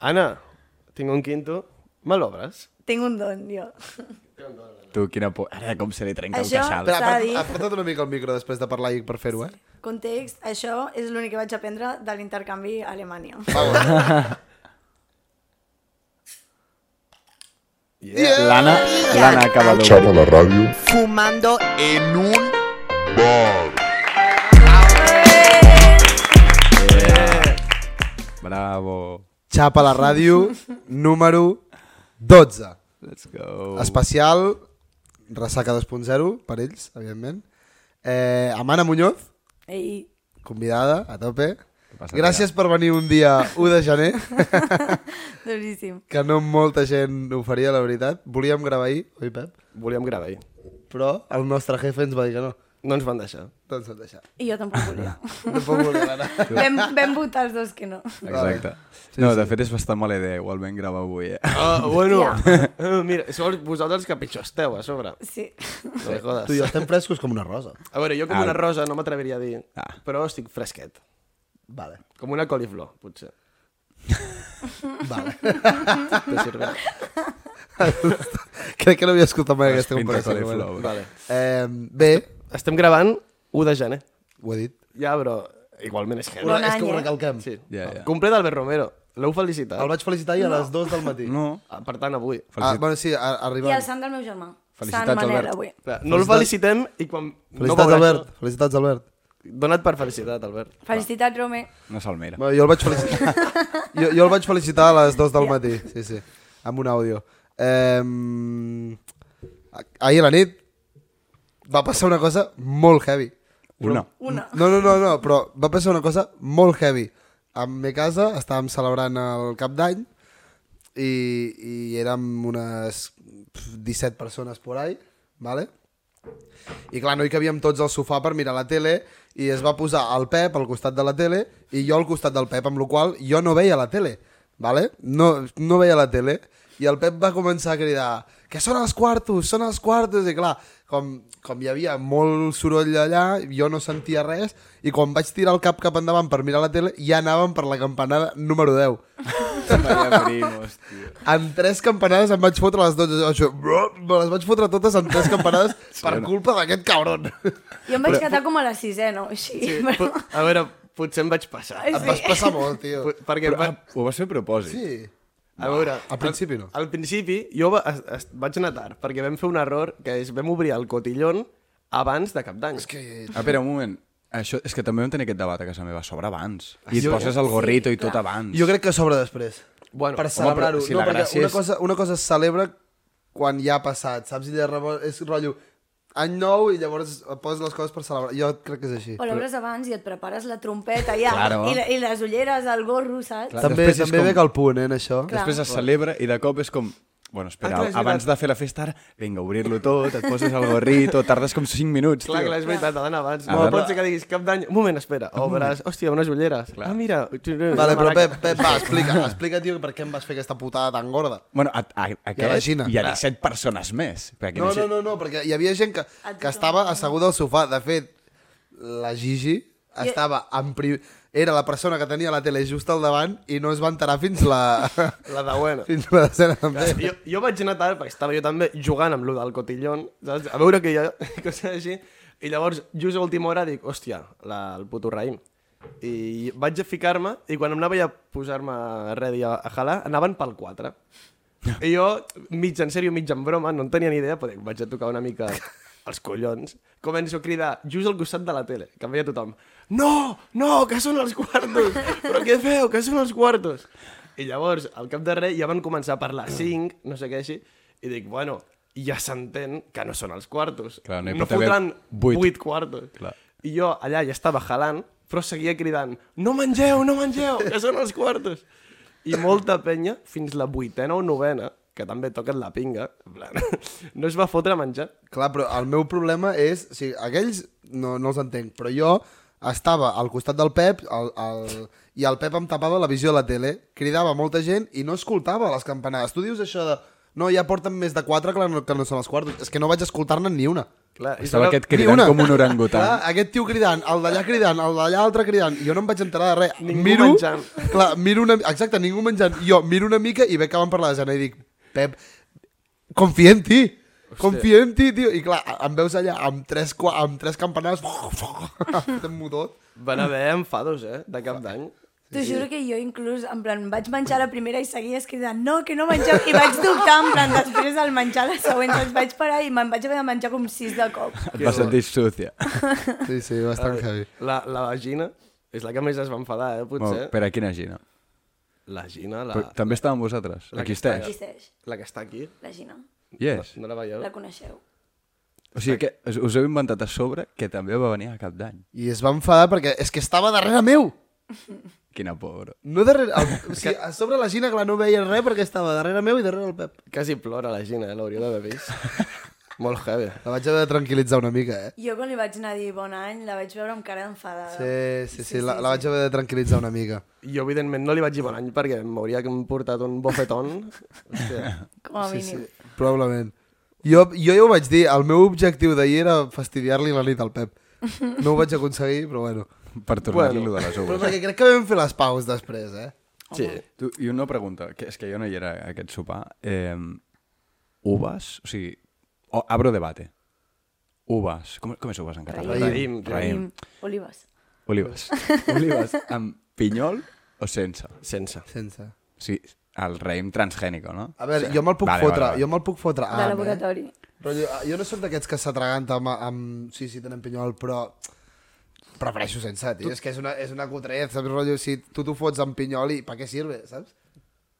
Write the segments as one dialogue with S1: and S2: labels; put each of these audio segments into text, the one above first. S1: Ana, tinc un quinto, me l'obres?
S2: Tinc un don, jo.
S3: Tu, quina por... Ara com se li trenca
S2: Això-
S3: el queixal.
S2: Però-
S4: Espera,
S2: S'ha
S4: apart-
S2: dit.
S4: aparta't una mica el micro després de parlar i per fer-ho, eh?
S2: Context, això és l'únic que vaig aprendre de l'intercanvi a Alemanya.
S3: Ah. L'Anna l'Anna acaba de...
S5: Xapa la ràdio.
S6: fumando en un
S3: Bravo.
S4: Xapa la ràdio, número 12.
S3: Let's go.
S4: Especial, Ressaca 2.0, per ells, evidentment. Eh, Amana Muñoz,
S2: Ei,
S4: convidada, a tope.
S3: passa,
S4: Gràcies per venir un dia 1 de gener,
S2: duríssim.
S4: que no molta gent ho faria, la veritat. Volíem gravar ahir, oi, Pep?
S1: Volíem gravar ahir.
S4: Però el nostre jefe ens va dir que no.
S1: No ens van deixar.
S4: Doncs hem deixat.
S2: I jo tampoc volia.
S3: Ah.
S4: No puc voler anar.
S2: vam, vam votar els dos que no.
S3: Exacte. No, de fet és bastant mala idea, igualment gravar avui, eh?
S1: Uh, bueno, uh, mira, sou vosaltres que pitjor esteu a sobre.
S2: Sí.
S1: No me jodes.
S4: Tu i jo estem frescos com una rosa.
S1: A veure, jo com
S3: Au.
S1: una rosa no m'atreviria a dir,
S3: Ah.
S1: però estic fresquet.
S4: Vale,
S1: Com una coliflor, potser.
S4: vale.
S1: Te sirve.
S4: Crec que no havia escoltat mai aquesta
S3: Pinta
S4: comparació. però
S3: coliflor.
S4: bueno.
S3: Vale.
S1: vale.
S4: Eh, bé,
S1: Estem gravant 1 de gener.
S4: ho he dit.
S1: Ja, però igualment és que...
S2: Bon
S4: és
S2: any,
S4: que ho
S2: eh?
S4: recalquem.
S1: Sí.
S3: Ja, ja.
S1: Complet Albert Romero. L'heu felicitat.
S4: El vaig felicitar ahir a les 2 del matí.
S3: No.
S1: Ah, Per tant, avui.
S4: Ah,
S3: Felicit...
S4: bueno, sí,
S2: I
S4: a,
S2: el
S4: arribant.
S2: sant del meu germà.
S3: Felicitats,
S2: sant Manel,
S3: Albert.
S2: avui.
S1: Clar, No el felicitem i quan...
S4: Felicitats,
S1: no
S4: Albert. Felicitats, Albert.
S1: Dona't per felicitat, Albert.
S2: Felicitats, Rome.
S3: Una salmera.
S4: Bueno, jo el vaig felicitar. jo, jo el vaig felicitar a les 2 del matí. Sí, sí. Amb un àudio. Eh, ahir a la nit va passar una cosa molt heavy.
S3: Una.
S2: Una.
S4: No, no, no, no, però va passar una cosa molt heavy. A mi casa estàvem celebrant el cap d'any i, i érem unes pf, 17 persones por ahí, ¿vale? I clar, no hi cabíem tots al sofà per mirar la tele i es va posar el Pep al costat de la tele i jo al costat del Pep, amb la qual cosa jo no veia la tele, ¿vale? No, no veia la tele i el Pep va començar a cridar que són els quartos, són els quartos i clar, com, com hi havia molt soroll allà, jo no sentia res i quan vaig tirar el cap cap endavant per mirar la tele ja anàvem per la campanada número 10
S3: Maria Primos, tio.
S4: en tres campanades em vaig fotre les 12 això, me les vaig fotre totes en tres campanades per culpa d'aquest cabron
S2: Jo em vaig quedar com a la sisena o així. Sí, però...
S1: Pu- A veure, potser em vaig passar.
S2: Ai,
S4: Em vas passar molt, tio.
S1: Pu- Perquè
S3: Però,
S1: va...
S3: ah, ho vas fer a propòsit.
S4: Sí.
S1: A veure...
S4: eh, Al principi no.
S1: Al principi jo va, es, es, vaig anar tard, perquè vam fer un error, que és vam obrir el cotillon abans de cap d'any.
S4: És que...
S3: Ah, espera, un moment. Això, és que també vam tenir aquest debat a casa meva, sobre abans. I et
S4: Jo-
S3: poses el gorrito i tot abans.
S4: Jo crec que s'obre després.
S1: Bueno,
S4: per
S1: home,
S4: celebrar-ho.
S3: però si
S4: no,
S3: la
S4: perquè
S3: gràcia
S4: una,
S3: és-
S4: cosa, una cosa es celebra quan ja ha passat, saps? I llavors és rotllo any nou i llavors poses les coses per celebrar. Jo crec que és així.
S2: O l'obres abans i et prepares la trompeta ja.
S3: Claro.
S2: I, la- I les ulleres, el gorro, saps?
S3: Clar.
S4: també
S3: després és
S4: també
S3: com-
S4: ve que el punt, eh, en això.
S2: Clar.
S3: Després es celebra i de cop és com... Bueno, espera,
S1: Ah, clar, és
S3: abans de
S1: veritat.
S3: fer la festa ara, vinga, obrir-lo tot, et poses el gorrito, tardes com 5 minuts,
S1: Clar,
S3: tio.
S1: clar, és veritat, Adán, abans.
S3: Adán.
S1: No pot ser que diguis cap d'any... Un moment, espera. Obres... Hòstia, unes ulleres. Ah, mira...
S4: Vale, però Pep, Pep, va, explica, explica, tio, per què em vas fer aquesta putada tan gorda.
S3: Bueno, a, a, a aquest
S4: Xina.
S1: Ah.
S3: hi ha 17 persones més. Perquè
S4: No, no, no, no, perquè hi havia gent que, que estava asseguda al sofà. De fet, la Gigi estava en pri... era la persona que tenia la tele just al davant i no es va enterar fins la...
S1: La de bueno.
S4: fins la decena també.
S1: Jo, jo vaig anar tard, perquè estava jo també jugant amb lo del cotillon, saps? A veure que hi ha coses així. I llavors, just a última hora, dic, hòstia, la, el puto raïm. I vaig a ficar-me, i quan em anava ja a posar-me ready a, a jalar, anaven pel 4. I jo, mig en sèrio, mig en broma, no en tenia ni idea, però dic, vaig a tocar una mica els collons. Començo a cridar just al costat de la tele, que em veia tothom. No, no, que són els quartos! Però què feu, que són els quartos! I llavors, al cap de res, ja van començar a parlar 5, no sé què així, i dic, bueno, ja s'entén que no són els quartos.
S3: Clar, no hi
S1: no
S3: pot haver
S1: fotran
S3: vuit.
S1: 8 quartos.
S3: Clar.
S1: I jo allà ja estava jalant, però seguia cridant, no mengeu, no mengeu, que són els quartos. I molta penya, fins la vuitena o novena, que també toquen la pinga, en plan, no es va fotre a menjar.
S4: Clar, però el meu problema és... O sigui, aquells no, no els entenc, però jo estava al costat del Pep el, el, i el Pep em tapava la visió de la tele, cridava molta gent i no escoltava les campanades. Tu dius això de... No, ja porten més de quatre que, la no, que no són els quartos. És que no vaig escoltar-ne ni una.
S1: Clar, i
S3: Estava
S1: sobre-
S3: aquest cridant
S4: una.
S3: com un orangutan.
S4: Clar, aquest tio cridant, el d'allà cridant, el d'allà altre cridant, i jo no em vaig enterar de res.
S1: Ningú
S4: miro,
S1: menjant.
S4: Clar, miro una, exacte, ningú menjant. Jo miro una mica i veig que van per la desena i dic, Pep, confia en ti. Confia en ti, tio. I clar, em veus allà amb tres, qua- amb tres campanades, fent-m'ho tot.
S1: Van haver enfados, eh, de cap d'any.
S2: T'ho juro que jo inclús, en plan, vaig menjar la primera i seguies cridant, no, que no mengem, i vaig dubtar, en plan, després del menjar la següent, doncs vaig parar i me'n vaig haver de menjar com sis de cop.
S3: Et vas sentir sucia.
S4: Sí, sí, bastant heavy.
S1: La, la vagina és la que més es va enfadar, eh, potser.
S3: Molt, per a quina gina?
S1: La Gina, la,
S3: Però, també estàvem vosaltres.
S1: La
S3: Aquí
S1: que està
S3: estàs.
S2: Existeix,
S1: la que està aquí.
S2: la Gina,
S3: Yes.
S1: No la veieu?
S2: la coneixeu.
S3: O sigui que us, us heu inventat a sobre que també va venir a cap d'any.
S4: I es va enfadar perquè és que estava darrere meu.
S3: Quina pobra.
S4: No darrere... El, o sigui, a sobre la Gina, clar, no veia res perquè estava darrere meu i darrere el Pep.
S1: Quasi plora la Gina, eh, l'hauríeu d'haver vist. Molt heavy.
S4: La vaig haver de tranquil·litzar una mica, eh?
S2: Jo quan li vaig anar a dir bon any, la vaig veure amb cara enfadada.
S4: Ah. Sí, sí, sí, sí, la, la vaig haver de tranquil·litzar una mica.
S1: Jo, evidentment, no li vaig dir bon any perquè m'hauria portat un bofeton. Hòstia.
S2: Com a
S4: Sí, sí,
S2: mínim.
S4: probablement. Jo, jo ja ho vaig dir, el meu objectiu d'ahir era fastidiar-li la nit al Pep. No ho vaig aconseguir, però bueno.
S3: Per tornar-li
S1: Bueno,
S3: bueno, de les
S4: Però
S3: uves.
S4: perquè crec que vam fer les paus després, eh?
S1: Sí.
S3: Tu, I una pregunta, que és que jo no hi era a aquest sopar. Eh, uves? O sigui, o, abro debate. Uves. Com, com és uves en català?
S1: Raïm. Raïm, tio.
S3: Raïm.
S2: Olives.
S3: Olives. Olives. Amb pinyol o sense?
S1: Sense.
S4: Sense.
S3: O sigui, el raïm transgènico, no?
S4: A veure, jo me'l puc
S3: Vale,
S4: vale, fotre,
S3: vale, vale.
S4: jo me'l puc fotre.
S2: De
S4: Ah,
S2: laboratori.
S4: Però jo, ah, jo no sóc d'aquests que s'atraganta amb, amb... Sí, sí, tenen pinyol, però prefereixo sense, tio. És que és una, és una cutrez, saps? Rotllo, si tu t'ho fots amb pinyol i per què sirve, saps?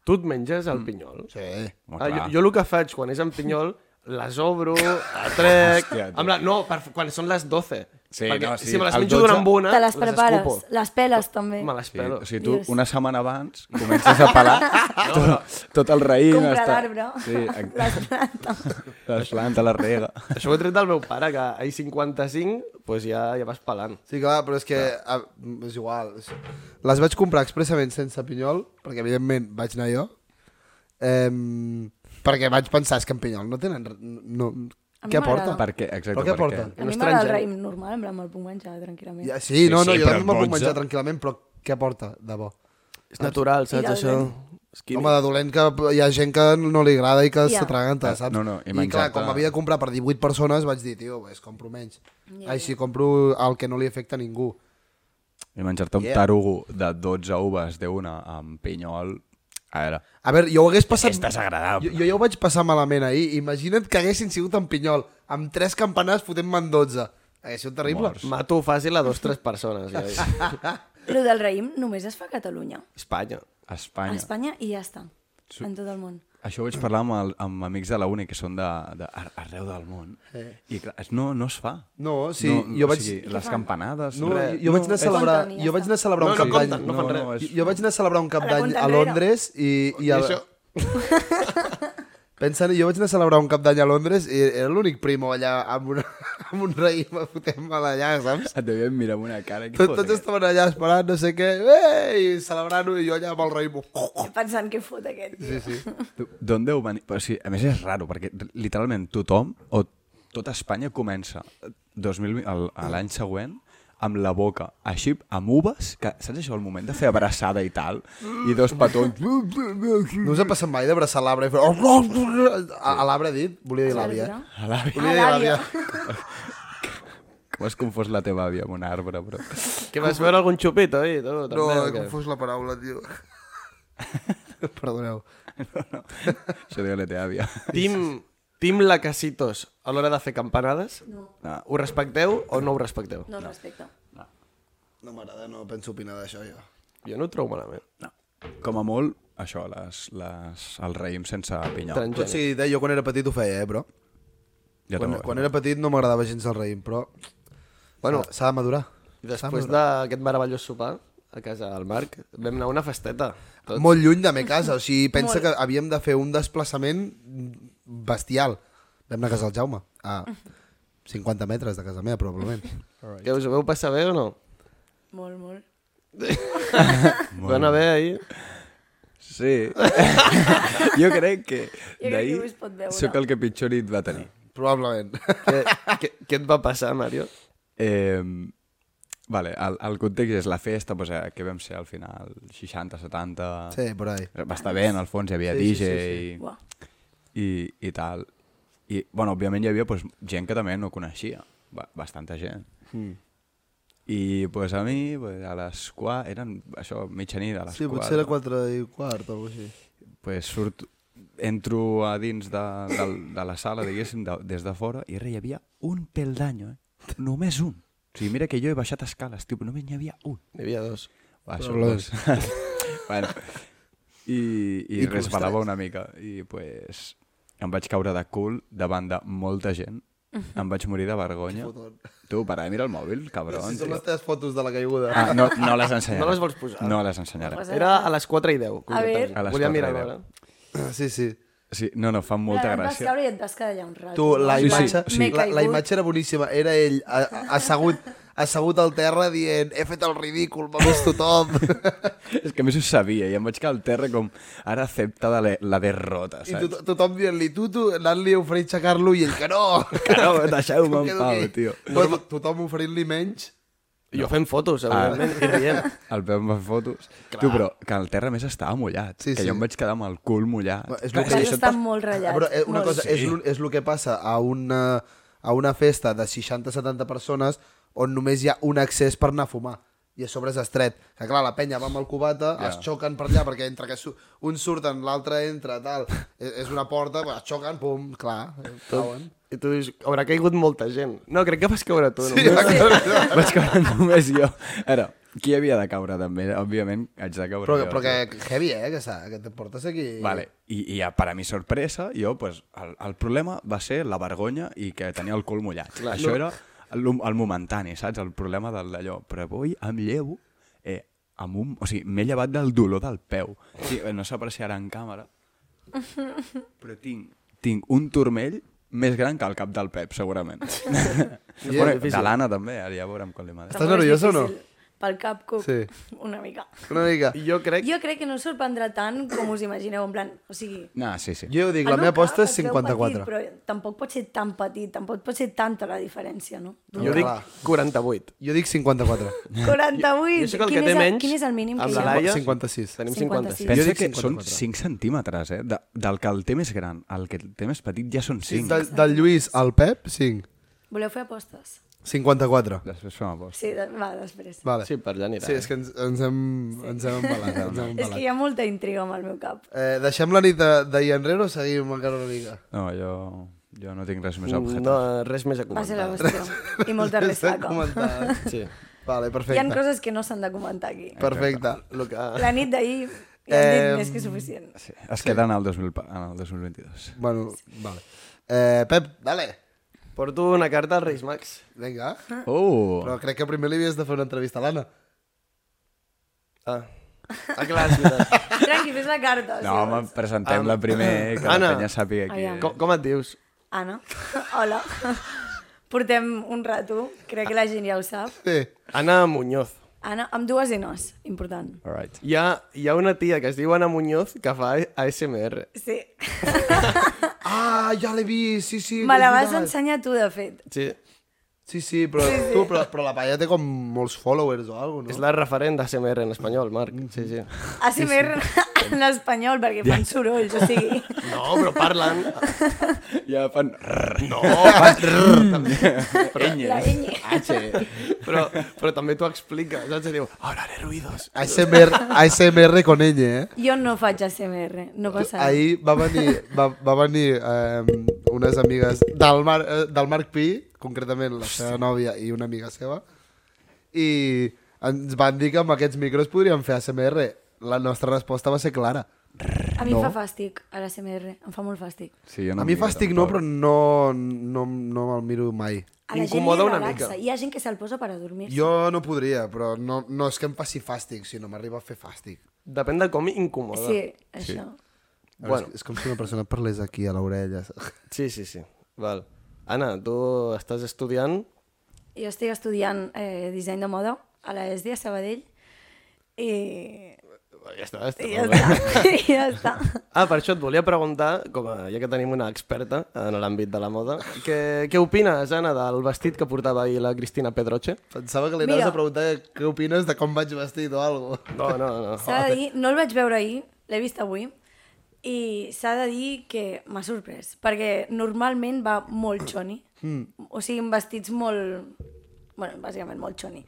S1: Tu et menges el pinyol?
S4: Sí.
S3: Mm. Home,
S1: Ah, jo,
S3: clar.
S1: jo el que faig quan és amb pinyol, les obro, la trec...
S3: Hòstia, tio.
S1: amb la, no, per, quan són les 12.
S3: Sí,
S1: perquè
S3: no, sí,
S1: si me les
S3: el
S1: menjo
S3: 12
S1: d'una en una,
S2: Te les prepares,
S1: escupo.
S2: les peles també.
S1: Me les
S3: Sí,
S1: pelo.
S3: o sigui, tu
S2: Dios.
S3: una setmana abans comences a pelar tot, tot el raïm.
S2: Compra
S3: està-
S2: l'arbre.
S3: Sí, les plantes. Les plantes, la rega.
S1: Això ho he tret del meu pare, que a 55 pues ja, ja vas pelant.
S4: Sí, clar, però és que a, és igual. És- Les vaig comprar expressament sense pinyol, perquè evidentment vaig anar jo, ehm, perquè vaig pensar, és que amb pinyol no tenen... re- No,
S2: A mi
S4: què
S2: m'agrada.
S4: porta?
S3: Per què? Exacte,
S4: Però què
S3: per què?
S4: porten?
S2: A mi
S1: No és
S2: m'agrada el
S1: transgènic.
S2: raïm normal, en plan, me'l puc menjar tranquil·lament.
S4: Ja, sí, no,
S3: Sí,
S4: no,
S3: sí,
S4: jo
S3: però
S4: també me'l puc
S3: dotze.
S4: menjar tranquil·lament, però què porta, de bo?
S1: És natural,
S2: saps, això?
S4: Home, de dolent que hi ha gent que no li agrada i que
S2: Ja.
S4: s'atraganta, saps?
S3: Ah, no, no, i
S4: I clar,
S3: menjar-te-
S4: com havia de comprar per 18 persones, vaig dir, tio, pues, compro menys.
S2: Ja,
S4: Així compro el que no li afecta a ningú.
S3: I menjar-te un
S4: Yeah.
S3: yeah. tarugo de 12 uves d'una amb pinyol... A veure,
S4: A veure, jo ho hagués passat...
S3: És desagradable.
S4: Jo, jo ja ho vaig passar malament ahir. Imagina't que haguessin sigut en pinyol, amb tres campanades fotent-me en 12. Hauria sigut terrible.
S3: Morts.
S1: Mato fàcil a dos, tres persones. Ja.
S2: Lo del raïm només es fa a Catalunya.
S1: Espanya.
S3: a
S2: A
S3: Espanya...
S2: Espanya i ja està. En tot el món.
S3: Això ho vaig parlar amb, el, amb amics de la uni que són de, de ar- arreu del món. Eh. I clar, es- no, no es fa.
S4: No, sí, jo vaig-
S3: O sigui, les campanades...
S4: No,
S3: res.
S4: jo, jo vaig anar a celebrar,
S2: compten i ja
S4: jo vaig anar a celebrar
S1: No,
S4: un
S1: no
S4: cap
S1: compten,
S4: d'any.
S1: no fan res.
S3: és-
S4: Jo- Jo vaig anar a celebrar un cap
S2: A la
S4: d'any a
S2: Fontanera.
S4: Londres i... I, a...
S1: això?
S4: Pensa, jo vaig anar a celebrar un cap d'any a Londres i era l'únic primo allà amb, una, amb un raïm fotent-me allà, saps?
S3: Et devien mirar amb una cara... què
S4: Tot,
S3: fot
S4: tots
S3: aquest?
S4: estaven allà esperant, no sé què, ei, celebrant-ho, i jo allà amb el raïm.
S2: Pensant què fot aquest.
S4: Sí, sí.
S3: Tu- D'on deu venir? Però, sí, a més és raro, perquè r- literalment tothom, o tota Espanya comença 2000, el- a l'any següent amb la boca així, amb uves, que saps això, el moment de fer abraçada i tal, i dos petons...
S4: No us ha passat mai d'abraçar l'arbre i fer... "Oh, A, a l'arbre dit? Volia dir l'àvia. eh?
S3: A l'àvia,
S4: Volia dir l'àvia.
S3: com has confós la teva àvia amb un arbre, però...
S1: Que vas veure algun xupit, oi? Tu, també,
S4: No,
S1: o
S4: he
S1: què?
S4: confós la paraula, tio. Perdoneu.
S3: Això diu la teva àvia.
S1: Team, team Lacasitos a l'hora de fer campanades? No.
S3: No.
S1: Ho respecteu o no ho respecteu?
S2: No el respecte.
S4: No m'agrada, no penso opinar d'això, jo.
S1: Jo no ho trobo malament.
S3: No. Com a molt, això, les, les, el raïm sense pinyol.
S4: Tot
S1: Transgènic.
S4: sigui dit, eh, jo quan era petit ho feia, eh, però...
S3: Ja
S4: quan,
S3: te'n
S4: quan era petit no m'agradava gens el raïm, però... Bueno, s'ha de madurar.
S1: I després d'aquest meravellós sopar a casa del Marc, vam anar a una festeta. Tot.
S4: Ah, Molt lluny de me casa, o sigui, pensa que havíem de fer un desplaçament bestial. Vam anar a casa del Jaume, a 50 metres de casa meva, probablement.
S1: Què, us ho veu passar bé o no?
S2: Molt, molt.
S1: Van haver ahir...
S3: Sí. jo crec que
S2: que
S3: d'ahir
S2: no es pot veure.
S3: sóc el que pitjor nit va tenir.
S4: Probablement.
S1: Què, què, què et va passar, Mario?
S3: Eh, vale, el, el context és la festa, pues, eh, que vam ser al final, 60, 70...
S4: Sí, por ahí.
S3: Va estar bé, en el fons hi havia sí, DJ sí,
S2: Uah.
S3: sí, sí. I, i tal. I, bueno, òbviament hi havia pues, gent que també no coneixia, ba bastanta gent. Mm. I pues, a mi, pues, a les 4, eren això, mitjanit, a les
S4: Sí,
S3: 4.
S4: potser era 4 i quart o alguna així.
S3: pues surt, entro a dins de, de, de la sala, diguéssim, de, des de fora, i res, hi havia un pèl d'any, eh? Només un. O sigui, mira que jo he baixat escales, tio, però només n'hi havia un.
S1: N'hi havia dos.
S3: Va, això doncs. bueno, i, i, I resbalava una mica. I, pues, em vaig caure de cul davant de molta gent. Em vaig morir de vergonya. Tu, para, mira el mòbil, cabron.
S4: Si són
S3: tio.
S4: les teves fotos de la caiguda.
S3: Ah, no, no les ensenyaré.
S1: No les vols posar?
S3: No les ensenyaré.
S1: Era a les 4 i 10. concretament.
S2: veure.
S3: A les
S1: Volia
S3: 4 i
S1: mirar
S3: 10.
S1: l'hora.
S4: Ah, Sí, sí.
S3: Sí, no, no, fa molta
S2: Clar, Et vas
S3: gràcia.
S2: caure i et vas quedar allà un rato.
S4: Tu, la
S3: Sí, sí,
S4: imatge,
S3: sí.
S2: M'he
S4: La, la
S2: caigut.
S4: imatge era boníssima. Era ell a- a- assegut, assegut al terra dient he fet el ridícul, m'ha vist tothom.
S3: És que a més ho sabia i em vaig caure al terra com ara accepta de la, la derrota,
S4: I
S3: saps?
S4: to tothom dient-li tu, tu, anant-li a oferir aixecar-lo i ell que no.
S3: Carau, deixeu-me
S4: Em
S3: en
S4: quedo
S3: pau,
S4: aquí.
S3: tio.
S4: Bueno, tothom oferint-li menys.
S1: Jo fent fotos, evidentment, i rient.
S3: El Pep em va fer fotos. Clar. Tu, però que el terra a més estava mullat.
S4: Sí,
S3: Sí, que
S4: sí.
S3: jo em vaig quedar amb el cul mullat.
S4: Va, és
S3: Clar,
S4: lo
S2: Vas
S4: que-
S3: això et
S2: estar
S3: pas-
S2: molt
S4: Ah,
S2: ratllat.
S4: Però eh, una
S2: molt.
S4: cosa, és, l'un- és el que passa a una, a una festa de 60-70 persones on només hi ha un accés per anar a fumar i a sobre és estret. Que clar, la penya va amb el cubata, yeah. es xoquen per allà, perquè entre que su un surten, l'altre entra, tal, és, és una porta, es xoquen, pum, clar, eh, cauen.
S1: I tu dius, haurà caigut molta gent. No, crec que vas caure tu.
S4: Sí,
S1: només.
S3: Vaig caure només jo. Ara, qui havia de caure també? Òbviament, haig de caure
S4: Però,
S3: jo.
S4: però que, que heavy, eh, que, s'ha- que te portes aquí...
S3: Vale. I, i a, per a mi sorpresa, jo, pues, el, el problema va ser la vergonya i que tenia el cul mullat. Clar, Això no. era el, el momentani, saps? El problema del d'allò. Però avui em llevo eh, amb un... O sigui, m'he llevat del dolor del peu. Sí, eh, no s'apreciarà en càmera, però tinc, tinc un turmell més gran que el cap del Pep, segurament. bueno, de l'Anna també, ara ja veurem quan li m'ha dit.
S4: Estàs
S2: Tampoc és
S4: nerviosa o no?
S2: difícil. Pel cap, cuc.
S4: Sí.
S2: Una mica.
S4: Una mica.
S1: I jo crec...
S2: Jo crec que no us sorprendrà tant com us imagineu, en plan, o sigui...
S3: No, sí, sí.
S4: Jo ho dic,
S2: el
S4: la meva
S2: meu
S4: aposta
S2: cap
S4: és
S2: es veu Petit,
S4: 54.
S2: però tampoc pot ser tan petit, tampoc pot ser tanta la diferència, no?
S1: Jo dic 48.
S4: Jo dic 54.
S2: 48!
S1: Jo sóc el
S2: quin
S1: que té
S2: és
S1: menys
S2: Quin és el mínim que
S1: amb
S2: hi
S1: la
S2: ha?
S1: Laia.
S4: 56.
S1: Tenim
S2: 56.
S1: 56.
S3: Pensa
S4: Jo dic
S3: que són
S4: 54.
S3: 5 centímetres, eh? De, del que el té més gran al que el té més petit ja són 5.
S4: Del, del Lluís al Pep, 5.
S2: Voleu fer apostes?
S4: 54.
S3: Després fem aposta.
S2: Sí, de, va, després.
S4: Vale.
S1: Sí, per allà anirà.
S4: Sí, és que ens, ens hem, ens hem embalat. Ens hem
S2: és que
S4: embalat.
S2: hi ha molta intriga amb el meu cap.
S4: Eh, deixem la nit de- d'ahir enrere o seguim encara una mica?
S3: No, jo, jo no tinc res més
S4: Uh,
S1: No,
S3: objecte.
S1: res més a
S2: Va ser la
S1: comentar.
S2: qüestió. I molta ressaca.
S4: Comentar.
S1: Sí.
S4: Vale,
S2: Hi ha
S4: perfecte.
S2: coses que no s'han de comentar aquí.
S4: Perfecte.
S1: Lo que...
S2: La nit d'ahir ja hem dit
S4: Em,
S2: més que suficient.
S3: Sí. Es queda en el, 2000, pa- en el 2022.
S4: Bueno, vale. Eh, Pep, dale.
S1: Porto una carta als Reis Mags.
S4: Vinga.
S2: Ah.
S3: Oh!
S4: Però crec que primer li havies de fer una entrevista a l'Anna.
S1: Ah. Ah, clar, és veritat.
S2: Tranqui, fes la carta.
S3: No, home, presentem-la
S1: Am-
S3: primer, que
S1: Anna.
S3: la penya sàpiga qui
S2: Aviam.
S3: és.
S1: com, com et dius?
S2: Anna, Ah, hola. Portem un rato, crec que la gent ja ho sap.
S4: Sí.
S1: Anna Muñoz.
S2: Anna, amb dues enos, important.
S3: All right.
S1: Hi ha, hi ha una tia que es diu Anna Muñoz que fa ASMR.
S2: Sí,
S4: Ah, ja l'he vist, sí, sí.
S2: me la
S4: és
S2: vas
S4: veritat.
S2: ensenyar tu, de fet.
S1: Sí.
S4: Sí, sí, però, sí, sí. Tu, però, però la paia té com molts followers o alguna
S1: És
S4: cosa, no?
S1: la referent d'ASMR en espanyol, Marc. Sí, sí.
S2: ASMR en espanyol, perquè fan sorolls, o sigui...
S1: No, però parlen...
S3: Ja fan... No!
S2: La ñ.
S1: Però, però també t'ho explica, saps? I diu, ara haré ruidos.
S4: ASMR, ASMR con ell, eh?
S2: Jo no faig ASMR, no passa res.
S4: Ahir va venir, va, va venir eh, unes amigues del, Mar, eh, del Marc Pi, concretament la seva nòvia i una amiga seva, i ens van dir que amb aquests micros podríem fer ASMR. La nostra resposta va ser clara.
S2: A mi em fa fàstic, a l'ASMR, em fa molt fàstic.
S3: Sí, jo no
S4: A mi
S3: em miro
S4: fàstic no,
S3: tampoc.
S4: però no, no, no me'l miro mai.
S2: A la gent li
S1: Incomoda una
S2: relaxa.
S1: mica.
S2: Hi ha gent que se'l posa per adormir-se.
S4: Jo no podria, però no, no és que em passi fàstic, sinó m'arriba a fer fàstic.
S1: Depèn de com incomoda.
S2: Sí, això.
S4: A veure, És, és com si una persona et parlés aquí a l'orella.
S1: Sí, sí, sí. Val. Anna, tu estàs estudiant...
S2: Jo estic estudiant eh, disseny de moda a la ESDI a Sabadell i
S1: Ja està, ja està.
S2: I ja està. I ja està.
S1: Ah, per això et volia preguntar, com a, ja que tenim una experta en l'àmbit de la moda, què, què opines, Anna, del vestit que portava ahir la Cristina Pedroche?
S4: Pensava que li
S2: Mira.
S4: anaves a preguntar què opines de com vaig vestit o alguna cosa.
S1: No, no, no.
S2: S'ha de dir, no el vaig veure ahir, l'he vist avui, i s'ha de dir que m'ha sorprès, perquè normalment va molt xoni, mm. o sigui, amb vestits molt... bueno, bàsicament molt xoni.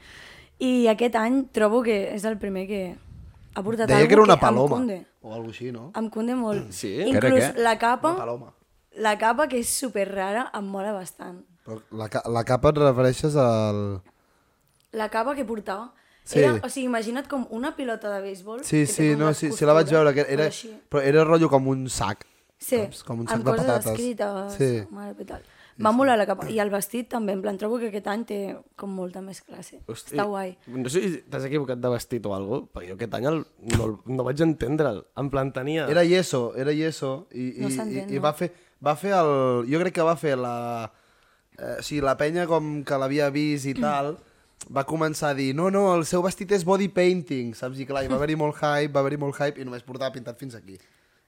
S2: I aquest any trobo que és el primer que ha portat
S4: Deia
S2: algú
S4: que era una
S2: em
S4: paloma.
S2: cunde.
S4: O alguna així, no?
S2: Em cunde molt.
S1: Sí?
S3: Era
S2: Inclús
S3: què?
S2: la capa,
S4: Una paloma.
S2: la capa que és super rara, em mola bastant.
S4: Però la, ca- la capa et refereixes al...
S2: La capa que portava
S4: Sí.
S2: era, o sigui, imagina't com una pilota de béisbol.
S4: Sí,
S2: que té
S4: sí,
S2: com
S4: no,
S2: les
S4: sí, sí, la vaig
S2: costures,
S4: veure. Que era,
S2: però així.
S4: però era rotllo com un sac.
S2: Sí,
S4: Saps? Com un sac
S2: amb
S4: de
S2: coses
S4: patates.
S2: escrites,
S4: Sí.
S2: mare que tal. Va molar la capa. I el vestit també, en plan, trobo que aquest any té com molta més classe. Hosti. Està guai.
S1: No sé si t'has equivocat de vestit o alguna cosa, perquè jo aquest any el, no, el, no vaig entendre'l. En plan, tenia...
S4: Era Yeso, era Yeso. I,
S2: No
S4: i,
S2: s'entén,
S4: i, i
S2: no.
S4: va, fer, va fer el... Jo crec que va fer la... Eh, o sigui, la penya com que l'havia vist i tal, va començar a dir, no, no, el seu vestit és body painting, saps? I clar, hi va haver-hi molt hype, va haver-hi molt hype, i només portava pintat fins aquí,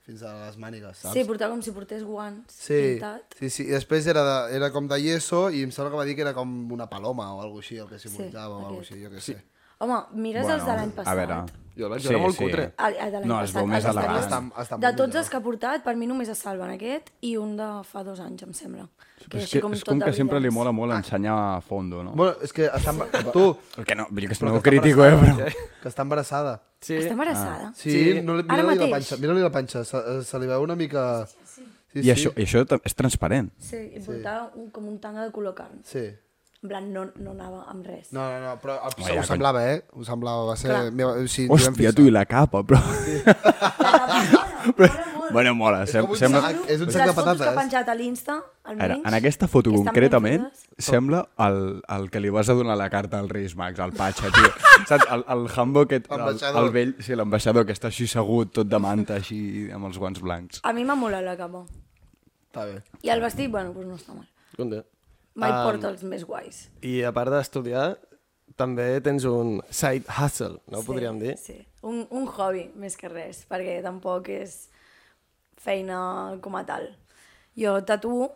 S4: fins a les mànigues, saps?
S2: Sí, portava com si portés guants.
S4: Sí,
S2: Pintat.
S4: sí, sí. I després era, de, era com de yeso i em sembla que va dir que era com una paloma o alguna així, el que simbolitava sí, o alguna
S2: aquest.
S4: així, jo què sí. sé.
S2: Home, mires bueno, els de l'any passat.
S3: A veure...
S1: Jo el vaig veure molt cutre.
S2: El, el de l'any
S3: No, es
S2: passat.
S3: veu més
S2: els
S3: elegant.
S2: exteriors.
S4: Està- està
S2: de
S4: molt
S2: tots
S4: millor.
S2: els que ha portat, per mi només es salven aquest i un de fa dos anys, em sembla.
S3: Que és,
S2: així
S3: que, és com
S2: tot
S3: que
S2: de
S3: sempre li
S2: brillants.
S3: mola molt ensenyar a fondo, no?
S4: Bueno, és que està... embar- Tu,
S3: Que no, jo que no
S4: Però
S3: ho
S4: que està
S3: critico, eh, però...
S4: que està embarassada.
S1: Sí.
S2: Està embarassada. Ah.
S4: Sí,
S1: Sí.
S4: no, li-
S2: Ara
S4: mira-li la
S2: mateix.
S4: panxa, mira-li la panxa, se, eh, se li veu una mica... Sí, sí.
S3: I això, i això tam- és transparent.
S2: Sí, i portava un, com un tanga de color carn.
S4: Sí.
S2: En plan, no, no anava amb res.
S4: No, no, no, però eh,
S3: Home, ja,
S4: ho semblava, eh? Ho semblava, va ser...
S2: Clar.
S4: Meva, o sigui, ens hi vam
S3: Hòstia,
S4: fixar.
S3: tu i la capa, però...
S2: La capa mola, mola molt.
S3: Bueno, mola, sem
S4: com un
S3: sembla...
S4: sac. És un sac de
S2: Les fotos que
S4: patates.
S2: ha penjat a l'Insta,
S3: A veure,
S2: almenys...
S3: en aquesta foto
S2: que estan ben
S3: concretament
S2: fetes.
S3: sembla el, el que li vas a donar la carta al Reis Max, al Patxa, tio. Saps? El, el Hambo aquest, el,
S4: L'ambaixador.
S3: el vell, sí, l'ambaixador que està així segut, tot de manta, així, amb els guants blancs.
S2: A mi m'ha molat la capa.
S4: Està bé.
S2: I el vestit, bueno, doncs no està mal.
S1: Compte.
S2: Mai
S4: Ah.
S2: um... porta els més guais.
S1: I a part d'estudiar, també tens un side hustle, no sí. podríem dir?
S2: Sí, un, un hobby, més que res, perquè tampoc és feina com a tal. Jo tatuo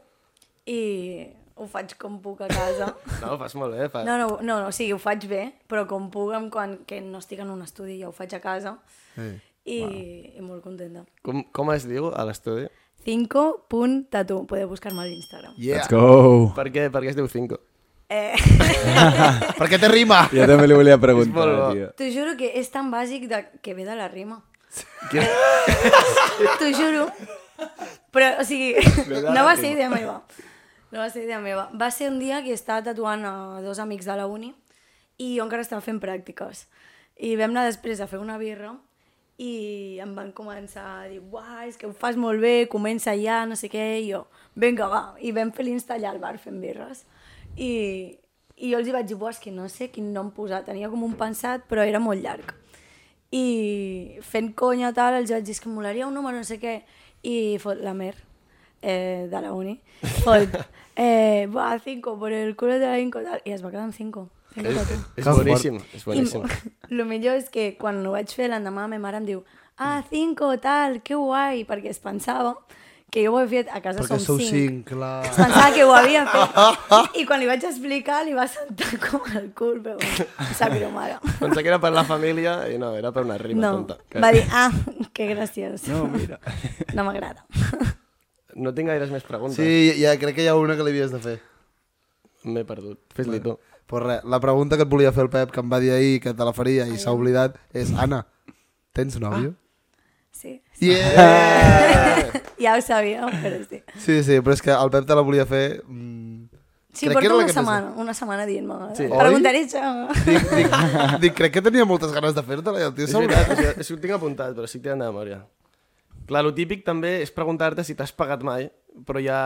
S2: i ho faig com puc a casa.
S1: No, fas molt bé. Fas...
S2: No, no, no, no, o sigui, ho faig bé, però com puc, amb quan que no estic en un estudi, jo ho faig a casa
S4: Sí.
S2: i, i molt contenta.
S1: Com, com es diu a l'estudi?
S2: 5.tatu, podeu buscar-me a l'Instagram.
S4: Yeah.
S3: Let's go!
S1: Per què, per què es diu 5?
S2: Eh,
S4: Per què te rima?
S3: Jo també li volia
S1: És
S3: preguntar,
S1: molt bo.
S3: tio.
S2: T'ho juro que és tan bàsic de... que ve de la rima.
S1: Que...
S2: T'ho juro. Però, o sigui, no va ser idea meva. No va ser idea meva. Va ser un dia que estava tatuant a dos amics de la uni i jo encara estava fent pràctiques. I vam anar després a fer una birra i em van començar a dir uah, és que ho fas molt bé, comença ja, no sé què, i jo, vinga, va. I vam fer l'insta allà al bar fent birres. I, i jo els hi vaig dir, buah, és que no sé quin nom posar, tenia com un pensat, però era molt llarg i fent conya tal, els vaig dir "És que em molaria un número, no sé què, i fot la mer eh, de la uni, fot, eh, va, 5, por el culo de la 5, tal, i es va quedar amb 5.
S1: És
S4: Eh, Que fort.
S1: boníssim, és
S2: I
S1: boníssim.
S2: el millor és que quan ho vaig fer l'endemà, ma mare em diu, ah, 5, tal, que guai, perquè es pensava que jo ho he fet a casa
S4: Perquè
S2: som
S4: sou
S2: 5.
S4: cinc, clar.
S2: Es pensava que ho havia fet. I quan li vaig explicar, li va sentar com el cul, però bueno, em sap greu, mare.
S1: Pensava que era per la família i no, era per una rima
S2: No,
S1: tonta.
S2: va dir, ah, que graciós.
S3: No, mira.
S2: No m'agrada.
S1: No tinc gaires més preguntes.
S4: Sí, ja, crec que hi ha una que li havies de fer.
S1: M'he perdut. Fes-li tu.
S4: Pues res, la pregunta que et volia fer el Pep, que em va dir ahir que te la faria i s'ha oblidat, és Anna, tens nòvio?
S2: Ah, Sí,
S4: Yeah!
S2: ja ho sabíeu, però sí.
S4: Sí, sí, però és que el Pep te la volia fer... Mm,
S2: Sí,
S4: Crec que era
S2: porto
S4: la
S2: una
S4: que
S2: setmana, una setmana dient-me.
S1: Sí.
S2: Sí.
S1: Oi?
S2: Preguntaré això.
S4: dic, dic, dic, crec que tenia moltes ganes de fer-te-la i el tio
S1: És
S4: s'ha
S1: veritat,
S4: oblidat.
S1: o sigui, sí, ho tinc apuntat, però sí que tirant de memòria. Clar, lo típic també és preguntar-te si t'has pagat mai, però ja...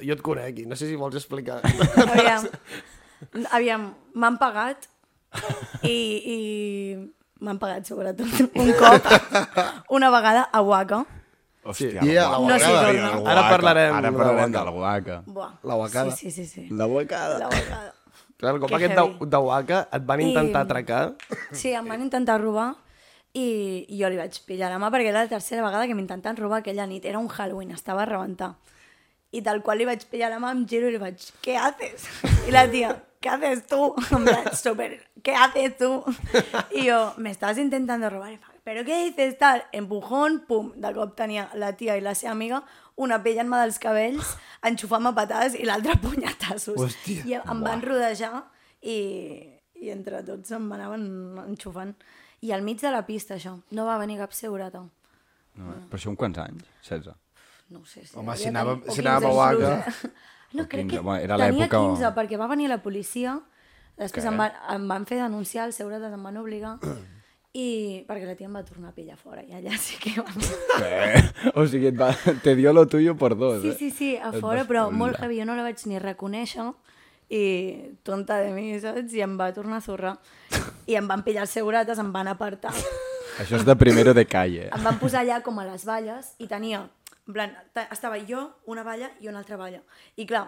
S1: Jo et conec i no sé si vols explicar.
S2: Aviam, aviam m'han pagat i, i m'han pagat sobretot un cop, una vegada a Waka.
S3: Hòstia,
S4: Sí. Yeah,
S3: la guaca,
S4: la
S2: guaca. No s'hi
S3: tio,
S2: torna.
S3: la
S1: Ara
S3: guaca.
S1: parlarem
S3: Ara
S1: de la
S3: parlarem
S1: guaca.
S3: de la guaca.
S2: Buah.
S4: La Wakada.
S2: Sí, sí, sí. sí.
S3: La guacada.
S2: La Wakada.
S1: Clar, el cop
S2: Que
S1: aquest
S2: heavy.
S1: de, de Waka et van intentar
S2: I-
S1: atracar.
S2: Sí, em van intentar robar i, i jo li vaig pillar la mà perquè era la tercera vegada que m'intenten robar aquella nit. Era un Halloween, estava a rebentar. I tal qual li vaig pillar la mà, em giro i li vaig, què haces? I la tia, què haces tu? En plan, super, què haces tu? I jo, me estàs intentando robar. I fa, però què dices tal? Empujón, pum, de cop tenia la tia i la seva amiga una pellant-me dels cabells, enxufant-me patades i l'altra punyatassos.
S4: Hòstia.
S2: I em van rodejar i, i entre tots em anaven enxufant. I al mig de la pista, això. No va venir cap segurata.
S3: No, eh? Per això amb quants anys? 16.
S2: No ho sé. Si
S4: Home,
S2: devia
S4: si anàvem-
S2: tenir- o
S4: si anàvem a
S2: 15
S4: Oaga.
S2: inclús. No,
S3: O
S2: crec
S3: 15,
S2: que
S3: bueno, era
S2: tenia
S3: l'època on-
S2: 15, perquè va venir la policia, després em, va, em van fer denunciar, els segurates em van obligar, i perquè la tia em va tornar a pillar fora, i allà sí que vam...
S3: Eh? O sigui, et va... te dio lo tuyo por dos,
S2: Sí,
S3: eh?
S2: sí, sí, a
S3: Et
S2: fora,
S3: vas
S2: però
S3: follar.
S2: molt heavy. Jo no la vaig ni reconèixer i tonta de mi, saps? I em va tornar a zurrar. I em van pillar els segurates, em van apartar.
S3: Això és de primero de calle.
S2: Em van posar allà com a les valles i tenia... En plan, ta- estava jo, una valla i una altra valla. I clar,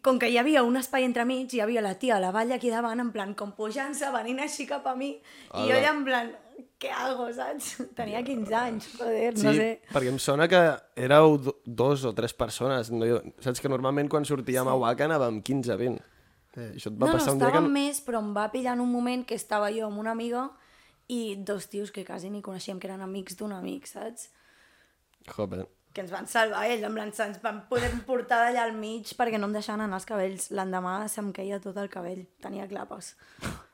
S2: com que hi havia un espai entremig, hi havia la tia a la valla aquí davant, en plan, com pujant-se, venint així cap a mi, i jo allà en plan, què hago, saps? Tenia 15 anys, joder,
S1: Sí,
S2: no sé.
S1: perquè em sona que éreu do- dos o tres persones. No, jo- saps que normalment quan sortíem sí. a Waka anàvem 15-20. Eh, això et va
S2: no,
S1: passar
S2: no,
S1: un dia
S2: estava
S1: que...
S2: més, però em va pillar en un moment que estava jo amb una amiga i dos tios que quasi ni coneixíem, que eren amics d'un amic, saps?
S1: Joder.
S2: Que ens van salvar ells, en plan, ens van poder portar d'allà al mig perquè no em deixaven anar els cabells. L'endemà se'm queia tot el cabell, tenia clapes.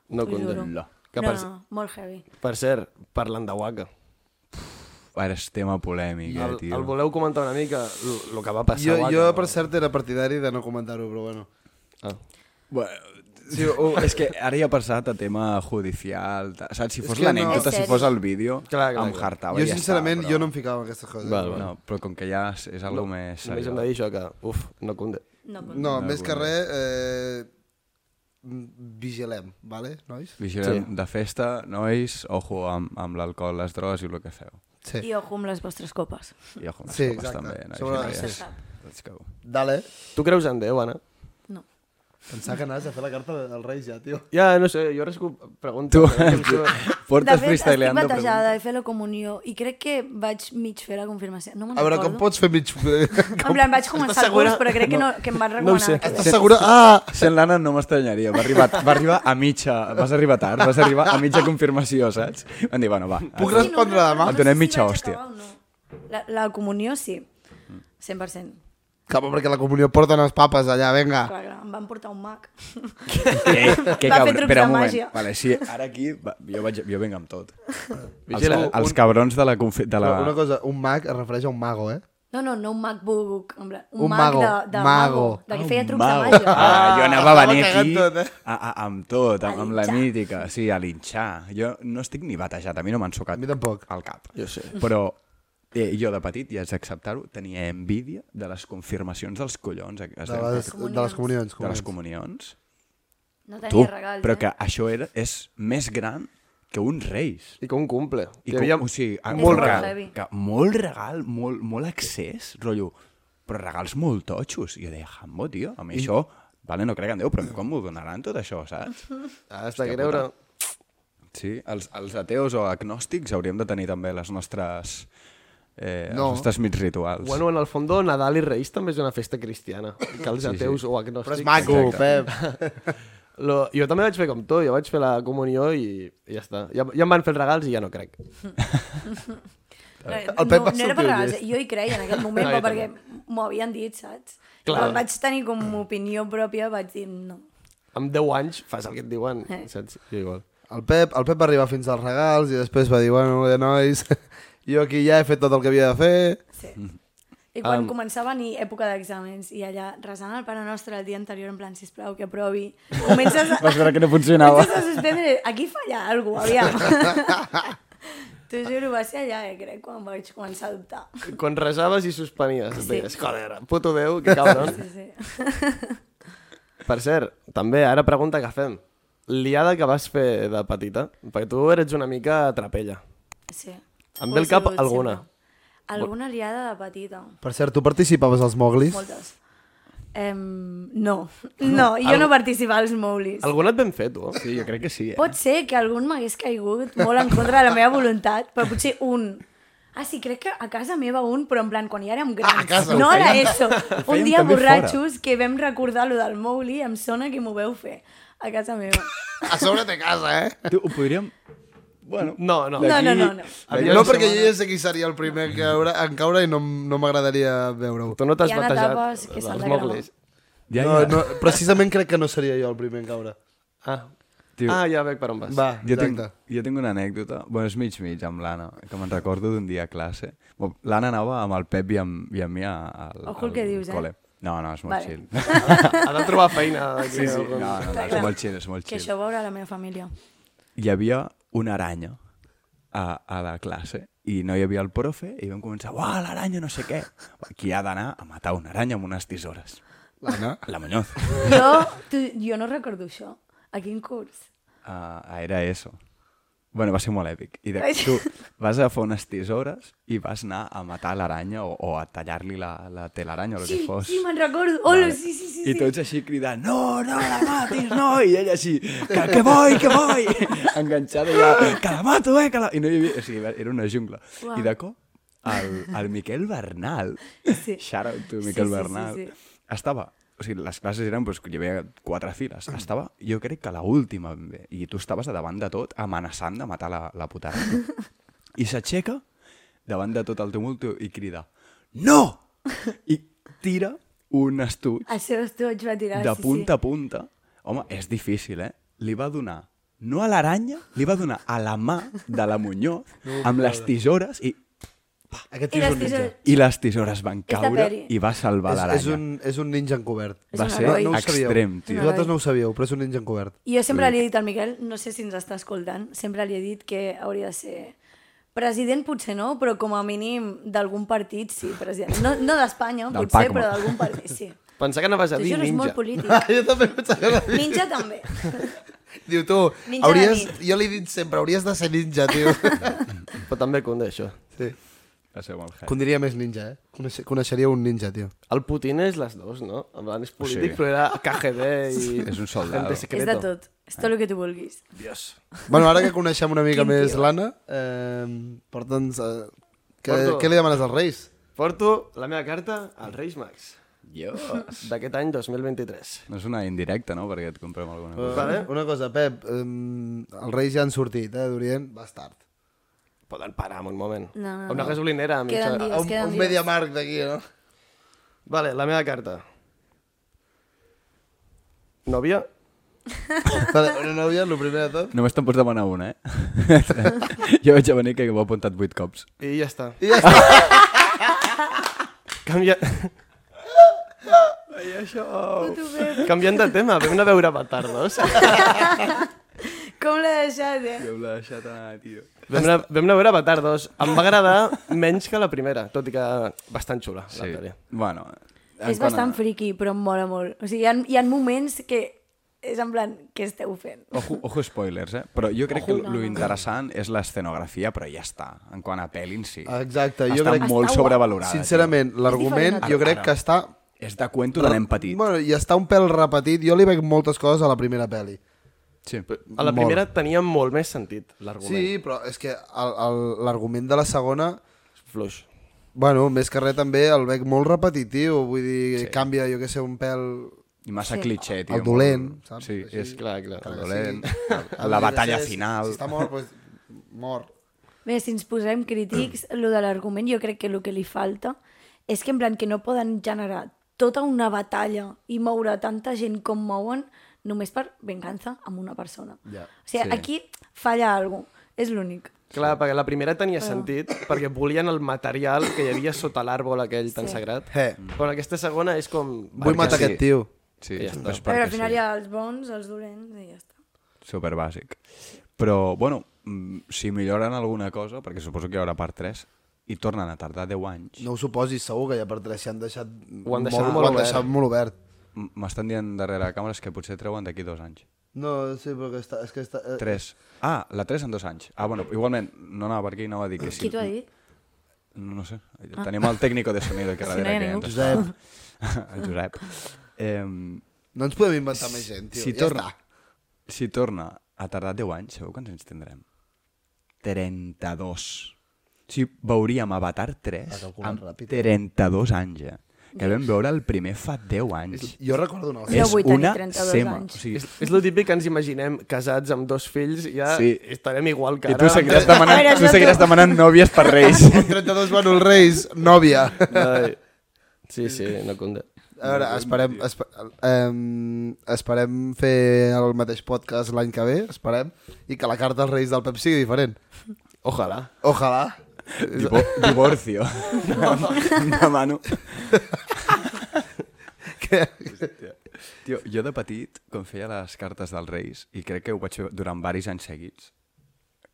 S1: No compte.
S2: condem. No,
S1: Que
S2: no,
S1: per,
S2: no, molt heavy.
S1: per cert, parlant de Waka,
S3: Ara és tema polèmic, eh,
S1: el,
S3: tio.
S1: el voleu comentar una mica el que va passar
S4: Jo,
S1: a Waka?
S4: jo, per cert, era partidari de no comentar-ho, però bueno.
S1: Ah.
S3: Bueno, sí, o, és que ara ja ha passat a tema judicial, ta- saps? Si fos
S4: que no.
S3: l'anècdota,
S2: És
S3: si
S2: sèrio.
S3: fos el vídeo,
S1: Clar, clar,
S3: em
S1: clar.
S3: hartava
S4: Jo,
S3: i ja
S4: sincerament,
S3: està,
S4: jo no em ficava en aquestes coses. eh?
S1: Val, val.
S3: No, però com que ja és, és algo més
S1: Només
S3: seriós.
S1: hem de dir això, que, uf, no compte.
S2: No, pot-
S4: No, més que res, eh, mm, vigilem, vale, nois?
S3: Vigilem
S1: Sí.
S3: de festa, nois, ojo amb, amb l'alcohol, les drogues i el que feu.
S4: Sí.
S2: I ojo amb les vostres copes.
S3: I ojo amb les
S4: Sí,
S3: copes
S4: exacte.
S3: també, nois
S4: Sobre-
S3: i
S2: Se
S3: noies.
S2: sap.
S3: Let's go.
S4: Dale.
S1: Tu creus en Déu, Anna?
S2: No.
S4: Pensava que anaves a fer la carta de- del rei ja, tio.
S1: Ja, no sé, jo res que ho pregunto.
S3: Tu,
S1: Tu...
S2: De
S3: portes
S2: fet, estic
S3: freestyleando...
S2: batejada, he fet la comunió i crec que vaig mig fer la confirmació. No me'n
S4: A veure,
S2: recordo.
S4: com pots fer mig...
S2: En plan, vaig començar el
S1: segura?
S2: curs, però crec que, no, que em van
S1: No ho sé.
S2: recomanar. No
S4: Estàs segura? Ah!
S3: Sent l'Anna no m'estranyaria, va arribar, va arribar a mitja, vas arribar tard, vas arribar a mitja confirmació, saps? Van dir, bueno, va, eh,
S4: Puc respondre demà?
S3: Et donem mitja hòstia.
S2: La, la comunió sí, 100%.
S4: Cap, perquè la comunió porten els papes allà, vinga.
S2: Clar, clar, em van portar un mag.
S3: Eh,
S2: Va fer
S3: que cabron,
S2: trucs
S3: espera
S2: de
S3: un moment.
S2: màgia.
S3: Vale, sí, ara aquí va, jo, vaig, jo vinc amb tot. Els,
S1: Vigila,
S3: els cabrons de la... Confi de la...
S4: Però Una cosa, un mag es refereix a un mago, eh?
S2: No, no, no un MacBook, en plan, un,
S4: Un
S2: mag
S4: mago,
S2: de, de
S4: mago.
S2: mago, de que feia trucs
S3: Ah, Mago.
S2: de màgia.
S3: Ah, jo anava a venir
S4: estava
S3: aquí
S4: cagant tot, eh?
S3: a, a, amb tot, amb, amb la
S2: linxar.
S3: mítica, sí, a linxar. Jo no estic ni batejat, a mi no m'han
S4: A
S3: socat
S4: mi tampoc.
S3: al cap.
S1: Jo sé.
S3: Però eh, jo de petit, i haig d'acceptar-ho, tenia envídia de les confirmacions dels collons. Es
S4: De
S3: deien,
S4: les, de les comunions.
S3: de les
S4: comunions.
S3: comunions.
S2: No tenia
S3: Tu,
S2: regals,
S3: però
S2: eh?
S3: que això era, és més gran que uns reis.
S1: I que un cumple.
S3: I
S1: Hi
S3: com,
S1: havia...
S3: o sigui, a,
S2: molt
S3: molt regal.
S2: heavy.
S3: Que molt regal, molt, molt accés, rotllo, però regals molt totxos. I jo deia, jambo, tio, a mi això... Vale, no crec en Déu, però a mi com m'ho donaran tot això, saps?
S1: Ah, has de creure...
S3: Sí, els, els ateos o agnòstics hauríem de tenir també les nostres... Eh,
S4: No.
S3: Els nostres mig rituals.
S1: Bueno, en el fondo, Nadal i Reis també és una festa cristiana. Que els ateus sí, sí. o agnòstics...
S4: Però és maco, Pep.
S1: Lo, jo també vaig fer com tu, jo vaig fer la comunió i, i ja està. Ja, ja em van fer els regals i ja no crec.
S2: Eh,
S4: El Pep
S2: no, no
S4: va sortir
S2: era per regals,
S4: llest.
S2: jo hi creia en aquell moment,
S1: No,
S2: però
S1: jo
S2: perquè m'ho havien dit, saps?
S1: Clar.
S2: Quan vaig tenir com opinió pròpia vaig dir no.
S1: Amb 10 anys fas el que et diuen,
S2: Eh.
S1: saps? Jo igual.
S4: El Pep, el Pep va arribar fins als regals i després va dir, bueno, de nois, jo aquí ja he fet tot el que havia de fer.
S2: Sí. I
S3: Um.
S2: quan començava a venir època d'exàmens i allà resant el Pare Nostre el dia anterior en plan, sisplau, que aprovi, comences a...
S3: Vas veure que no funcionava.
S2: Comences a suspendre, aquí falla algú, aviam. T'ho juro, va ser allà, eh, crec, quan vaig començar a dubtar.
S1: Quan resaves i suspenies, et
S2: Sí.
S1: deies, joder, puto Déu, que cabron.
S2: Sí, sí.
S1: Per cert, també, ara pregunta que fem. Liada que vas fer de petita, perquè tu eres una mica trapella.
S2: sí.
S1: Em
S2: Ho
S1: ve
S2: he
S1: al cap
S2: sigut
S1: alguna.
S2: sempre. Alguna aliada de petita.
S4: Per cert, tu participaves als moglis?
S2: Moltes. Em, no, no, jo no participava als Mowlis.
S1: Algun et ben fet, tu.
S3: Sí, jo crec que sí, eh?
S2: Pot ser que algun m'hagués caigut molt en contra de la meva voluntat, però potser un. Ah, sí, crec que a casa meva un, però en plan, quan ja érem grans.
S4: Ah, a casa, ho
S2: no era
S4: feien-
S2: eso. Un
S3: feien
S2: dia
S3: també fora.
S2: borratxos que vam recordar lo del Mowgli, em sona que m'ho veu fer a casa meva.
S4: A sobre té casa, eh?
S3: Tu, ho podríem... Bueno,
S1: No, no.
S2: No, no, no, no.
S4: No, perquè jo ja sé qui seria el primer que haurà, en caure i no, m- no m'agradaria veure-ho.
S1: Tu no t'has
S2: Hi ha
S1: batejat
S2: etapes que s'han
S1: els
S2: de
S1: mobles.
S3: ja,
S4: No,
S3: ja.
S4: no, precisament crec que no seria jo el primer en caure.
S1: Ah.
S3: Tio.
S1: ah, ja veig per on vas.
S4: Va,
S3: Jo tinc,
S4: exacte.
S3: jo tinc una anècdota, bueno, és mig-mig amb l'Anna, que me'n recordo d'un dia a classe. Bueno, L'Anna anava amb el Pep i amb, i amb mi a- al,
S2: Ojo el
S3: al
S2: que dius, eh?
S3: col·le. No, no, és molt
S2: Vale.
S3: chill.
S1: Ha de trobar feina. aquí,
S3: Sí, sí, no,
S1: algun-
S3: no, no, és
S2: clar.
S3: molt chill, és molt
S2: Que
S3: chill.
S2: això ho veurà la meva família.
S3: hi havia una aranya a, a la classe i no hi havia el profe i vam començar, uah, l'aranya no sé què. Qui ha d'anar a matar una aranya amb unes tisores?
S4: L'Anna?
S3: La Muñoz.
S2: Jo, tu, jo no recordo això. A quin curs?
S3: Uh, era eso. Bueno, va ser molt èpic. I de,
S2: Ai.
S3: tu vas a fer unes tisores i vas anar a matar l'aranya o, o a tallar-li la, la telaranya o el
S2: Sí,
S3: que fos.
S2: sí, me'n recordo. Hola, sí, sí, sí.
S3: I tots així cridant, no, no la matis, no, i ella així, que, que voy, que voy, enganxada, ja, que la mato, eh, que la... I no hi havia, o sigui, era una jungla.
S2: Ah! Uau.
S3: I de cop, el, el Miquel Bernal,
S2: Sí.
S3: shout out to
S2: Sí,
S3: Miquel
S2: sí, sí,
S3: Bernal,
S2: sí.
S3: estava, o sigui, les classes eren, doncs, hi havia quatre files, estava, jo crec que l'última, ben bé, i tu estaves a davant de tot amenaçant de matar la, la putada. I s'aixeca davant de tot el tumult i crida, no! I tira un estuig
S2: Això tu ets va tirar,
S3: de
S2: Ah, sí,
S3: punta a punta. Home, és difícil, eh? Li va donar, no a l'aranya, li va donar a la mà de la Muñoz amb les tisores i,
S4: Aquest
S2: sí. I
S4: tio és
S2: les
S4: un ninja.
S2: tisores...
S3: i les tisores van
S2: de peri.
S3: caure i va salvar
S4: És, és,
S3: l'aranya.
S4: un, és un ninja encobert.
S2: És
S3: Va
S2: un
S3: ser
S2: heroi.
S4: No ho sabíeu.
S3: extrem,
S2: És
S3: tio.
S2: un
S4: Vosaltres no ho sabíeu, però és un ninja encobert.
S2: I jo sempre li he dit al Miquel, no sé si ens està escoltant, sempre li he dit que hauria de ser president, potser no, però com a mínim d'algun partit, sí, president. No, no d'Espanya,
S3: Del
S2: potser,
S3: Pacma.
S2: però d'algun partit, sí.
S1: Pensar que anaves a
S2: T'ho
S1: dir
S2: juro, és molt
S1: ninja.
S2: polític.
S4: jo també pensava que
S2: Ninja també.
S4: Diu, tu,
S2: Ninja de
S4: hauries...
S2: nit.
S4: Jo li he dit sempre, hauries de ser ninja, tio.
S1: Però també conde, això.
S4: sí.
S3: Va ser molt heavy.
S4: Condiria més ninja, eh? Coneixer, coneixeria un ninja, tio.
S1: El Putin és les dues, no? En plan, és polític,
S3: Sí.
S1: però era KGB i...
S3: És un soldado.
S1: Gente
S2: És
S1: secreto.
S2: de tot. És tot el que tu vulguis.
S1: Dios.
S4: Bueno, ara que coneixem una mica
S2: Quin
S4: més
S2: tio.
S4: l'Anna, eh, porta'ns... Eh, que,
S1: Porto.
S4: què li demanes als Reis?
S1: Porto la meva carta als Reis Mags
S3: Dios.
S1: d'aquest any 2023.
S3: No és una indirecta, no?, perquè et comprem alguna
S2: Eh,
S3: cosa.
S1: Vale.
S4: Una cosa, Pep, eh, els Reis ja han sortit, eh, d'Orient, bastard.
S1: Poden parar en un moment.
S2: No, no,
S1: A una
S2: no.
S1: gasolinera. a mitja-
S2: Queden dies.
S4: A un,
S2: queden
S4: un
S2: dies.
S4: Mediamarkt d'aquí, no?
S1: Vale, la meva carta. Nòvia?
S4: Vale, una nòvia, el primer de tot.
S3: Només te'n pots demanar una, eh? jo vaig a venir que m'ho he apuntat vuit cops.
S1: I ja està.
S4: I ja està.
S1: Canvia... Ai, això... Canviant de tema, vam anar a veure Avatar 2.
S2: Com l'he deixat, eh?
S3: Jo l'he deixat anar, tio.
S1: Vam anar, vam anar a veure Avatar 2. Em va agradar menys que la primera, tot i que bastant xula.
S3: Sí.
S1: Sí.
S3: Bueno. en
S2: És
S3: quant a-
S2: bastant friqui, però em mola molt. O sigui, hi ha, hi ha moments que és en plan, què esteu fent?
S3: Ojo, ojo spoilers, eh? Però jo crec que lo interessant és l'escenografia, però ja està. En quant a pel·lin, sí.
S4: Exacte, jo
S3: està
S4: crec-
S3: molt
S2: Està guap.
S3: sobrevalorada. tio.
S4: Sincerament, l'argument
S2: diferent a
S4: jo
S3: tot.
S4: crec que està...
S3: És de cuento de nen petit.
S4: Bueno, i està un pèl repetit. Jo li veig moltes coses a la primera pel·li.
S3: Sí.
S1: A la primera tenia molt més sentit, l'argument.
S4: Sí, però és que el- el- l'argument de la segona...
S1: Sí. Fluix.
S4: Bueno, més que res també el veig molt repetitiu, vull dir, sí. canvia, jo que sé, un pèl...
S3: I massa cliché, tio.
S4: El dolent,
S3: molt-
S4: saps?
S3: Sí,
S4: Així.
S3: és
S1: Clar, clar.
S3: el
S4: que
S3: dolent.
S4: Ah,
S3: La
S4: vull dir,
S3: batalla
S4: si-
S3: final.
S4: Si està mort, doncs mort.
S2: Bé, si ens posem crítics, lo de l'argument jo crec que el que li falta és que en plan que no poden generar tota una batalla i moure tanta gent com mouen només per venganza amb una persona.
S4: Ja,
S2: o sigui,
S3: sí.
S2: aquí falla alguna cosa. És l'únic.
S1: Clar, perquè la primera tenia
S4: Ah.
S1: sentit, perquè volien el material que hi havia sota l'àrbol aquell tan
S2: Sí.
S1: sagrat.
S4: Eh.
S1: Però aquesta segona és com...
S4: Vull matar
S3: sí.
S4: aquest tio.
S3: Sí,
S1: Ja està.
S3: és
S2: Però
S3: perquè
S2: al final
S3: sí.
S2: hi ha els bons, els dolents i ja està.
S3: super bàsic. Però, bueno, mm, si milloren alguna cosa, perquè suposo que hi haurà part 3, i tornen a tardar 10 anys,
S4: No ho suposis, segur que ja per tres s'hi han deixat...
S1: Ho han deixat molt
S4: ho han
S1: obert.
S4: deixat molt obert.
S3: m- m'estan dient darrere de càmeres que potser treuen d'aquí dos anys.
S4: No, sí, però que està... És que està eh,
S3: 3. Ah, la 3 en dos anys. Ah, bueno, igualment, no anava per aquí, anava a dir que sí.
S2: Qui t'ho ha dit? Ah.
S3: No, no sé. Tenim el tècnico de sonido que
S2: Si no hi ha
S3: darrere. que
S2: ningú.
S3: ens està- El Josep. Eh,
S4: No ens podem inventar més gent, tio.
S3: si
S4: ja
S3: torna,
S4: està.
S3: si torna a tardar 10 anys, segur quants anys tindrem? 32. Si veuríem Avatar 3
S4: calculant
S3: amb
S4: ràpid.
S3: 32 anys, eh? Que vam veure el primer fa 10 anys.
S4: Jo recordo una cosa.
S2: Jo vull tenir
S3: una
S2: 32
S3: sema.
S2: anys.
S3: O sigui,
S1: És, és el típic que ens imaginem casats amb dos fills i ja
S3: Sí.
S1: estarem igual que
S3: I
S1: ara.
S3: tu seguiràs
S2: A
S3: demanant,
S2: veure,
S3: tu
S2: jo
S3: seguiràs
S2: tu-
S3: demanant nòvies per Reis.
S4: Amb 32 van els Reis, nòvia.
S1: Ai. Sí, sí, no compta.
S4: A veure, esperem, esper, eh, esperem fer el mateix podcast l'any que ve, esperem, i que la carta als Reis del Pep sigui diferent.
S1: Ojalà.
S4: Ojalà.
S3: Divo- Divorcio. Demano.
S4: Que...
S3: Tio, jo de petit, quan feia les cartes dels Reis, i crec que ho vaig fer durant varis anys seguits,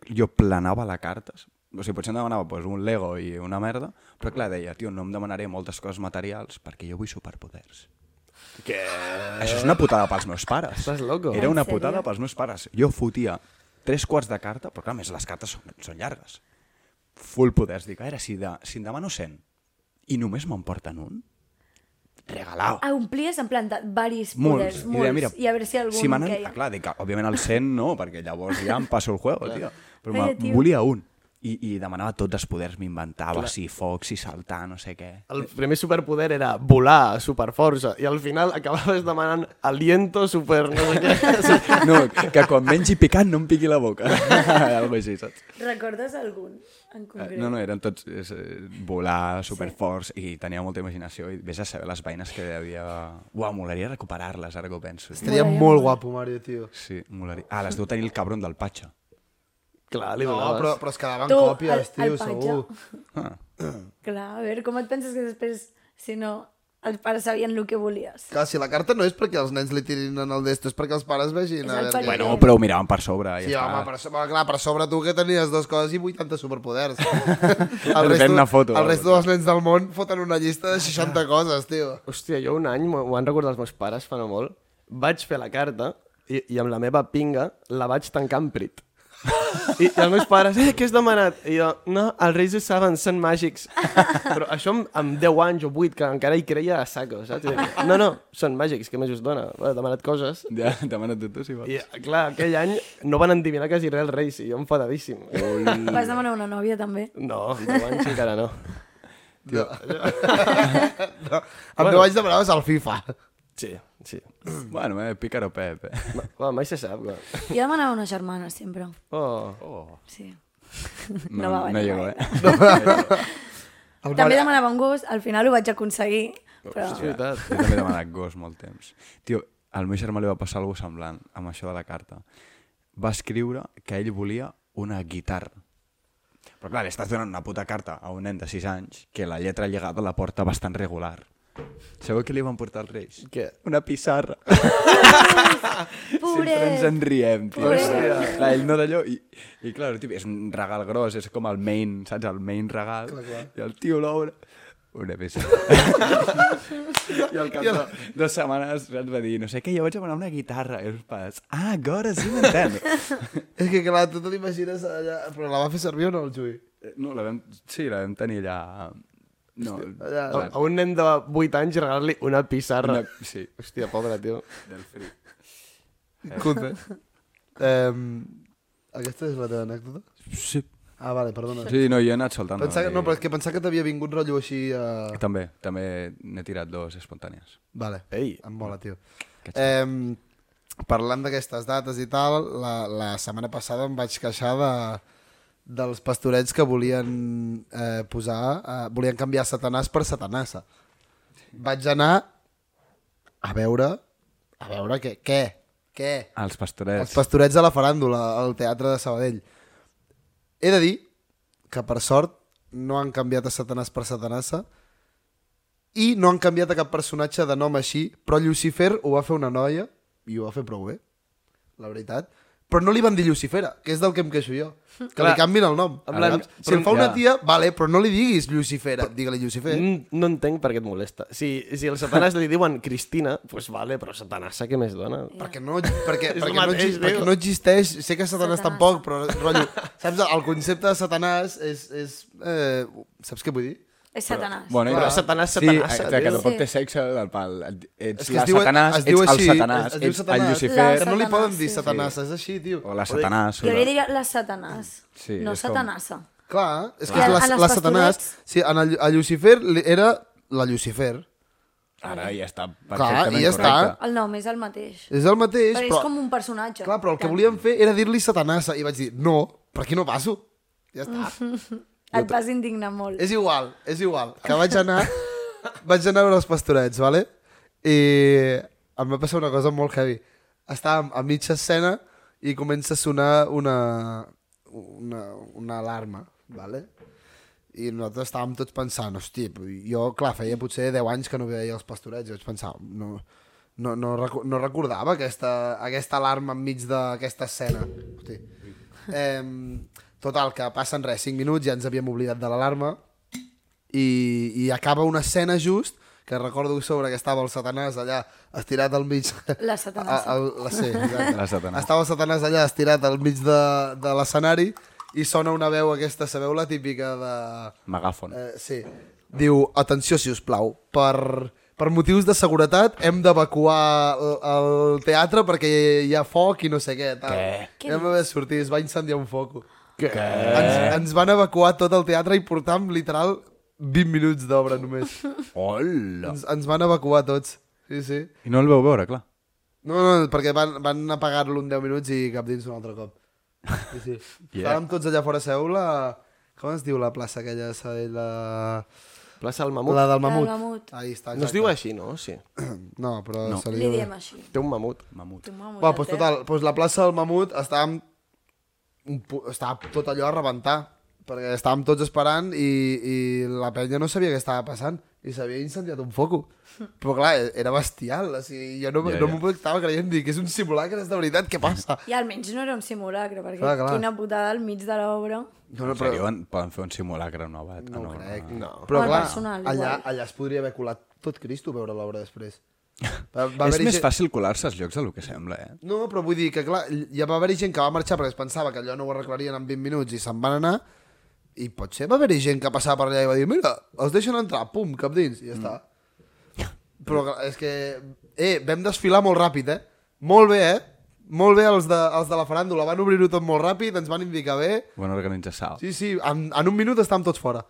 S3: jo planava la carta. O sigui, potser em demanava pues, un Lego i una merda, però clar, deia, tio, no em demanaré moltes coses materials perquè jo vull superpoders.
S1: Què?
S3: Això és una putada pels meus pares.
S1: Estàs loco.
S3: Era una
S2: En sèrio?
S3: putada pels meus pares. Jo fotia tres quarts de carta, però clar, a més les cartes són, són llargues. Full poders. Dic, a veure, si, de, si en demano 100 i només m'emporten un, regalau.
S2: Ah, omplies en plan de varis
S3: Molts.
S2: poders, molts.
S3: deia, mira,
S2: I a veure si algun
S3: si me n'han-
S2: queia.
S3: ah, clar, dic, òbviament el 100 no, perquè llavors ja em passo el juego, tio. Però
S2: Calla,
S3: me-
S2: tio.
S3: volia un. I, I demanava tots els poders, m'inventava, si foc, si saltar, no sé què.
S1: El primer superpoder era volar, superforça, i al final acabaves demanant aliento, super... No sé què.
S3: No, que quan mengi picant no em piqui la boca. Algo així, saps?
S2: Recordes algun en concret?
S3: Eh, No, no, eren tots és, eh, volar, superforts, sí. i tenia molta imaginació, i vés a saber les veïnes que hi havia... Uau, molaria recuperar-les, ara que ho penso. tio.
S4: Estaria
S2: Molaria
S4: molt
S2: molt.
S4: guapo, Mario, tio.
S3: Sí, molaria. Ah, les deu tenir el cabron del Patxa.
S1: Clar, li
S4: No,
S1: donaves.
S4: però, però es quedaven
S2: Tu, el-
S4: còpies,
S2: el
S4: tio,
S2: patge.
S4: segur.
S3: Ah.
S2: Clar, a veure, com et penses que després, si no, els pares sabien el que volies?
S4: Clar, si la carta no és perquè els nens li tirin en el d'esto, és perquè els pares vegin.
S2: És
S4: a
S2: el
S4: veure-
S2: perill.
S3: Bueno, però ho miraven per sobre.
S4: Sí,
S3: ja
S4: home,
S3: està.
S4: per sobre, clar, per sobre tu que tenies dues coses i 80 superpoders. el
S3: Li fem una foto,
S4: el
S3: algo,
S4: resto dels nens del món foten una llista de 60 coses, tio.
S1: Hòstia, jo un any, m'ho m'ho han recordat els meus pares fa no molt, vaig fer la carta i, i amb la meva pinga la vaig tancar amb prit. I, I els meus pares, eh, què has demanat? I jo, no, els reis ho saben, són màgics. Però això amb, amb 10 anys o 8, que encara hi creia a saco, saps? I dic, No, no, són màgics, què més us dona? Bueno, he demanat coses.
S3: Ja, demana't tu, si vols.
S1: I clar, aquell any no van endivinar quasi res els reis i jo enfadadíssim.
S2: Vas demanar una nòvia, també?
S1: No, amb 10 anys encara no.
S4: No, amb 10 anys demanaves el FIFA.
S1: Sí, sí.
S3: Bueno, eh, pícaro Pep. eh.
S1: Ma, va, mai se sap. Va.
S2: Jo demanava una germana, sempre.
S1: Oh.
S2: Sí.
S3: No,
S2: No va venir
S3: no llegó,
S2: mai.
S3: eh?
S4: El
S2: També
S4: pare-
S2: demanava un gos, al final ho vaig aconseguir, però...
S1: És veritat.
S3: Jo també he demanat gos molt temps. Tio, al meu germà li va passar alguna semblant amb això de la carta. Va escriure que ell volia una guitarra. Però clar, li estàs donant una puta carta a un nen de 6 anys que la lletra llegada la porta bastant regular. Sabeu què li van portar els Reis?
S1: Què?
S3: Una pissarra. Sempre ens
S2: Pobret!
S3: en riem, tio.
S2: Pobret.
S3: Clar, ell no d'allò... I, I clar, el tio, és un regal gros, és com el main, saps? El main regal. Clar, clar. I el tio l'obre... Una pissarra. I al cap de dues setmanes ens va dir, no sé què, jo vaig demanar una guitarra. I els pares, ah, gora, sí, m'entén.
S4: És que clar, tu te l'imagines allà... Però la va fer servir o no, el Jui?
S3: Eh, no, la vam... Sí, la vam tenir allà... No,
S4: allà,
S1: A, a un nen de 8 anys regalar-li una pissarra.
S3: Una,
S1: Una...
S3: sí,
S1: Hòstia, pobre, tio.
S3: del fri.
S4: Conte. Um, aquesta és la teva anècdota?
S3: Sí.
S4: Ah, vale, perdona.
S3: sí, no, jo he anat soltant.
S4: Pensava que, no, però és que pensava que t'havia vingut rotllo així... Uh...
S3: També, també n'he tirat dos espontànies.
S4: Vale.
S1: Ei.
S4: Em mola, tio.
S3: Que
S4: Eh, parlant d'aquestes dates i tal, la, la setmana passada em vaig queixar de, dels pastorets que volien eh, posar... Eh, volien canviar Satanàs per Satanassa. Vaig anar a veure... A veure què? Què? Què?
S3: Els
S4: Els
S3: pastorets.
S4: pastorets de la faràndula, al Teatre de Sabadell. He de dir que, per sort, no han canviat a Satanàs per Satanassa i no han canviat a cap personatge de nom així, però Lucifer ho va fer una noia i ho va fer prou bé, la veritat. Però no li van dir Lucifera, que és del que em queixo jo. Que
S1: Clar.
S4: li canvin el nom.
S1: En plan,
S4: Saps? si en fa una
S3: ja.
S4: tia, vale, però no li diguis Lucifera, digue-li Lucifer.
S1: Mm, No entenc per què et molesta. Si, si el satanàs li diuen Cristina, doncs pues vale, però satanassa què més dona?
S4: Perquè no, perquè,
S1: És el
S4: perquè, no,
S1: mateix,
S4: exi-
S1: tio.
S4: perquè no existeix, sé que Satanàs,
S2: Satanàs.
S4: tampoc, però rotllo, saps, el concepte de Satanàs és, és eh, saps què vull dir?
S2: És És satanàs.
S3: Bueno,
S1: Però
S3: i-
S1: Satanàs,
S3: Sí,
S1: Satanàs,
S3: exacte, que
S1: tio.
S3: tampoc
S2: Sí.
S3: té sexe del pal. Ets
S4: És que
S3: la
S4: es diu-
S3: Satanàs,
S4: es diu
S3: ets el
S4: així,
S3: Satanàs,
S4: es
S3: ets
S4: diu
S3: el
S4: Satanàs.
S3: Lucifer,
S4: Que no li poden
S2: Sí,
S4: dir
S2: sí.
S4: Satanàs, és així, tio.
S3: o la Satanàs.
S2: Jo
S3: o
S2: li
S3: la-
S2: diria la satanàs,
S3: Sí,
S2: no
S3: és com-
S2: satanassa.
S4: Clar, és que
S2: Clar. A
S4: és la,
S2: les
S4: la Satanàs...
S2: pastorets.
S4: Sí, en el, a Lucifer li- era la Lucifer.
S3: Ara ja està
S4: Clar, i
S3: perfectament
S4: ja està.
S3: correcte.
S2: El nom és el mateix.
S4: És el mateix,
S2: Però és
S4: però...
S2: com un personatge.
S4: Clar, però el que
S2: Tant.
S4: volíem fer era dir-li Satanàs. I vaig dir, no, per aquí no passo. Ja està.
S2: Mm. Et vas indignar molt.
S4: És igual, és igual. Que vaig anar, vaig anar a veure els pastorets, vale? I em va passar una cosa molt heavy. Estàvem a mitja escena i comença a sonar una, una, una alarma, vale? I nosaltres estàvem tots pensant, hòstia, però jo, clar, feia potser 10 anys que no veia els pastorets, i vaig pensar, no, no, no, recu- no recordava aquesta, aquesta alarma enmig d'aquesta escena. Hosti. Eh, total, que passen res, 5 minuts, ja ens havíem oblidat de l'alarma, i, i acaba una escena just que recordo sobre que estava el Satanàs allà estirat al mig...
S2: La Satanàs.
S4: A, a, la, sí, exacte.
S3: La Satanàs.
S4: Estava el Satanàs allà estirat al mig de, de l'escenari i sona una veu aquesta, sabeu la típica de...
S3: Megàfon.
S4: Eh, sí. Diu, atenció, si us plau, per, per motius de seguretat hem d'evacuar el, el teatre perquè hi ha foc i no sé què. Tal.
S2: Què
S4: Què? Vam haver de sortir, es va incendiar un foc.
S1: Què?
S4: Ens, ens van evacuar tot el teatre i portàvem literal 20 minuts d'obra només.
S3: Hola!
S4: ens, ens van evacuar tots. Sí, sí.
S3: I no el veu veure, clar.
S4: No, no, perquè van, van apagar-lo en 10 minuts i cap dins un altre cop. Sí,
S3: Yeah.
S4: sí. yeah. Estàvem tots allà fora, sabeu la... Com es diu la plaça aquella de Sabadell? La...
S1: Plaça del Mamut.
S4: La del mamut.
S2: del mamut.
S4: Ahí està,
S1: No es diu així, no? Sí.
S4: No, però no. se li
S2: Li
S4: diu...
S2: diem així.
S1: Té un mamut.
S3: Mamut.
S2: Tu m'ha mullat,
S4: Va, doncs
S2: eh?
S4: total, doncs la plaça del Mamut estàvem... un pu- Estava tot allò a rebentar, perquè estàvem tots esperant i, i la penya no sabia què estava passant i s'havia incendiat un foco. Però clar, e- era bestial, o sigui, jo no,
S3: Ja,
S4: yeah, no
S3: ja.
S4: m'ho estava creient, dic, és un simulacre, és de veritat, què passa?
S2: I almenys no era un simulacre, perquè
S4: Clar, clar.
S2: quina putada al mig de l'obra.
S4: No,
S3: No,
S4: no,
S3: però...
S4: però,
S3: Serio, en- poden fer un simulacre nova.
S4: no ho crec.
S1: no.
S2: O
S4: Però
S2: el
S4: clar,
S2: personal,
S4: allà,
S2: igual.
S4: allà es podria haver colat tot Cristo veure l'obra després.
S3: Va,
S4: Va,
S3: és
S4: haver-hi
S3: més
S4: gent-
S3: fàcil colar-se als llocs del que sembla, eh?
S4: No, però vull dir que, clar, ja va haver-hi gent que va marxar perquè es pensava que allò no ho arreglarien en 20 minuts i se'n van anar, i potser va haver-hi gent que passava per allà i va dir mira, els deixen entrar, pum, cap dins, i ja està.
S2: Mm.
S4: Però clar, és que... Eh, vam desfilar molt ràpid, eh? Molt bé, eh? Molt bé els de, els de la faràndula, van obrir-ho tot molt ràpid, ens van indicar bé...
S3: Ho van organitzar salt.
S4: Sí, sí, en, en un minut estàvem tots fora.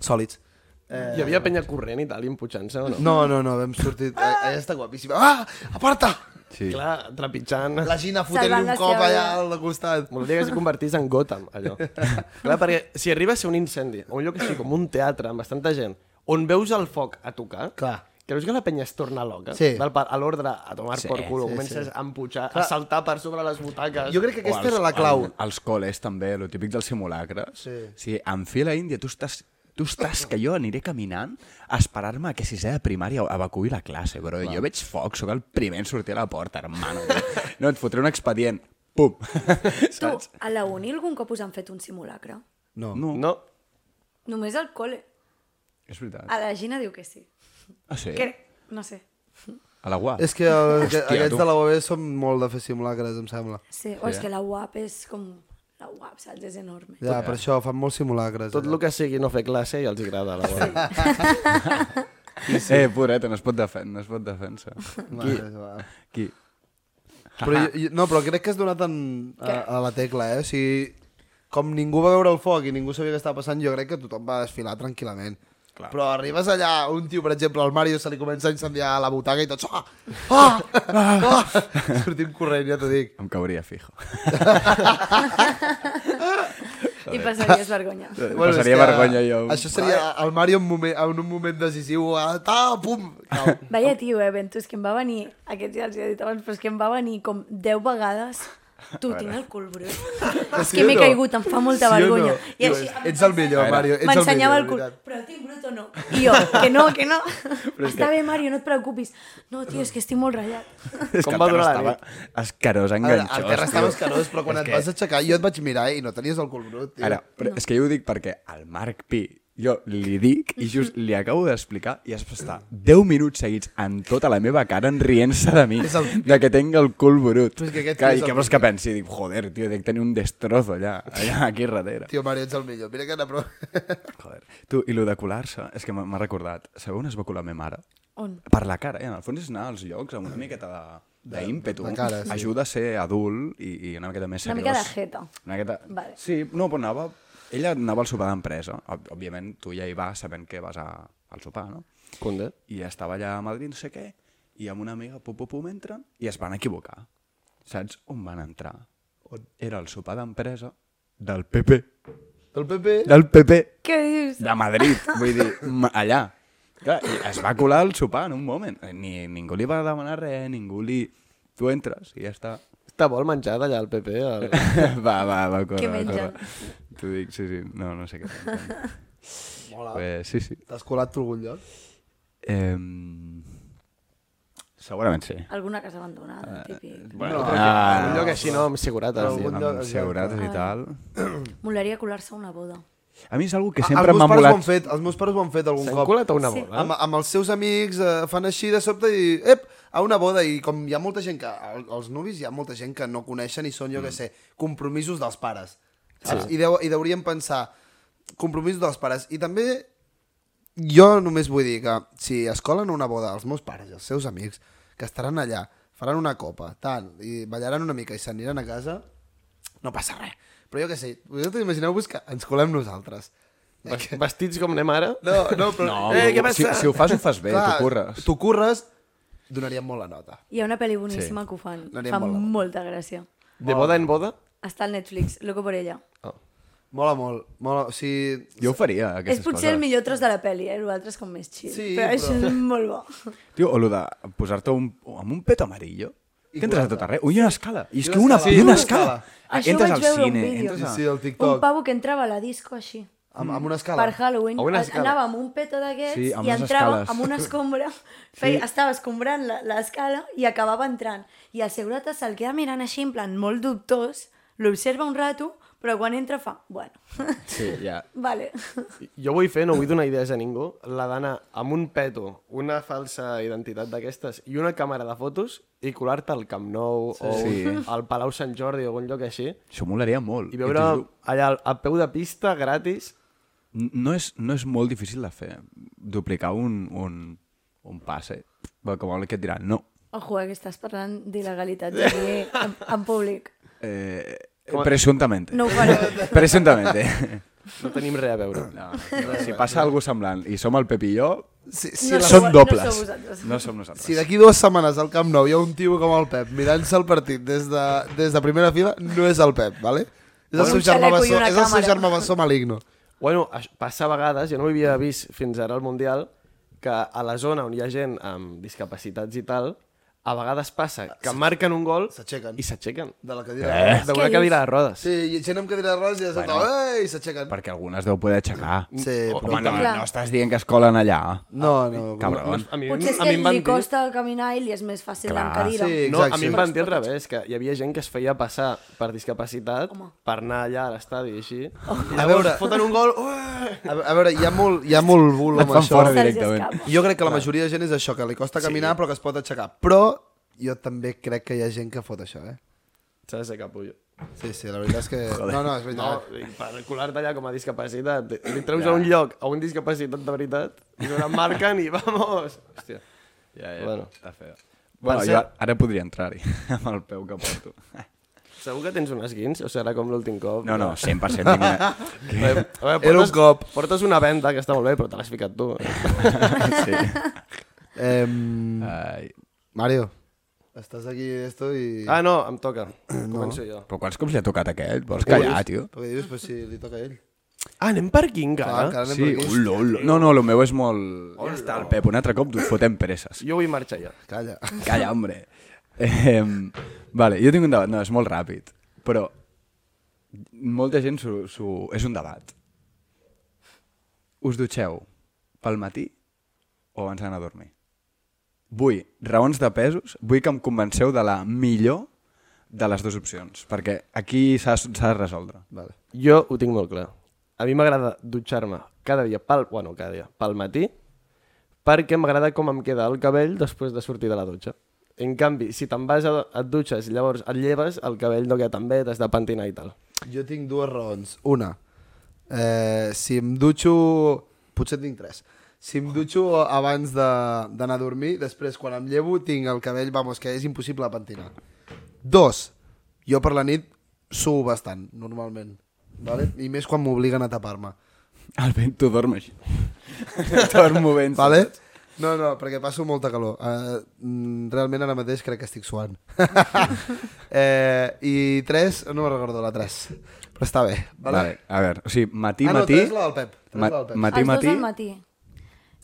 S4: Sòlids. Eh,
S1: Hi havia penya corrent i tal, i empujant-se o no?
S4: no, no, no, vam sortir... Ah! Allà està guapíssima. Ah! Aparta!
S3: Sí.
S1: Clar, trepitjant...
S4: La Gina fotent-li
S2: Salvant
S4: un
S2: la
S4: cop
S2: seva
S4: allà
S2: vida.
S4: al costat.
S1: M'agradaria que es convertís en Gotham, allò. Clar, perquè si arriba a ser un incendi, o un lloc així com un teatre amb bastanta gent, on veus el foc a tocar,
S4: Clar.
S1: creus que la penya es torna loca?
S4: Sí.
S1: Del pal, a l'ordre, a tomar sí, por culo, sí, comences sí. a empujar, a saltar per sobre les butaques...
S4: Jo crec
S3: O
S4: que aquesta
S3: als-
S4: era la clau.
S3: al- Als col·les també, el típic dels simulacres.
S4: Sí.
S3: sí en fila índia, tu estàs tu estàs que jo aniré caminant a esperar-me a que sisè de primària evacuï la classe, però jo veig foc, sóc el primer en sortir a la porta, hermano. No, et fotré un expedient. Pum.
S2: Tu, a la uni algun cop us han fet un simulacre?
S4: No.
S3: No,
S1: No,
S2: Només al col·le.
S3: és veritat.
S2: A la Gina diu que sí.
S3: Ah, sí?
S2: Que, no sé.
S3: A la UAP.
S4: És que el, Hòstia,
S3: Hòstia,
S4: aquests
S3: tu.
S4: de la UAB són molt de fer simulacres, em sembla.
S2: Sí. O és que la UAP és com... La UAP, saps? És enorme.
S4: Ja, per això fan molts simulacres. eh.
S1: tot el que sigui no fer classe ja els agrada. La sí.
S3: Eh, pobreta, no es pot, defen no es pot defensar.
S4: Qui... Però
S3: Qui?
S4: jo, jo, no, però crec que has donat en, a, a la tecla, eh? O sigui, com ningú va veure el foc i ningú sabia què estava passant, jo crec que tothom va desfilar tranquil·lament. Clar. Però arribes allà, un tio, per exemple, al Mario, se li comença a incendiar la butaca i tots... Ah! Ah! ah! Sortim corrent, ja t'ho dic.
S3: Em cauria fijo.
S2: I passaries vergonya.
S3: Bueno, Passaria
S4: és que
S3: vergonya jo.
S4: Això seria el Mario en, moment, en un moment decisiu. ah, Ta, pum! Cau.
S2: Vaya tio, eh, Ventus, que em va venir... Aquest ja els he dit abans, però és que em va venir com 10 vegades... Tu, tinc el cul brut. és
S4: o
S2: que m'he
S4: no?
S2: caigut, em fa molta vergonya. I
S4: Dius,
S2: així...
S4: Ets el millor,
S3: Ara.
S4: Mario. ets
S2: M'ensenyava el
S4: millor,
S2: cul.
S4: de veritat.
S2: Però tinc brut o no? I jo, que no, que no. Està bé, Mario, no et preocupis. No, tio, és que estic molt ratllat.
S3: És
S1: Com
S3: que el
S1: va
S3: terra
S1: durar la
S3: estava
S1: nit?
S3: Escarós,
S4: A veure,
S3: enganxós.
S4: el terra
S3: tio.
S4: estava escarós, però quan
S3: És
S4: et
S3: que-
S4: vas aixecar, jo et vaig mirar i no tenies el cul brut, tio.
S3: Ara, però és que jo ho dic perquè el Marc Pi Jo li dic i just li acabo d'explicar i es va estar 10 minuts seguits en tota la meva cara enrient-se de mi, el... de que tinc el cul brut.
S4: Però és que aquest
S3: que,
S4: és
S3: I
S4: el
S3: què vols que pensi? Dic, joder, tio, dec tenir un destrozo allà, allà aquí darrere.
S4: Tio Mario, ets el millor. Mira que n'apro...
S3: Joder. Tu, i lo de colar-se, és que m'ha m'ha recordat. Sabeu on es va colar me mare?
S2: On?
S3: Per la cara, eh? En el fons és anar als llocs amb una miqueta de- d'ímpetu.
S4: de cara, sí.
S3: Ajuda a ser adult i, i una miqueta més
S2: Una
S3: seriós.
S2: mica de jeta.
S3: Una miqueta...
S2: Vale.
S3: Sí, no, però anava... Ella anava al sopar d'empresa. Ob- Òbviament, tu ja hi vas sabent que vas a, al sopar, no?
S1: Conde.
S3: I estava allà a Madrid, no sé què, i amb una amiga, pum, pum, pum, entren, i es van equivocar. Saps on van entrar? On? Era el sopar d'empresa del PP.
S4: El PP...
S3: Del PP
S2: Què dius?
S3: de Madrid, vull dir, ma- allà. Clar, i es va colar el sopar en un moment. Eh, Ni, ningú li va demanar res, ningú li... Tu entres i ja està.
S1: Està bo el menjar d'allà al PP. El...
S3: va, va, va, corre,
S2: Què
S3: va, corre.
S2: mengen?
S3: T'ho dic, sí, sí, no, no sé què. Mola. Eh, sí, sí.
S4: T'has colat tu a algun lloc?
S3: Eh, segurament sí.
S2: Alguna casa
S4: Eh,
S2: abandonada, típic.
S3: Bueno,
S1: No,
S3: ah,
S1: Un lloc així no, amb segurates.
S4: Però
S1: tio.
S4: un
S3: amb
S4: lloc,
S3: segurates i tal.
S2: Molaria colar-se a una boda.
S3: A mi és algo que
S4: Ah,
S3: sempre
S4: els
S3: m'ha
S4: meus pares ho
S3: molat...
S4: han fet, els meus pares ho han fet algun
S1: S'han
S4: cop.
S1: colat a una
S2: Sí.
S1: bola.
S4: Amb, amb els seus amics eh, fan així de sobte i... Ep, a una boda i com hi ha molta gent que... el- Els nuvis hi ha molta gent que no coneixen i són, jo mm. què sé, compromisos dels pares. Saps? I, deu, I deurien pensar compromisos dels pares. I també jo només vull dir que si es colen a una boda els meus pares i els seus amics que estaran allà, faran una copa, tal, i ballaran una mica i s'aniran a casa, no passa res. Però jo què sé, vosaltres imagineu-vos que ens colem nosaltres.
S1: Vas- Vestits com anem ara.
S4: No, no, però...
S3: No,
S1: Eh, què
S3: si,
S1: passa?
S3: si ho fas, ho fas bé, t'ho curres.
S4: Tu curres, donaríem molt la nota.
S2: Hi ha una pel·li boníssima que ho fan.
S4: L'haríem
S2: Fa
S4: molt a la boda.
S2: molta gràcia.
S1: De boda en boda.
S2: Està al Netflix, loco por ella.
S4: Mola molt, mola, o sigui...
S3: Jo ho faria,
S2: És
S3: aquestes
S2: potser el
S3: coses.
S2: millor tros de la pel·li, eh? L'altre és com més chill.
S4: Sí,
S2: però,
S4: però-
S2: això és molt bo.
S3: Tio, o lo de posar-te un, amb un peto amarillo.
S4: I
S3: Que entres a tot arreu. Ui, una escala. I és
S4: I
S3: que
S4: una
S3: una,
S4: escala.
S3: i una
S4: Sí,
S3: escala.
S4: Ah,
S2: Això
S3: entres
S2: ho
S3: al
S2: vaig veure a un
S3: cine,
S2: vídeo.
S3: entres a...
S4: Sí, sí, el
S2: Un
S4: TikTok,
S2: pavo que entrava a la disco així.
S4: amb, amb una escala.
S2: Per Halloween
S1: A una
S2: a-
S1: escala.
S2: anava amb un peto d'aquests
S3: Sí,
S2: sí,
S3: amb
S2: i
S3: les
S2: entrava
S3: escales.
S2: amb una escombra, feia, estava escombrant la- l'escala i acabava entrant. I el segurata se'l queda mirant així, en plan molt dubtós, l'observa un rato, però quan entra fa, bueno,
S3: Sí, ja.
S2: vale.
S1: Jo vull fer, no vull donar idees a ningú, la d'anar amb un peto, una falsa identitat d'aquestes i una càmera de fotos i colar-te al Camp Nou sí. o
S3: Sí.
S1: sí. al Palau Sant Jordi o algun lloc així
S3: Això molaria molt.
S1: i veure
S3: Entres-
S1: allà al- a peu de pista, gratis,
S3: No és, no és molt difícil de fer. Duplicar un, un, un passe. Però com el que et dirà, no.
S2: Ojo, eh, que estàs parlant d'il·legalitat aquí en, en públic.
S3: Eh, presuntamente.
S2: No ho faré.
S3: Presuntamente.
S1: no tenim res a veure.
S3: No, si passa alguna semblant i som el Pep i jo,
S4: Si,
S2: No
S4: si, la,
S2: sou-
S3: som
S2: no
S3: dobles.
S2: sou vosaltres.
S3: No som nosaltres.
S4: si d'aquí dues setmanes al Camp Nou hi ha un tio com el Pep mirant-se el partit des de, des de primera fila, no és el Pep, vale? És el
S2: Bueno,
S4: seu
S2: un
S4: germà
S2: xaleco i
S4: bessó,
S2: una
S4: és el seu
S2: càmera.
S4: germà bessó maligno.
S1: Bueno, aix- passa a vegades, jo no ho havia vist fins ara al Mundial, que a la zona on hi ha gent amb discapacitats i tal, a vegades passa que marquen un gol
S4: S'aixequen.
S1: i s'aixequen.
S4: De la cadira. Eh?
S1: D'una
S2: Què
S1: cadira de rodes.
S4: Sí, i gent amb cadira de rodes i de sobte,
S3: Bueno.
S4: bueno. ei, s'aixequen.
S3: Perquè algunes deu poder aixecar.
S4: Sí, però-
S3: Home, no,
S2: Clar.
S3: no estàs dient que es colen allà.
S4: No, no.
S3: Cabron.
S1: A mi,
S2: Potser és
S1: a
S2: que
S1: mi em van
S2: li
S1: dir-
S2: costa caminar i li és més fàcil
S3: Clar.
S2: en cadira.
S4: Sí.
S1: No,
S4: Exacte.
S1: a mi em van dir al revés, que hi havia gent que es feia passar per discapacitat
S2: Home.
S1: per anar allà a l'estadi i així. Oh.
S4: A veure,
S1: Foten un gol... Uah!
S4: a, a veure, hi ha molt, hi ha molt bulo
S3: Et
S4: amb
S3: fan
S4: això.
S3: fora
S2: Se'ls
S3: directament.
S2: escapa.
S4: Jo crec que la majoria de gent és això, que li costa caminar però que es pot aixecar. Però jo també crec que hi ha gent que fot això, eh?
S1: S'ha de ser capullo.
S4: Sí, sí, la veritat és que... No, no, és
S1: No,
S4: veritat.
S1: i per colar-te allà com a discapacitat. Li treus a un lloc a un discapacitat de veritat i no la marquen i vamos! Hòstia.
S3: Ja, ja,
S1: Bueno.
S3: està feo. Bueno,
S1: Per
S3: jo
S1: cert-
S3: ara podria entrar-hi, amb el peu que porto.
S1: Segur que tens un esguins? O serà com l'últim cop?
S3: No, no, 100% tinc una...
S1: A veure, a veure,
S4: Era un
S1: portes-
S4: cop.
S1: Portes una venda, que està molt bé, però te l'has ficat tu.
S3: Sí.
S4: Eh,
S3: Ai.
S4: Mario, estàs aquí esto i...
S1: Ah, no, em toca. Començo jo.
S3: Però quants cops li ha tocat aquest? Vols callar, tio?
S4: Però què dius? Però si li toca a ell.
S1: Ah, anem per aquí
S4: Ah,
S1: encara?
S4: encara anem
S3: Sí,
S4: per aquí.
S3: olo, olo. No, no, lo meu és molt... Ja està, el Pep, un altre cop t'ho fotem preses.
S1: Jo vull marxar ja.
S4: Calla.
S3: Calla, hombre. Eh, vale, jo tinc un debat, no, és molt ràpid, però molta gent s'ho... s'ho- És un debat. Us dutxeu pel matí o abans d'anar a dormir? Vull raons de pesos, vull que em convenceu de la millor de les dues opcions, perquè aquí s'ha s'ha de resoldre.
S4: Vale.
S1: Jo ho tinc molt clar. a mi m'agrada dutxar-me cada dia, pel, bueno, cada dia, pel matí, perquè m'agrada com em queda el cabell després de sortir de la dutxa. En canvi, si te'n vas, a, et dutxes i llavors et lleves, el cabell no queda tan bé, t'has de pentinar i tal.
S4: Jo tinc dues raons. Una, eh, si em dutxo... Potser tinc tres. Si em dutxo abans de- d'anar a dormir, després quan em llevo tinc el cabell, vamos, que és impossible de pentinar. Dos, jo per la nit suo bastant, normalment. Vale? I més quan m'obliguen a tapar-me.
S3: El vent, tu dorm així. Dormo ben.
S4: Vale? No, no, perquè passo molta calor. Uh, realment ara mateix crec que estic suant. eh, I tres, no me'n recordo la tres, però està bé. Vale?
S3: Vale, a veure, o sigui, matí,
S4: ah, no,
S3: matí...
S4: tres la del Pep. Tres
S3: ma-
S4: la del Pep.
S3: matí,
S2: els
S3: matí...
S2: dos al matí.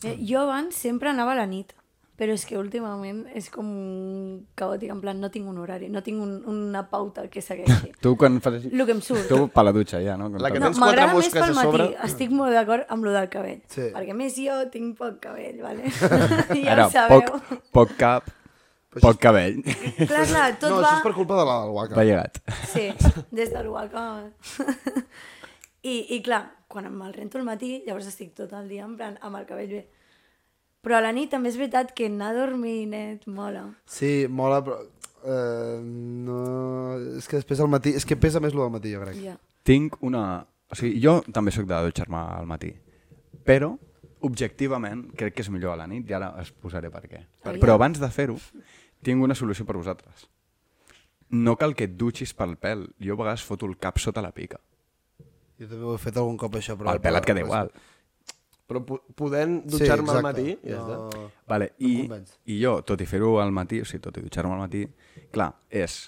S2: Eh, Jo abans sempre anava a la nit, però és que últimament és com un caòtic, en plan, no tinc un horari, no tinc un, una pauta que segueixi.
S3: Tu quan fas així...
S2: El que em surt.
S3: Tu per la dutxa, ja, no?
S1: La que
S2: No,
S1: tens quatre
S2: m'agrada més
S1: mosques
S2: pel
S1: a sobre.
S2: matí. Estic molt d'acord amb lo del cabell.
S4: Sí.
S2: Perquè a més jo tinc poc cabell, vale? ja
S3: Ara,
S2: ho sabeu.
S3: poc, poc cap, poc cabell.
S2: Clar, clar, tot
S4: no,
S2: va...
S4: això és per culpa de la del Waka.
S3: Va llegat.
S2: Sí, des del Wacom. I, I clar, quan me'l rento al matí, llavors estic tot el dia en plan, amb el cabell bé. Però a la nit també és veritat que anar dorminet mola.
S4: Sí, mola, però... Eh, no... És que després al matí... És que pesa més lo del matí, jo crec.
S2: Ja.
S3: Tinc una... O sigui, jo també sóc de dutxar-me al matí, però objectivament crec que és millor a la nit i ara es posaré per què.
S2: Aviam.
S3: Però abans de fer-ho, tinc una solució per vosaltres. No cal que et dutxis pel pèl. Jo a vegades foto el cap sota la pica.
S4: Jo també ho he fet algun cop, això, però...
S3: El pèl et queda igual.
S1: Però po- podent dutxar-me sí, al matí, ja no. està.
S4: No...
S3: Vale, i,
S4: convenç.
S3: I jo, tot i fer-ho al matí, o sigui, tot i dutxar-me al matí, clar, és...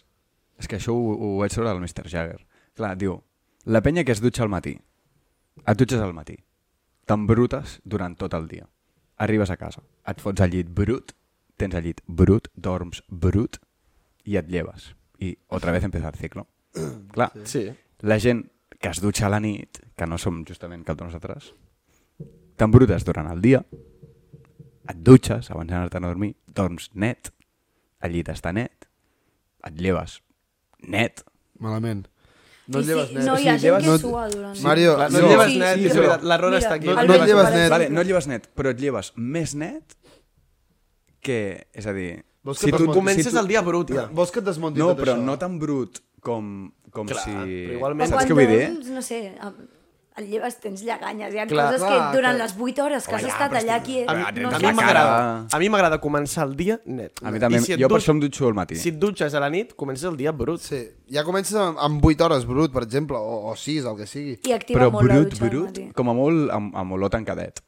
S3: És que això ho, ho vaig veure del Mr. Jagger. Clar, diu, la penya que es dutxa al matí, et dutxes al matí, t'embrutes durant tot el dia, arribes a casa, et fots al llit brut, tens el llit brut, dorms brut, i et lleves. I otra vez empieza el ciclo. clar,
S1: Sí.
S3: la gent que es dutxa a la nit, que no som justament cap de nosaltres, t'embrutes durant el dia, et dutxes abans d'anar-te'n a dormir, dorms net, el llit està net, et lleves net,
S4: Malament.
S2: No
S4: et lleves net.
S2: No,
S4: O
S2: hi ha gent
S4: sigui, lleves-
S2: que
S4: no
S2: no...
S4: et-
S2: sua durant...
S4: Mario,
S1: Clar, no
S3: Sí,
S1: et lleves
S3: sí,
S1: net,
S3: sí,
S1: és
S3: però-
S1: veritat, l'error
S2: Mira,
S1: està aquí.
S2: no-
S4: no et
S1: vas-
S4: lleves
S1: vas-
S4: net.
S3: vale, no et lleves net, però et lleves més net que... És a dir...
S4: Vols que
S1: Tu
S4: si
S1: comences
S3: tu-
S1: el dia brut, ja.
S4: Vols que et desmunti
S3: No,
S4: tot
S3: però
S4: això?
S3: no tan brut com, com
S1: Clar,
S3: si...
S1: però igualment-
S2: O
S3: Saps
S2: quan
S3: què vull dir? eh?
S2: dorms, no sé, em- et lleves, tens lleganyes, hi ha
S1: Clar,
S2: coses
S4: clar,
S2: que durant
S4: clar.
S2: les 8 hores que has
S3: Home, ja,
S2: estat
S3: però
S2: allà
S3: estic-
S2: aquí...
S1: A
S3: Ah,
S1: mi,
S3: tens
S1: no, a
S3: la
S1: mi
S3: cara.
S1: m'agrada a mi m'agrada començar el dia net.
S3: A mi també,
S1: I si et
S3: jo per
S1: dut-
S3: això em dutxo al matí.
S1: Si et dutxes a la nit, comences el dia brut.
S4: Sí, ja comences amb, amb 8 hores brut, per exemple, o, o 6, el que sigui.
S2: I activa
S3: Però
S2: molt la
S3: brut,
S2: dutxa al
S3: brut,
S2: matí.
S3: com a molt amb, amb olor tancadet.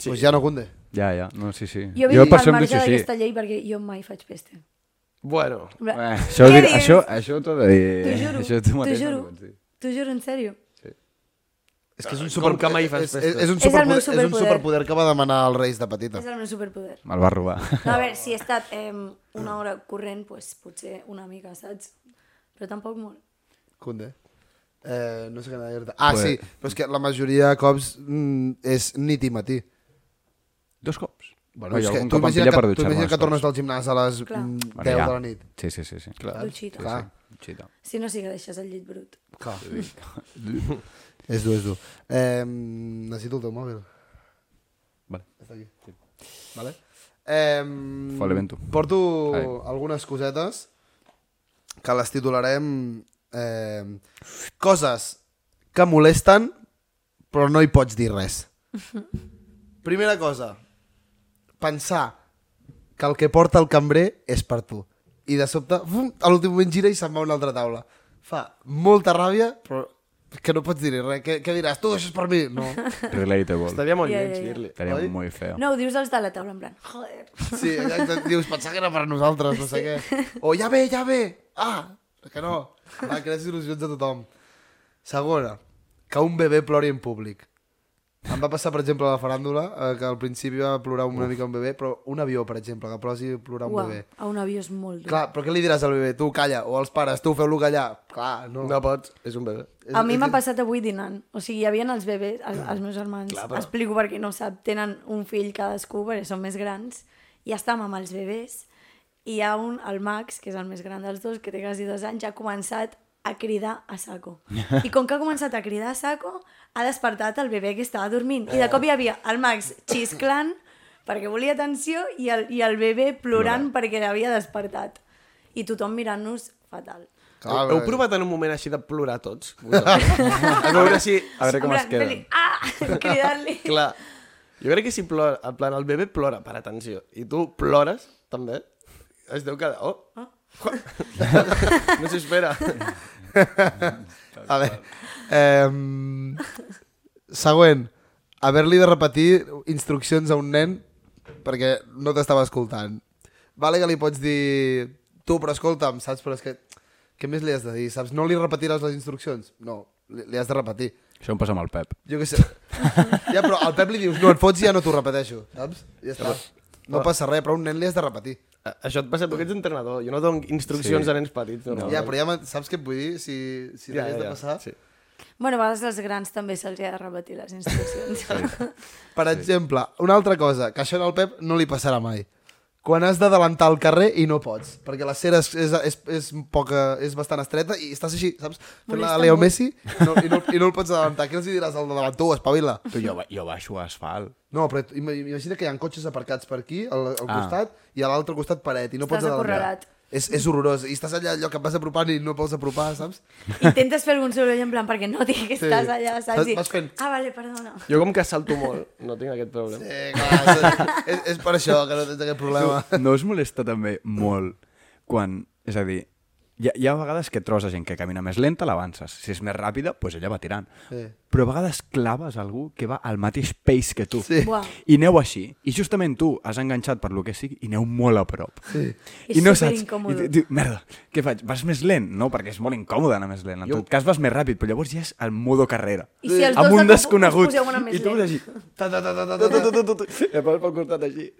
S4: Sí. Pues ja no cunde.
S3: Ja, ja, no, sí, sí.
S2: Jo vinc al
S3: per això em
S2: marge
S3: dutxo així.
S2: d'aquesta llei perquè jo mai faig pesta.
S1: Bueno,
S2: En
S3: Eh,
S2: plan,
S3: això,
S2: què
S3: dir,
S2: dius?
S3: això, això t'ho he de dir.
S2: T'ho juro,
S3: Això tu
S2: t'ho
S3: mateix no
S2: juro,
S3: pots dir.
S2: t'ho juro, en sèrio.
S4: És que és un
S1: Com que mai fas
S4: és, és,
S1: festes.
S4: és, un
S2: És el meu
S4: superpoder, és un
S2: superpoder.
S4: superpoder que va demanar els Reis de petita.
S2: És el meu superpoder.
S3: Me'l va robar.
S2: No, a veure, si he estat eh, una hora corrent, pues, potser una mica, saps? Però tampoc molt.
S4: Cunde. Eh, no sé què anava a dir-te. Ah,
S3: Pues-
S4: sí, però és que la majoria de cops mm, és nit i matí.
S3: Dos cops.
S4: Bueno,
S3: Oi,
S4: és que
S3: algun
S4: tu
S3: cop em
S4: imagina
S3: pilla per
S4: que, tu
S3: dutxar-me
S4: imagina
S3: les
S4: que tornes
S3: coses.
S4: del gimnàs a les mm, 10
S3: Bueno, ja.
S4: de la nit.
S3: Sí, sí, sí. sí. Clar.
S2: Dutxita.
S4: Clar.
S3: Xita.
S2: Si no, sí que deixes el llit brut.
S4: Clar. és dur, és dur. Eh, necessito el teu mòbil.
S3: Vale.
S4: Està aquí. Vale. Eh,
S3: Fa l'evento.
S4: Porto
S3: Ai.
S4: algunes cosetes que les titularem eh, coses que molesten però no hi pots dir res. Primera cosa, pensar que el que porta el cambrer és per tu. I de sobte, fum, a l'últim moment gira i se'n va a una altra taula. Fa molta ràbia, però és que no pots dir res. Què, què diràs? Tu, això és per mi? No.
S3: Relatable.
S1: estaria molt
S2: Ja, ja,
S1: lleig
S2: ja.
S1: dir-li.
S3: Estaria
S4: Oi?
S3: molt feo.
S2: No, ho dius els de la taula, en plan, joder.
S4: Sí, exacte. Dius, pensar que era per nosaltres, no sé què. O ja ve, ja ve. Ah, que no. Va, crees il·lusions a tothom. Segona, que un bebè plori en públic. Em va passar, per exemple, a la faràndula, eh, que al principi va plorar una mica un bebè, però un avió, per exemple, que plosi plorar un
S2: Uau,
S4: bebè.
S2: a un avió és molt dur.
S4: Clar, però què li diràs al bebè? Tu, calla. O als pares, tu, feu-lo callar. Clar, no.
S1: No pots, és un bebè.
S2: A mi m'ha passat avui dinant. O sigui, hi havia els bebès, els, els meus germans. Clar, però... Explico perquè no ho sap. Tenen un fill cadascú, perquè són més grans. I estàvem amb els bebès. I hi ha un, el Max, que és el més gran dels dos, que té quasi dos anys, ja ha començat a cridar a saco. I com que ha començat a cridar a saco, ha despertat el bebè que estava dormint. I de cop hi havia el Max xisclant perquè volia atenció i el, i el bebè plorant perquè l'havia despertat. I tothom mirant-nos fatal.
S1: Heu, heu provat en un moment així de plorar tots? vosaltres? a veure si...
S3: A veure
S2: En
S3: com es
S2: plan,
S3: queden.
S2: fer-li, Ah! Cridant-li.
S1: Clar. Jo crec que si plora, en plan, el bebè plora per atenció i tu plores, també, es deu quedar... Oh! no s'espera.
S4: A veure. Eh, següent. Haver-li de repetir instruccions a un nen perquè no t'estava escoltant. Vale que li pots dir... Tu, però escolta'm, saps? Però és que... Què més li has de dir? Saps? No li repetiràs les instruccions? No, li, li has de repetir.
S3: Això em passa amb el Pep.
S4: Jo què sé. ja, però al Pep li dius, no et fots i ja no t'ho repeteixo, saps? I ja està. No passa res, però a un nen li has de repetir.
S1: A- Això et passa, tu que ets entrenador. Jo no dono instruccions
S3: Sí.
S1: sí. a nens petits. No,
S4: Ja, però ja me- saps què et vull dir? Si, si ja, de passar...
S1: Sí.
S2: Bueno, a vegades als grans també se'ls ha de repetir les instruccions.
S4: Per exemple, una altra cosa, que això al Pep no li passarà mai. Quan has d'adelantar al carrer i no pots, perquè la cera és, és, és, és, poca, és bastant estreta i estàs així, saps? Fent la
S2: Molesta
S4: Leo
S2: molt.
S4: Messi i no, i, no, i no el pots adelantar. Què els hi diràs al de davant? Tu, espavila.
S3: Tu, jo, ba- jo baixo a asfalt.
S4: No, però tu ima- imagina que hi ha cotxes aparcats per aquí, al, al
S3: Ah.
S4: costat, i a l'altre costat paret, i no
S2: Estàs
S4: pots adelantar.
S2: acorralat.
S4: És, és horrorós. I estàs allà, allò que et vas apropant i no pots apropar, saps?
S2: Intentes fer algun soroll en plan perquè no digui que
S4: Sí.
S2: estàs allà, saps?
S4: Vas- vas fent.
S2: Ah, vale, perdona.
S1: Jo com que salto molt, no tinc aquest problema. Sí.
S4: Eh, clar, és, és, és per això que no tens aquest problema.
S3: No us molesta també molt quan... És a dir, hi ha, hi ha vegades que trobes la gent que camina més lenta, l'avances. Si és més ràpida, doncs ella va tirant.
S4: Sí.
S3: Però a vegades claves algú que va al mateix pace que tu.
S4: Sí.
S2: Buah.
S3: I aneu així. I justament tu has enganxat per lo que sigui i aneu molt a prop. Sí. I
S2: És
S3: no saps... I
S2: superincòmode.
S3: di- diu, merda, què faig? Vas més lent? No, perquè és molt incòmode anar més lent. En tot cas vas més ràpid, però llavors ja és el modo carrera.
S2: I si els
S3: amb
S2: dos de
S3: un
S2: cop us
S3: desconegut.
S2: poseu una més
S3: I tu
S2: lent?
S3: vas així...
S1: Ta, ta, ta, ta, ta, ta, ta, ta, ta, ta, I em vas pel costat així.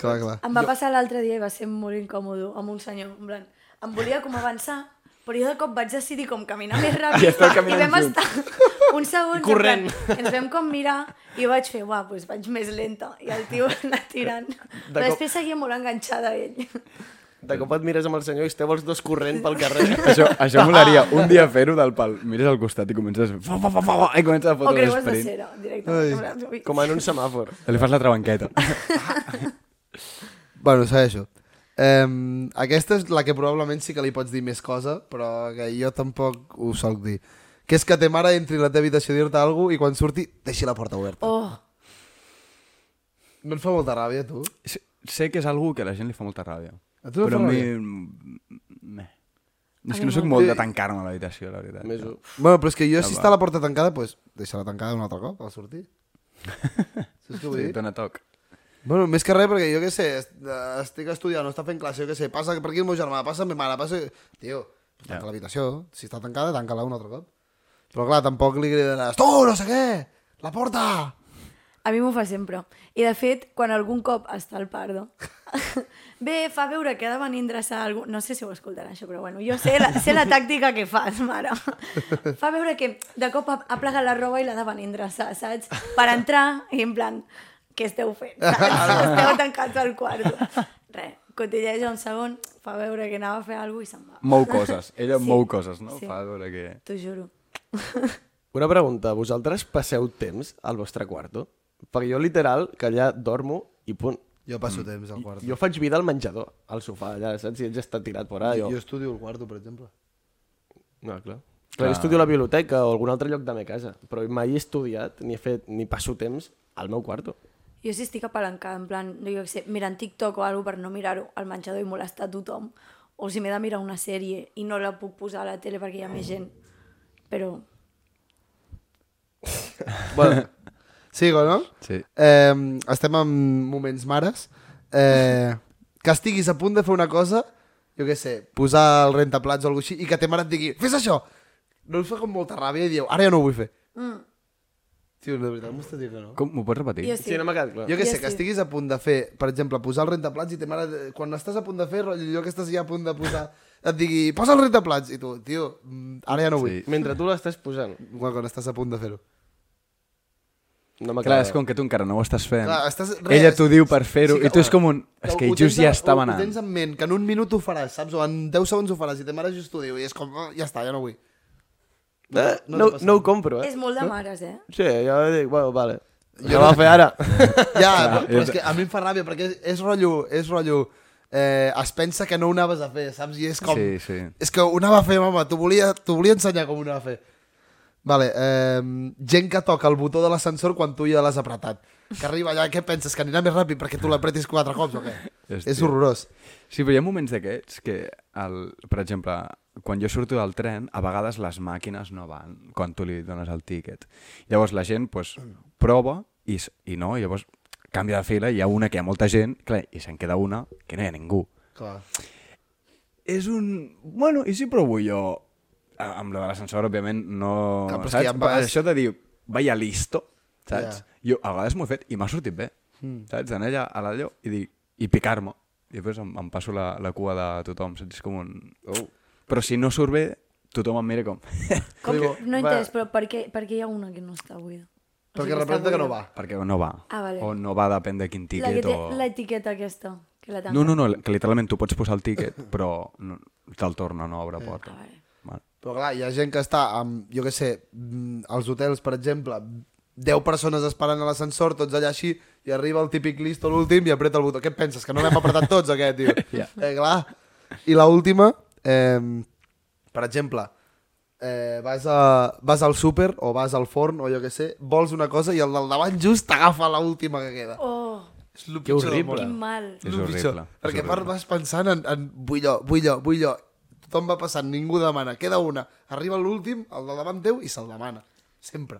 S4: Clar, clar.
S2: Em va passar l'altre dia i va ser molt incòmodo amb un senyor, en plan, em volia com avançar, però jo de cop vaig decidir com caminar més ràpid
S3: I esteu caminant
S2: i vam
S3: junts.
S2: estar uns segons,
S1: Corrent.
S2: en plan, ens vam com mirar i jo vaig fer, uah, doncs vaig més lenta i el tio anava tirant. Però
S1: cop-
S2: després seguia molt enganxada a ell.
S1: De cop et mires amb el senyor i esteu els dos corrent pel carrer.
S3: Això, això
S2: Ah.
S3: molaria un dia fer-ho del pal. Mires al costat i comences... Fa, fa, fa, fa, fa, I comences a
S2: O
S3: fotre
S2: creues de
S3: l'esperit.
S2: cera, directament. Ui.
S1: Com en un semàfor.
S3: Li fas la trabanqueta.
S4: Bueno, segueixo. Um, aquesta és la que probablement sí que li pots dir més cosa, però que jo tampoc ho solc dir. Que és que te mare entri a la teva habitació a dir-te alguna cosa i quan surti deixi la porta oberta.
S2: Oh,
S4: No et fa molta ràbia, tu?
S3: Sé- Sé que és algú que a la gent li fa molta ràbia.
S4: A tu no
S3: però
S4: fa
S3: a mi...
S4: ràbia?
S3: Meh. És que no sóc molt de tancar-me a l'habitació, la veritat.
S1: Més un.
S4: Bueno, però és que jo, si està la porta tancada, doncs deixa-la tancada un altre cop al sortir. Saps què vull
S3: Sí,
S4: dir?
S3: dona toc.
S4: Bueno, més que res, perquè jo què sé, est- eh, estic estudiant, no està fent classe, jo què sé, passa per aquí el meu germà, passa la meva mare, passa... Tio, pues tanca l'habitació, si està tancada, tanca-la un altre cop. Però clar, tampoc li cridaràs, tu, no sé què, la porta!
S2: A mi m'ho fa sempre. I de fet, quan algun cop està al Pardo, bé, fa veure que ha de venir a endreçar algú... No sé si ho escoltarà això, però bueno, jo sé la, sé la tàctica que fas, mare. Fa veure que de cop ha, ha plegat la roba i l'ha de venir a endreçar, saps? Per entrar i en plan, què esteu fent? Saps? Esteu tancats al quarto. Res, cotilleja un segon, fa veure que anava a fer alguna cosa i se'n va.
S3: Mou coses. Ella
S2: Sí.
S3: mou coses, no?
S2: Sí.
S3: Fa veure que...
S2: T'ho juro.
S1: Una pregunta, vosaltres passeu temps al vostre quarto? Perquè jo literal, que allà dormo i punt.
S4: Jo passo mm. temps al quarto.
S1: Jo faig vida al menjador, al sofà, allà, saps? I ell ja està tirat per allà.
S4: Jo
S1: ah, Jo...
S4: estudio al quarto, per exemple.
S1: No, clar. Clar, jo estudio a la biblioteca o a algun altre lloc de la meva casa, però mai he estudiat, ni he fet, ni passo temps al meu quarto.
S2: Jo sí estic apalancada, en plan, no, jo què sé, mirant TikTok o alguna per no mirar-ho al menjador i molestar tothom. O si m'he de mirar una sèrie i no la puc posar a la tele perquè hi ha més gent. Però
S4: Bueno, sigo, no?
S3: Sí.
S4: Eh, estem en moments mares. Eh, que estiguis a punt de fer una cosa, jo què sé, posar el rentaplats o alguna així, i que ta mare et digui, fes això! No us fa com molta ràbia i dieu, ara ja no ho vull fer.
S2: Mm.
S4: Tio, de veritat, m'ho estàs dient que no?
S3: Com, m'ho pots repetir?
S2: jo
S1: Sí, sí no m'ha quedat clar.
S4: Jo què
S2: Ja
S4: sé, que
S2: sí.
S4: estiguis a punt de fer, per exemple, posar el rentaplats i ta mare, quan estàs a punt de fer, rotllo, allò que estàs ja a punt de posar, et digui, posa el rentaplats, i tu, tio, mm, ara ja no ho vull.
S3: Sí.
S1: Mentre tu l'estàs posant,
S4: Quan- Quan estàs a punt de fer-ho.
S1: no m'ha
S3: Clar,
S1: quedat.
S3: és com que tu encara no ho estàs fent.
S4: Clar, estàs- res,
S3: Ella t'ho diu
S4: és-
S3: per fer-ho
S4: sí que-
S3: i tu és com un... És que
S4: ho
S3: just
S4: tens
S3: ja
S4: a-
S3: estava
S4: Ho
S3: anant.
S4: tens en ment, que en un minut ho faràs, saps? O en 10 segons ho faràs i ta mare just t'ho diu. I és com, "Ah, ja està, ja no vull.
S1: Eh,
S4: no
S1: no,
S4: t'ha passat.
S1: no ho compro, eh?
S2: És molt de mares, eh?
S1: Sí, jo dic, bueno, vale. Jo va fer ara.
S4: Ja, però és que a mi em fa ràbia, perquè és, és rotllo... És rotllo eh, es pensa que no ho anaves a fer, saps? I és com...
S3: Sí, sí.
S4: És que ho anava a fer, mama, t'ho volia, t'ho volia ensenyar com ho anava a fer. Vale, eh, gent que toca el botó de l'ascensor quan tu ja l'has apretat. Que arriba allà, què penses? Que anirà més ràpid perquè tu l'apretis quatre cops o què?
S3: Hòstia.
S4: És horrorós.
S3: Sí, però hi ha moments d'aquests que, el, per exemple, quan jo surto del tren, a vegades les màquines no van quan tu li dones el tíquet. Llavors la gent pues, prova i, s- i no, i llavors canvia de fila, hi ha una que hi ha molta gent, clar, i se'n queda una que no hi ha ningú.
S4: Clar.
S3: És un... Bueno, i si provo jo? A- Amb lo de l'ascensor, òbviament, no...
S4: Clar, però és que
S3: saps?
S4: ja em vas-
S3: Això de dir, vaya listo, saps? Jo a vegades m'ho he fet i m'ha sortit bé,
S4: Hmm.
S3: mm. saps? D'anar allà a l'allò i dir, i picar-me. I després em, em passo la, la cua de tothom, saps? És com un... Oh. Però si no surt bé, tothom em mira com...
S2: Com,
S4: Digo,
S2: no he
S1: va.
S2: entès, però per què, per què hi ha una que no està buida? O sigui,
S4: Perquè
S2: està
S4: representa que no
S2: buida.
S4: va.
S3: Perquè o no va.
S2: Ah, vale.
S3: O no va, depèn de quin
S2: La que
S3: tiquet
S2: té
S3: o...
S2: l'etiqueta aquesta, que la tanca.
S3: No, no, no, que literalment tu pots posar el tiquet, però no, te'l torna, no obre porta.
S2: Ah, vale.
S3: Vale.
S4: Però clar, hi ha gent que està amb, jo què sé, mm, als hotels, per exemple, 10 persones esperant a l'ascensor, tots allà així, i arriba el típic listo l'últim i apreta el botó. Què et penses, que no l'hem apretat tots, aquest, tio? Yeah. Eh, clar. I l'última, eh, per exemple, eh, vas, a, vas al súper o vas al forn o jo què sé, vols una cosa i el del davant just t'agafa l'última que queda.
S2: Oh,
S4: És el
S1: Que
S4: pitjor del
S1: horrible.
S2: quin
S4: món.
S2: mal.
S3: És
S4: el
S3: horrible,
S4: pitjor.
S3: és
S4: Perquè a
S3: horrible.
S4: part vas pensant en, en vull jo, vull jo, vull jo. Tothom va passant, ningú demana. Queda una. Arriba l'últim, el de davant teu, i se'l demana. Sempre.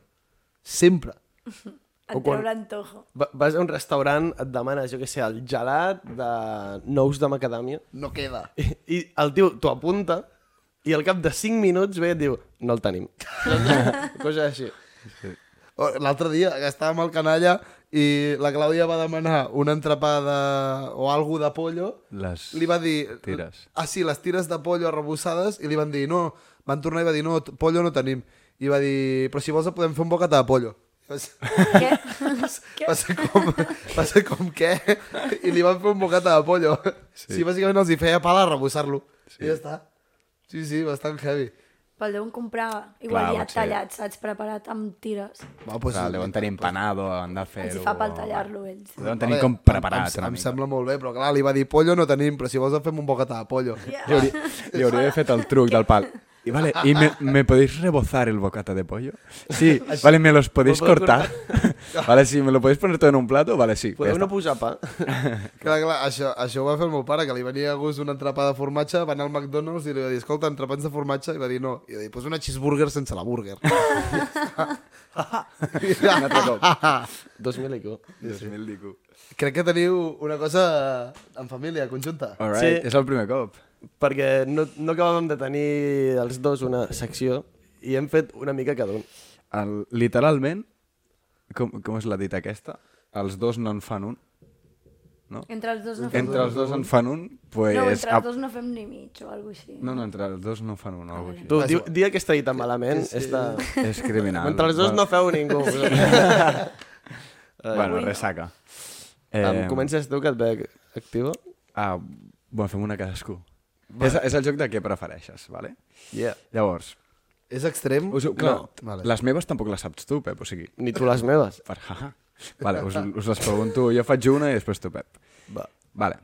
S4: Sempre.
S1: O
S2: Et
S1: quan-
S2: treu l'antojo.
S1: Va- Vas a un restaurant, et demanes, jo què sé, el gelat de nous de macadàmia,
S4: No queda.
S1: i, i el tio t'ho apunta, i al cap de 5 minuts ve i et diu, no el tenim. Cosa així.
S4: O- L'altre dia que estàvem al canalla i la Clàudia va demanar un entrepà de... o algo de pollo.
S3: Les
S4: Li va dir...
S3: tires.
S4: Ah, sí, les tires de pollo arrebossades i li van dir, no, van tornar i va dir, no, t- pollo no tenim. I va dir, però si vols podem fer un bocata de pollo. I va ser-
S2: Què? Què?
S4: Va ser com, va ser com què? I li van fer un bocata de pollo. Sí, sí bàsicament els hi feia pala a rebussar-lo. Sí. I ja està. Sí, sí, bastant heavy.
S2: Pel deuen comprar, igual
S3: Clar,
S2: ja
S3: potser.
S2: tallat, saps? Preparat amb tires.
S4: Va, doncs, pues,
S3: Clar, deuen tenir empanado, han de fer-ho...
S2: Els hi fa pel tallar-lo, ells.
S3: Ho deuen tenir
S4: Vale,
S3: com preparat
S4: Em,
S3: una
S4: em, em
S3: mica.
S4: sembla molt bé, però clar, li va dir pollo no tenim, però si vols en fem un bocata de pollo.
S2: Ja.
S3: Li hauria, li hauria d'haver fet el truc del pal. I, vale, i me, me podéis rebozar el bocata de pollo? Sí, vale, me los podéis
S1: puedo
S3: cortar? Vale, sí, me lo podéis poner todo en un plato? Vale, sí, ja
S1: Podeu no posar
S3: està.
S1: pa?
S4: Clar, clar, això, això ho va fer el meu pare, que li venia a gust una entrapa de formatge, va anar al McDonald's i li va dir, escolta, entrepans de formatge, i va dir no. I va dir, pues una cheeseburger sense la burger. I ja
S3: Un altre cop.
S1: 2000 IQ.
S4: Crec que teniu una cosa en família, conjunta.
S3: All right,
S1: Sí.
S3: és el primer cop.
S1: Perquè no, no acabàvem de tenir els dos una secció i hem fet una mica cada un.
S3: El, literalment, com, com és la dita aquesta? Els dos no en fan un. No?
S2: Entre els dos no fem...
S3: Entre els dos en fan un, pues...
S2: No, entre
S3: ah,
S2: els dos no fem ni mig o alguna així.
S3: no, no, entre els dos no en fan un. o alguna cosa així.
S1: Tu, di, di aquesta dita malament. Sí, Esta...
S3: És criminal.
S1: Entre els dos
S3: Ah, Val.
S1: no feu ningú.
S3: Bueno, ressaca. Eh,
S1: Em comences tu, que et veig activa.
S3: Ah, bueno, fem una cadascú. És, és el joc de què prefereixes, vale?
S1: Yeah.
S3: Llavors,
S4: És extrem?
S3: us, ho- clar, no,
S4: Vale.
S3: vale. les meves tampoc les saps tu, Pep, o sigui,
S1: Ni tu les meves.
S3: per haha. Vale, us, us les pregunto, jo faig una i després tu, Pep.
S1: Va.
S3: Vale.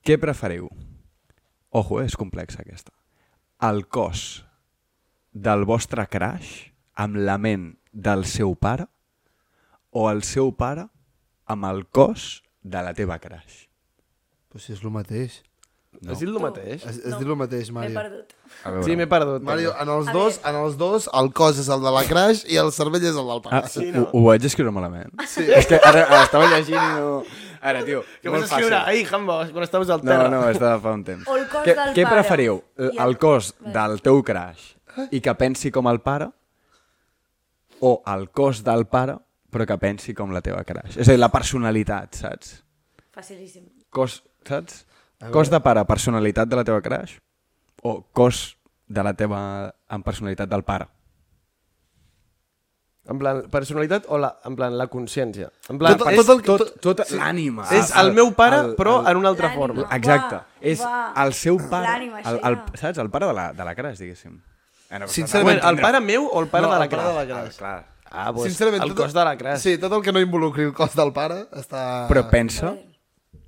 S3: Què preferiu? Ojo, eh, és complexa aquesta. El cos del vostre crush amb la ment del seu pare o el seu pare amb el cos de la teva crush?
S4: Però si és el mateix.
S1: No. Has dit el mateix?
S4: Es, es no. diu el mateix,
S2: M'he
S4: Mario.
S2: perdut.
S3: A veure.
S1: Sí, m'he perdut.
S4: Mario, en els,
S2: A
S4: dos,
S2: veure.
S4: en els dos, el cos és el de la crash i el cervell és el del
S3: Ah,
S4: pare.
S3: sí, no. ho, ho vaig escriure malament. Sí. És que ara, ara estava llegint i no... Ara, tio,
S1: Que vas
S3: molt fàcil.
S1: escriure ahir, Hambos, quan estàvem al
S3: No,
S1: terra.
S3: no, és de fa un temps.
S2: O el cos
S3: què,
S2: del
S3: què
S2: pare.
S3: preferiu?
S2: I el-
S3: El cos del teu crush i que pensi com el pare o el cos del pare però que pensi com la teva crush? És a dir, la personalitat, saps?
S2: Facilíssim.
S3: Cos, saps? Cos de pare, personalitat de la teva crush o cos de la teva... amb personalitat del pare?
S1: En plan, personalitat o la, en plan, la consciència? En plan,
S3: Tot,
S1: tot,
S3: és,
S1: és,
S3: tot, tot, tot l'ànima.
S1: és el meu pare, però en una altra
S2: L'ànima.
S1: forma.
S3: Exacte.
S2: Va,
S3: és
S2: va.
S3: el seu pare,
S2: L'ànima,
S3: el, el,
S2: així, ja.
S3: saps? El pare de la, de la Crash, diguéssim.
S4: Sincerament,
S1: Bueno, el pare meu o el pare
S4: No,
S1: de
S4: el
S1: la
S4: pare de la
S1: Cras?
S4: Cras.
S3: Clar.
S1: Ah, doncs,
S4: Sincerament,
S1: el
S4: tot-
S1: cos de la Cras.
S4: Sí, tot el que no involucri el cos del pare està...
S3: Però pensa...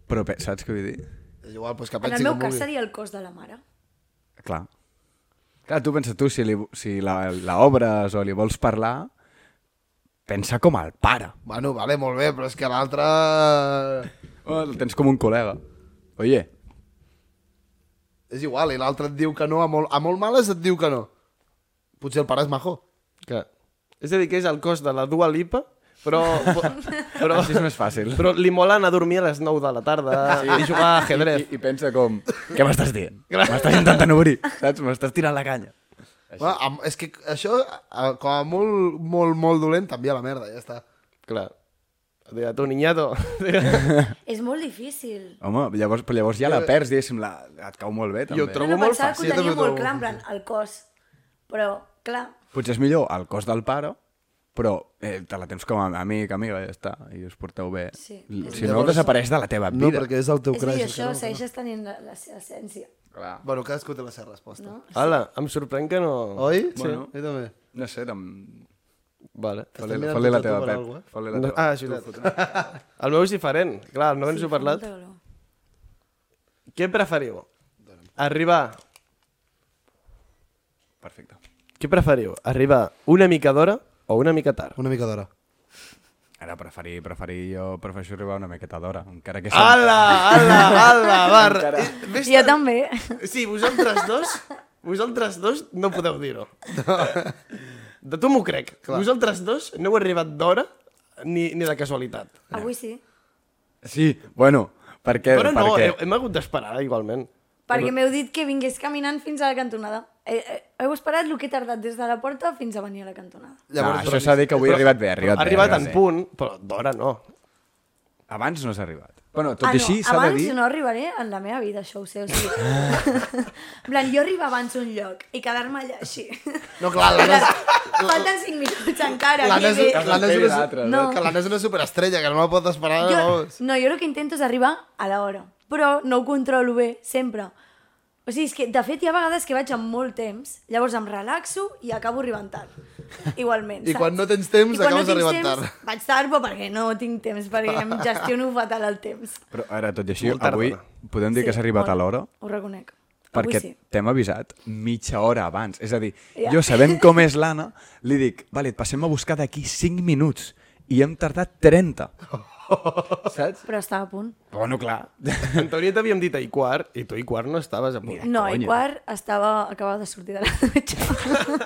S3: Però pe... saps què vull dir?
S4: És igual, doncs que
S2: En
S4: pensi
S2: el meu
S4: com
S2: cas
S4: vulgui.
S2: seria el cos de la mare.
S3: Clar. Clar, tu pensa tu, si, li, si la, la obres o li vols parlar, pensa com el pare.
S4: Bueno, vale, molt bé, però és que l'altre...
S3: O Oh, el tens com un col·lega. Oye,
S4: És igual, i l'altre et diu que no, a molt, a molt males et diu que no. Potser el pare és majo.
S1: Que... És a dir, que és el cos de la Dua Lipa, però... però...
S3: així és més fàcil.
S1: Però li mola anar a dormir a les 9 de la tarda sí. i jugar a
S3: I,
S1: ajedrez.
S3: I pensa com... Què m'estàs dient? M'estàs intentant obrir, saps? M'estàs tirant la canya.
S4: Bueno, am- és que això, a- com a molt, molt, molt dolent, també a la merda, ja està.
S1: Clar. De tu, niñato.
S2: És molt difícil.
S3: Home, llavors, però llavors ja la perds, diguéssim, la, et cau molt bé, també.
S1: Jo trobo-
S2: no, no,
S1: molt
S2: pensava
S1: fàcil.
S2: que ho
S4: Jo també
S2: tenia
S4: ho
S2: molt
S4: trobo
S2: clar, en plan, el cos. Però, clar,
S3: Potser és millor el cos del pare, però eh, te la tens com a amic, amiga, ja està, i us porteu bé.
S2: Sí.
S3: L-
S2: És
S3: si no,
S4: llavors-
S3: desapareix de la teva vida.
S4: No, perquè és el teu
S2: és que
S4: crush. el que
S2: això,
S4: no-
S2: segueixes tenint la- la- l'essència.
S3: Clar.
S4: Bueno, cadascú té la seva resposta. No?
S1: Hola, em sorprèn que no...
S4: Oi?
S1: Sí.
S4: Bueno. Jo també.
S3: No sé, tam...
S1: Vale.
S3: fa-li
S4: mirant
S3: fa-li la
S4: tots a
S3: teva,
S4: tu per
S3: Pep.
S4: alguna cosa, eh?
S3: Fa-li la
S1: No,
S3: teva.
S1: ah, és veritat. El meu és diferent. Clar, no ens ho he parlat.
S2: Molta calor.
S1: Què preferiu? Arribar...
S3: Perfecte.
S1: Què preferiu? Arribar una mica d'hora o una mica tard?
S4: Una mica d'hora.
S3: Ara preferir, preferir, jo prefereixo arribar una miqueta d'hora, encara que...
S1: Ala, ala, ala, bar. Eh, ves-
S2: Jo també.
S1: Sí, vosaltres dos, vosaltres dos no podeu dir-ho. De tu m'ho crec. Clar. Vosaltres dos no heu arribat d'hora ni, ni de casualitat.
S2: Avui sí.
S3: Sí, bueno, perquè...
S1: Però no, eh,
S3: perquè...
S1: hem, hem hagut d'esperar igualment.
S2: Perquè m'heu dit que vingués caminant fins a la cantonada. Eh, eh, heu esperat el que he tardat des de la porta fins a venir a la cantonada.
S3: Llavors, no, Ah, això s'ha de dir que avui ha arribat bé, ha arribat
S1: ha
S3: bé.
S1: arribat
S3: ha
S1: en
S3: bé.
S1: punt, però d'hora no.
S3: Abans no s'ha arribat. Bueno, tot
S2: ah,
S3: i així
S2: no,
S3: s'ha de
S2: abans
S3: dir... Ah.
S2: no arribaré en la meva vida, això ho sé. O sigui... en plan, jo arribar abans a un lloc i quedar-me allà així.
S4: No, clar, l'Anna és,
S2: Falten 5 minuts encara.
S4: l'Anna és,
S2: que bé.
S4: l'Anna és, una,
S3: l'altre,
S2: no?
S4: no. que l'Anna és una superestrella, que no la pot esperar.
S2: jo,
S4: vamos.
S2: no, jo el que intento és arribar a l'hora, però no ho controlo bé, sempre. O sigui, és que, de fet, hi ha vegades que vaig amb molt temps, llavors em relaxo i acabo arribant tard, igualment.
S4: I
S2: saps?
S4: quan no tens temps,
S2: I quan no
S4: acabes
S2: tinc
S4: arribant
S2: temps,
S4: tard.
S2: Vaig tard, però perquè no tinc temps, perquè em gestiono fatal el temps.
S3: Però ara, tot i així,
S1: Molt tard,
S3: avui
S1: dona.
S3: podem dir que
S2: Sí,
S3: s'ha arribat
S2: molt.
S3: a l'hora
S2: Ho reconec.
S3: perquè
S2: Avui sí.
S3: t'hem avisat mitja hora abans. És a dir,
S2: Ja.
S3: jo sabem com és l'Anna, li dic, vale, et passem a buscar d'aquí 5 minuts i hem tardat 30. Saps?
S2: Però estava a punt.
S3: Bueno, clar.
S1: En teoria t'havíem dit a i quart, i tu i quart no estaves a punt.
S2: No,
S3: conya.
S2: i quart estava, acabava de sortir de la dutxa.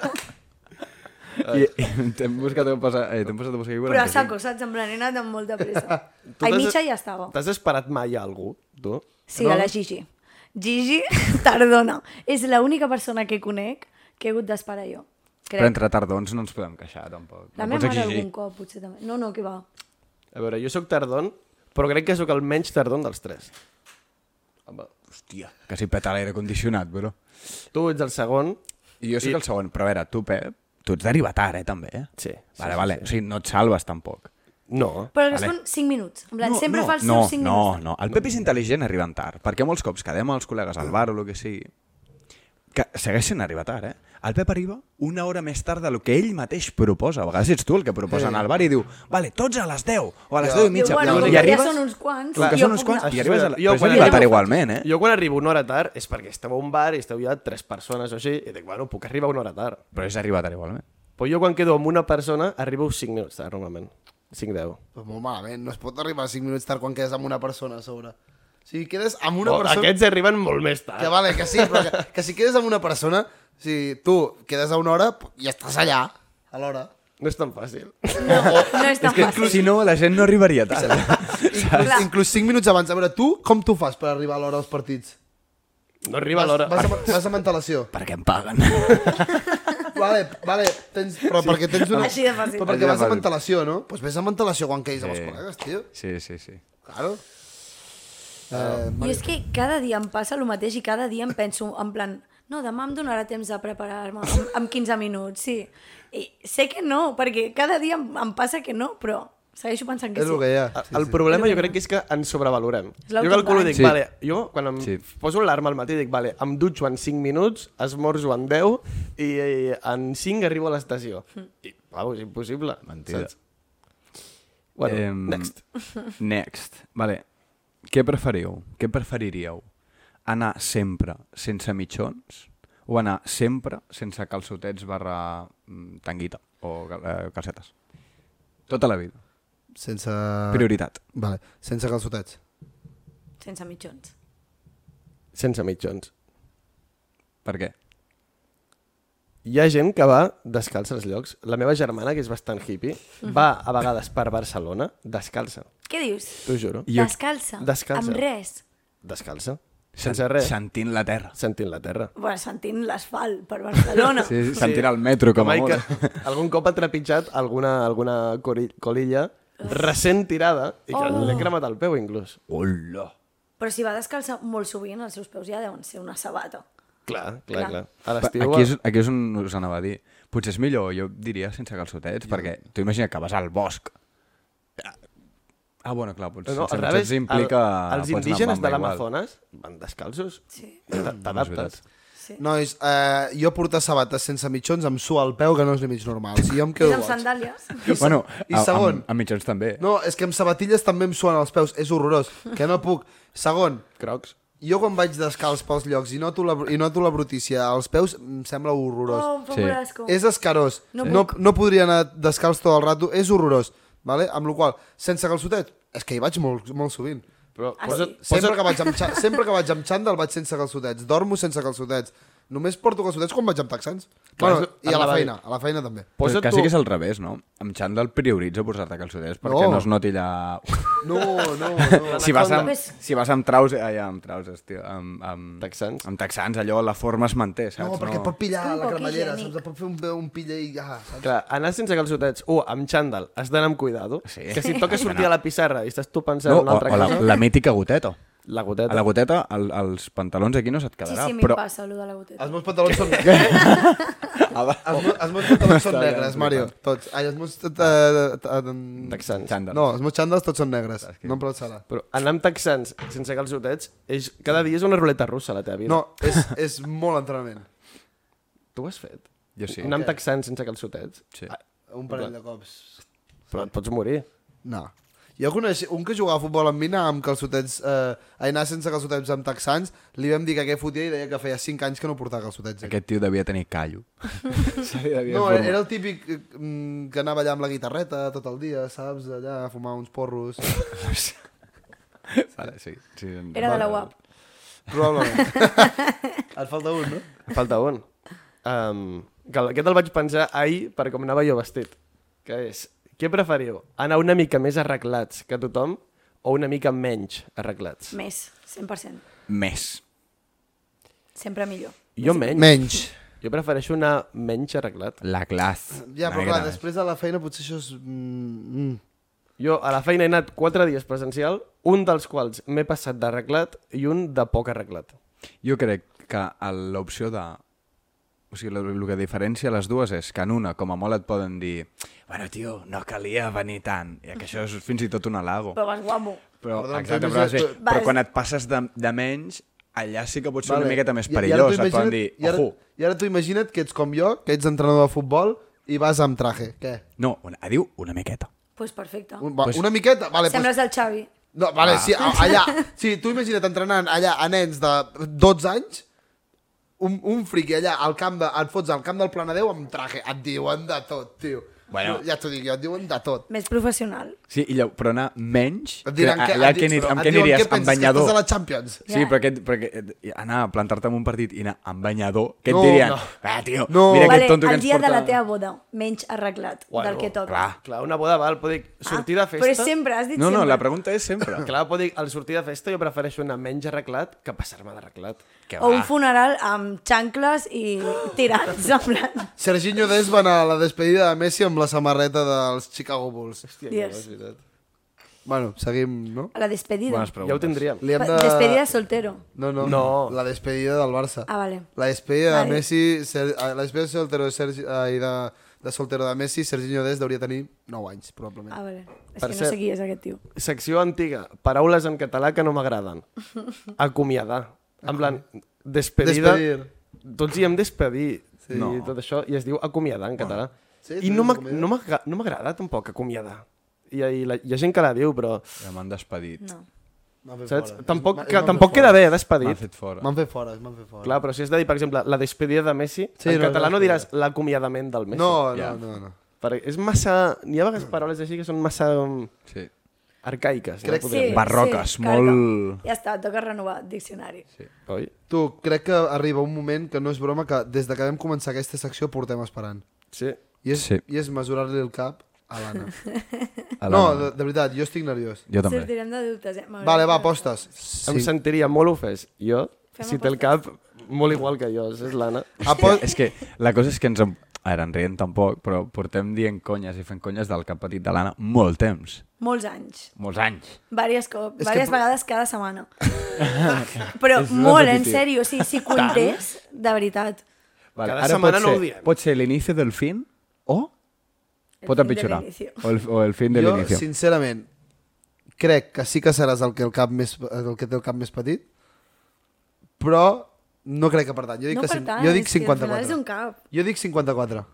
S3: I, i t'hem buscat a passar, eh, t'hem passat a buscar
S2: Però a
S3: igual.
S2: saco, saps? En plan, he anat amb molta pressa.
S1: Tu
S2: A
S1: t'has-
S2: mitja ja estava.
S1: T'has esperat mai a algú, tu?
S2: Sí, a la Gigi. Gigi Tardona. És l'única persona que conec que he hagut d'esperar jo.
S3: Però
S2: Crec.
S3: entre tardons no ens podem queixar, tampoc.
S2: La
S3: no
S2: meva
S3: pots
S2: mare
S3: exigir.
S2: algun cop, potser també. No, no, que va.
S1: A veure, jo sóc tardon, però crec que sóc el menys tardon dels tres.
S3: Hòstia, que si peta l'aire condicionat, però.
S1: Tu ets el segon.
S3: I jo sóc el segon, però a veure, tu, Pep, tu ets d'arribar tard, eh, també, eh?
S1: Sí, sí,
S3: Vale, vale. O sigui, no et salves, tampoc.
S1: No.
S2: Però vale. són 5 minuts. En plan, no, sempre
S3: no,
S2: fa els
S3: no,
S2: seus 5
S3: no,
S2: minuts.
S3: No, El Pep és intel·ligent arribant tard, perquè molts cops quedem els col·legues al bar o el que sigui, que segueixen arribar tard, eh? El Pep arriba una hora més tard del que ell mateix proposa. A vegades ets tu el que proposa anar al bar i diu vale, tots a les 10 o a les 10 i
S2: Diu,
S3: mitja.
S2: bueno,
S1: I
S2: com que
S1: arribes-
S2: ja són uns quants,
S3: Com que
S2: jo
S3: són uns
S2: puc
S3: quants,
S2: anar.
S3: i arribes a la...
S1: Jo
S3: Jo,
S1: quan
S3: però és arribar
S1: arribo-
S3: tard igualment, eh?
S1: Jo quan arribo una hora tard és perquè esteu a un bar i esteu ja tres persones o així, i dic, bueno, puc arribar una hora tard.
S3: Però és arribar tard igualment.
S1: Però jo quan quedo amb una persona arribo 5 minuts tard, normalment. 5-10.
S4: Però molt malament, no es pot arribar a 5 minuts tard quan quedes amb una persona a sobre. O sigui, quedes amb una
S3: Oh,
S1: Una
S4: persona...
S1: Oh, Aquests arriben molt més
S4: Que
S1: tard.
S4: vale, que sí, però que, que si quedes amb una persona, si tu quedes a una hora i estàs allà, a l'hora.
S1: No és tan fàcil.
S2: No és tan
S3: És que
S2: fàcil.
S3: si no, la gent no arribaria tard.
S4: Inclús, inclús 5 minuts abans. A veure, tu com tu fas per arribar a l'hora als partits?
S1: No arriba l'hora.
S4: Vas, vas, amb- vas amb antelació.
S3: perquè em paguen.
S4: Vale, vale, tens, però perquè tens una...
S2: Així de fàcil.
S4: Però
S3: Així de
S4: perquè vas amb
S3: fàcil.
S4: antelació, no? Doncs pues vés amb antelació quan quedis amb els
S3: Sí.
S4: col·legues, tio.
S3: Sí, sí, sí.
S4: Claro. Eh,
S2: Jo és que cada dia em passa el mateix i cada dia em penso en plan, no, demà em donarà temps de preparar-me en, en 15 minuts, sí. I sé que no, perquè cada dia em, em passa que no, però Segueixo pensant que
S4: És el
S2: sí.
S4: que hi ha.
S3: Ah.
S1: Ah, El, el problema jo crec que és que ens sobrevalorem.
S2: És
S1: Jo calculo i dic,
S3: Sí.
S1: sí. vale, jo quan em
S3: Sí.
S1: sí. poso l'alarma al matí dic, vale, em dutxo en 5 minuts, esmorzo en 10 i, i en 5 arribo a l'estació. I, vau, és impossible.
S3: Mentida.
S1: saps? Bueno,
S3: Em,
S1: next.
S3: Next. Vale. Què preferiu? Què preferiríeu? Anar sempre sense mitjons o anar sempre sense calçotets barra mm, tanguita o cal- eh, calcetes? Tota la vida.
S4: Sense...
S3: Prioritat.
S4: Vale, sense calçotets.
S2: Sense mitjons.
S1: Sense mitjons.
S3: Per què?
S1: Hi ha gent que va descalça als llocs. La meva germana, que és bastant hippie, va a vegades per Barcelona descalça,
S2: Què dius?
S1: t'ho juro.
S3: Jo-
S2: Descalça.
S1: Descalça.
S2: Amb res.
S1: Descalça,
S3: Sen-
S1: sense res,
S3: Sentint la terra.
S1: sentint la terra.
S2: Bueno, sentint l'asfalt per Barcelona.
S3: Sí, sí, sentint el metro, com a
S1: Mai
S3: molt.
S1: que algun cop ha trepitjat alguna, alguna cori- colilla recent tirada i que
S2: Oh.
S1: l'he cremat al peu, inclús.
S3: Hola.
S2: Però si va descalça molt sovint, els seus peus ja deuen ser una sabata.
S1: Clar, clar,
S2: Clar.
S1: clar. A l'estiu...
S3: Aquí és, aquí és on us anava a dir. Potser és millor, jo diria, sense calçotets, perquè tu imagina que vas al bosc. Ah, bueno, clar, potser
S1: No,
S3: sense
S1: al revés,
S3: calçotets implica...
S1: el, els
S3: pots anar amb
S1: indígenes de
S3: bamba igual. Mm,
S1: l'Amazones van descalços.
S2: Sí.
S1: T'a- T'adaptes.
S3: veritat.
S2: sí.
S4: Nois, eh, jo portar sabates sense mitjons em sua el peu que no és ni mig normal. Si jo em
S2: És
S4: quedo
S2: amb
S4: boig.
S2: sandàlies.
S4: I, se-
S3: Bueno,
S4: i
S3: a-
S4: segon,
S3: Amb, amb mitjans també. No.
S4: No, és que amb sabatilles també em suen els peus. És horrorós. Que no puc. Segon,
S1: Crocs.
S4: jo quan vaig descalç pels llocs i noto la, i noto la brutícia als peus, em sembla horrorós.
S2: Oh, em fa
S3: Sí.
S2: molt asco.
S4: És escarós.
S2: No
S4: No, no,
S2: puc.
S4: no podria anar descalç tot el rato. És horrorós. Vale? Amb la qual cosa, sense calçotet, és que hi vaig molt, molt sovint.
S1: Però
S2: Ah,
S1: posa't,
S2: sí?
S4: Sempre que, vaig amb, xa- sempre que vaig amb xandall vaig sense calçotets. Dormo sense calçotets. Només porto calçotets quan vaig amb texans.
S1: Clar,
S4: bueno,
S1: és-
S4: I a la
S1: anava a dir-
S4: feina, a la feina també.
S3: Però
S1: posa't
S3: quasi
S1: tu...
S3: que és al revés, no? Amb xandall prioritza posar-te calçotets perquè
S4: No.
S3: no, es noti la...
S4: No, no, no.
S3: Si vas, amb,
S2: Pues-
S3: si vas amb traus, ai, amb traus, tio, amb, amb,
S1: Texans.
S3: amb texans, allò, la forma es manté, saps?
S4: No, perquè et pot pillar
S2: Un
S4: la
S2: poc
S4: cremallera,
S2: higiènic.
S4: saps? Et pot fer un, un pilla i... Ah, saps?
S1: Clar, anar sense calçotets, o amb xandall, has d'anar amb cuidado,
S3: Sí.
S1: que si et toca sortir a la pissarra i estàs tu pensant
S3: No,
S1: en una
S3: o,
S1: altra
S3: o la,
S1: cosa,
S3: la mítica goteta.
S1: la
S3: A
S1: goteta.
S3: la goteta, el, els pantalons aquí no se't
S2: Sí,
S3: quedarà,
S2: sí, a mi
S3: però
S2: em passa, allò de la goteta.
S4: Els meus pantalons són... els,
S3: Ah,
S4: meus, els meus pantalons són
S3: Està bé,
S4: negres,
S3: és
S4: Mario. Tots. Ai, els meus... eh, eh, eh,
S1: Texans.
S3: Xandall.
S4: No, els meus xandals tots són negres. No em serà.
S1: Però anar amb texans sense calçotets, és, cada dia és una ruleta russa, la teva vida.
S4: No, és, és molt entrenament.
S1: Tu ho has fet?
S3: Jo sí.
S1: Anar amb texans sense calçotets?
S3: Sí.
S1: Ah,
S4: Un parell de cops.
S1: Però et pots morir.
S4: No. Jo coneix un que jugava a futbol amb mi, anava amb calçotets... Eh, ai, anar sense calçotets amb texans, li vam dir que què fotia i deia que feia 5 anys que no portava calçotets.
S3: Aquest tio devia tenir callo. Se li devia
S4: No,
S3: formar.
S4: era el típic eh, mm, que anava allà amb la guitarreta tot el dia, saps? Allà a fumar uns porros.
S3: Vale, sí, sí, doncs.
S2: Era de la UAP.
S4: Probablement. Et falta un, no?
S1: Falta un. Um, que el- aquest el vaig pensar ahir per com anava jo vestit. Que és, què preferiu? Anar una mica més arreglats que tothom o una mica menys arreglats?
S2: Més, 100%.
S3: Més.
S2: Sempre millor.
S1: Jo menys.
S4: Menys.
S1: Jo prefereixo anar menys arreglat.
S3: La classe.
S4: Ja, però clar, després de la feina potser això és... Mm, mm.
S1: Jo a la feina he anat quatre dies presencial, un dels quals m'he passat d'arreglat i un de poc arreglat.
S3: Jo crec que el- l'opció de... O sigui, el, el que diferencia les dues és que en una, com a molt, et poden dir bueno, tio, no calia venir tant, i que això és fins i tot un halago.
S2: Però vas guapo.
S3: Però,
S4: Perdó,
S3: exacte,
S4: em
S3: però,
S4: fem
S3: sí,
S4: més-
S3: però
S2: Vas-
S3: quan et passes de, de menys, allà sí que pot ser
S4: Vale.
S3: una miqueta més
S4: I- i ara
S3: perillós.
S4: tu
S3: Et poden
S4: imagina't-
S3: dir,
S4: I ara,
S3: ojo,
S4: i ara tu imagina't que ets com jo, que ets entrenador de futbol i vas amb traje. Què?
S3: no, una, ah, diu una miqueta.
S2: Doncs pues perfecte.
S4: Un, va, una miqueta? Vale,
S2: Sembles el Xavi.
S4: pues, no, vale,
S3: Ah.
S4: sí, a- allà. Sí, tu imagina't entrenant allà a nens de 12 anys, un, un friqui allà al camp de, et fots al camp del Planadeu amb traje. Et diuen de tot, tio.
S3: Bueno.
S4: Ja t'ho dic jo, et diuen de tot.
S2: Més professional.
S3: Sí, i llavor, però anar menys...
S4: Et diran
S3: que,
S4: que,
S3: allà
S4: et
S3: que,
S4: di-
S3: anir,
S4: però
S3: amb
S4: et
S3: què
S4: diuen,
S3: aniries?
S4: què
S3: Amb
S4: penses, que
S3: banyador.
S4: estàs a la Champions?
S3: Sí,
S2: Ja.
S3: però aquest, perquè eh, anar a plantar-te en un partit i anar amb banyador, què et
S4: No,
S3: dirien?
S4: no.
S3: Ah, tio,
S4: No.
S3: mira
S2: Vale,
S3: aquest tonto que
S2: el
S3: ens
S2: dia
S3: porta...
S2: de la teva boda, menys arreglat
S1: Bueno,
S2: del que toca. Ah,
S3: clar.
S1: Clar, una boda val, però dic, sortir de festa...
S2: Però és sempre, has dit
S3: No, no,
S2: sempre.
S3: la pregunta és sempre.
S1: Clar, però dic, al sortir de festa jo prefereixo anar menys arreglat que passar-me d'arreglat.
S3: Que
S2: O un
S3: va.
S2: funeral amb xancles i tirats, en plan...
S4: Serginho Des va anar a la despedida de Messi amb la samarreta dels Chicago Bulls.
S1: Hòstia,
S2: Yes.
S1: no, és veritat.
S4: Bueno, seguim, no?
S2: A la despedida.
S3: Bones
S1: Ja ho tindríem.
S4: Li hem
S2: Pa-
S4: de...
S2: Despedida soltero.
S4: No, no,
S1: No.
S4: La despedida del Barça.
S2: Ah, vale.
S4: La despedida
S2: Vale.
S4: ah, de Messi, Ser... la despedida de Soltero de Sergi... Ai, de... de soltero de Messi, Serginho Dest hauria de tenir 9 anys, probablement.
S2: A veure, Ah, és
S1: Per
S2: que no
S1: cert-
S2: sé qui és aquest tio.
S1: Secció antiga. Paraules en català que no m'agraden. Acomiadar. En plan, despedida.
S4: Ah. Despedir.
S1: Tots diem despedir. Sí.
S3: No.
S1: I tot això, i es diu acomiadar en català.
S4: Sí,
S1: I
S4: tu
S1: no
S4: dius
S1: m'ag-
S4: acomiadar.
S1: no m'agra- no m'agrada tampoc acomiadar. I, i la, hi ha gent que la diu, però...
S3: Ja m'han despedit. No.
S4: M'han fet
S1: Saps?
S4: fora.
S1: Tampoc,
S4: M'han-
S1: que,
S4: m'han
S1: tampoc
S4: fet
S1: queda
S4: fora.
S1: bé
S3: M'han
S1: despedir.
S3: fet fora.
S4: M'han fet fora, m'han fet fora.
S1: Clar, però si has de dir, per exemple, la despedida de Messi,
S4: Sí,
S1: sí, en
S4: no,
S1: català no
S4: no,
S1: diràs l'acomiadament del Messi.
S4: No, no,
S3: Ja.
S4: no, no.
S1: Perquè és massa... N'hi ha vegades paraules així que són massa um,
S3: Sí.
S1: arcaiques.
S4: Crec-
S1: no?
S2: Sí,
S1: Podríem-
S3: Barroques,
S2: sí, carga.
S3: molt-
S2: Ja està, toca renovar diccionari. Sí.
S1: Oi?
S4: Tu, crec que arriba un moment que no és broma que des de que vam començar aquesta secció portem esperant.
S1: Sí.
S4: I és,
S3: Sí.
S4: i és mesurar-li el cap a l'Anna.
S3: A la-
S4: No, de, de veritat, jo estic nerviós.
S3: Jo també.
S2: Sortirem de dubtes, eh? M'agrada
S4: Vale, va,
S2: que-
S4: apostes.
S1: Em
S4: Sí.
S1: sentiria molt ofès. Jo,
S2: Fem
S1: si té el cap, molt igual que jo, és l'Anna.
S3: Hòstia,
S4: Apo-
S3: és que la cosa és que ens... en- A veure, en rient tampoc, però portem dient conyes i fent conyes del cap petit de l'Anna molt temps.
S2: Molts anys.
S3: Molts anys.
S2: Vàries, cop,
S4: És
S2: vàries
S4: que-
S2: vegades cada setmana. Però
S3: És
S2: molt, en
S3: repetitiu.
S2: sèrio. Sí, si comptés, de veritat.
S1: Cada setmana
S3: pot
S1: no
S3: ser,
S1: ho diem.
S3: Pot ser l'inici del fin o
S2: El fin
S3: pot
S2: de
S3: empitjorar.
S2: l'inicio.
S3: O el, o el fin de
S4: Jo,
S3: l'inici.
S4: sincerament, crec que sí que seràs el que, el cap més, el que té el cap més petit, però no crec que per tant. Jo dic,
S2: No
S4: que
S2: per
S4: cin-
S2: tant,
S4: jo dic
S2: és que al final
S4: 54.
S2: és un cap.
S4: Jo dic 54.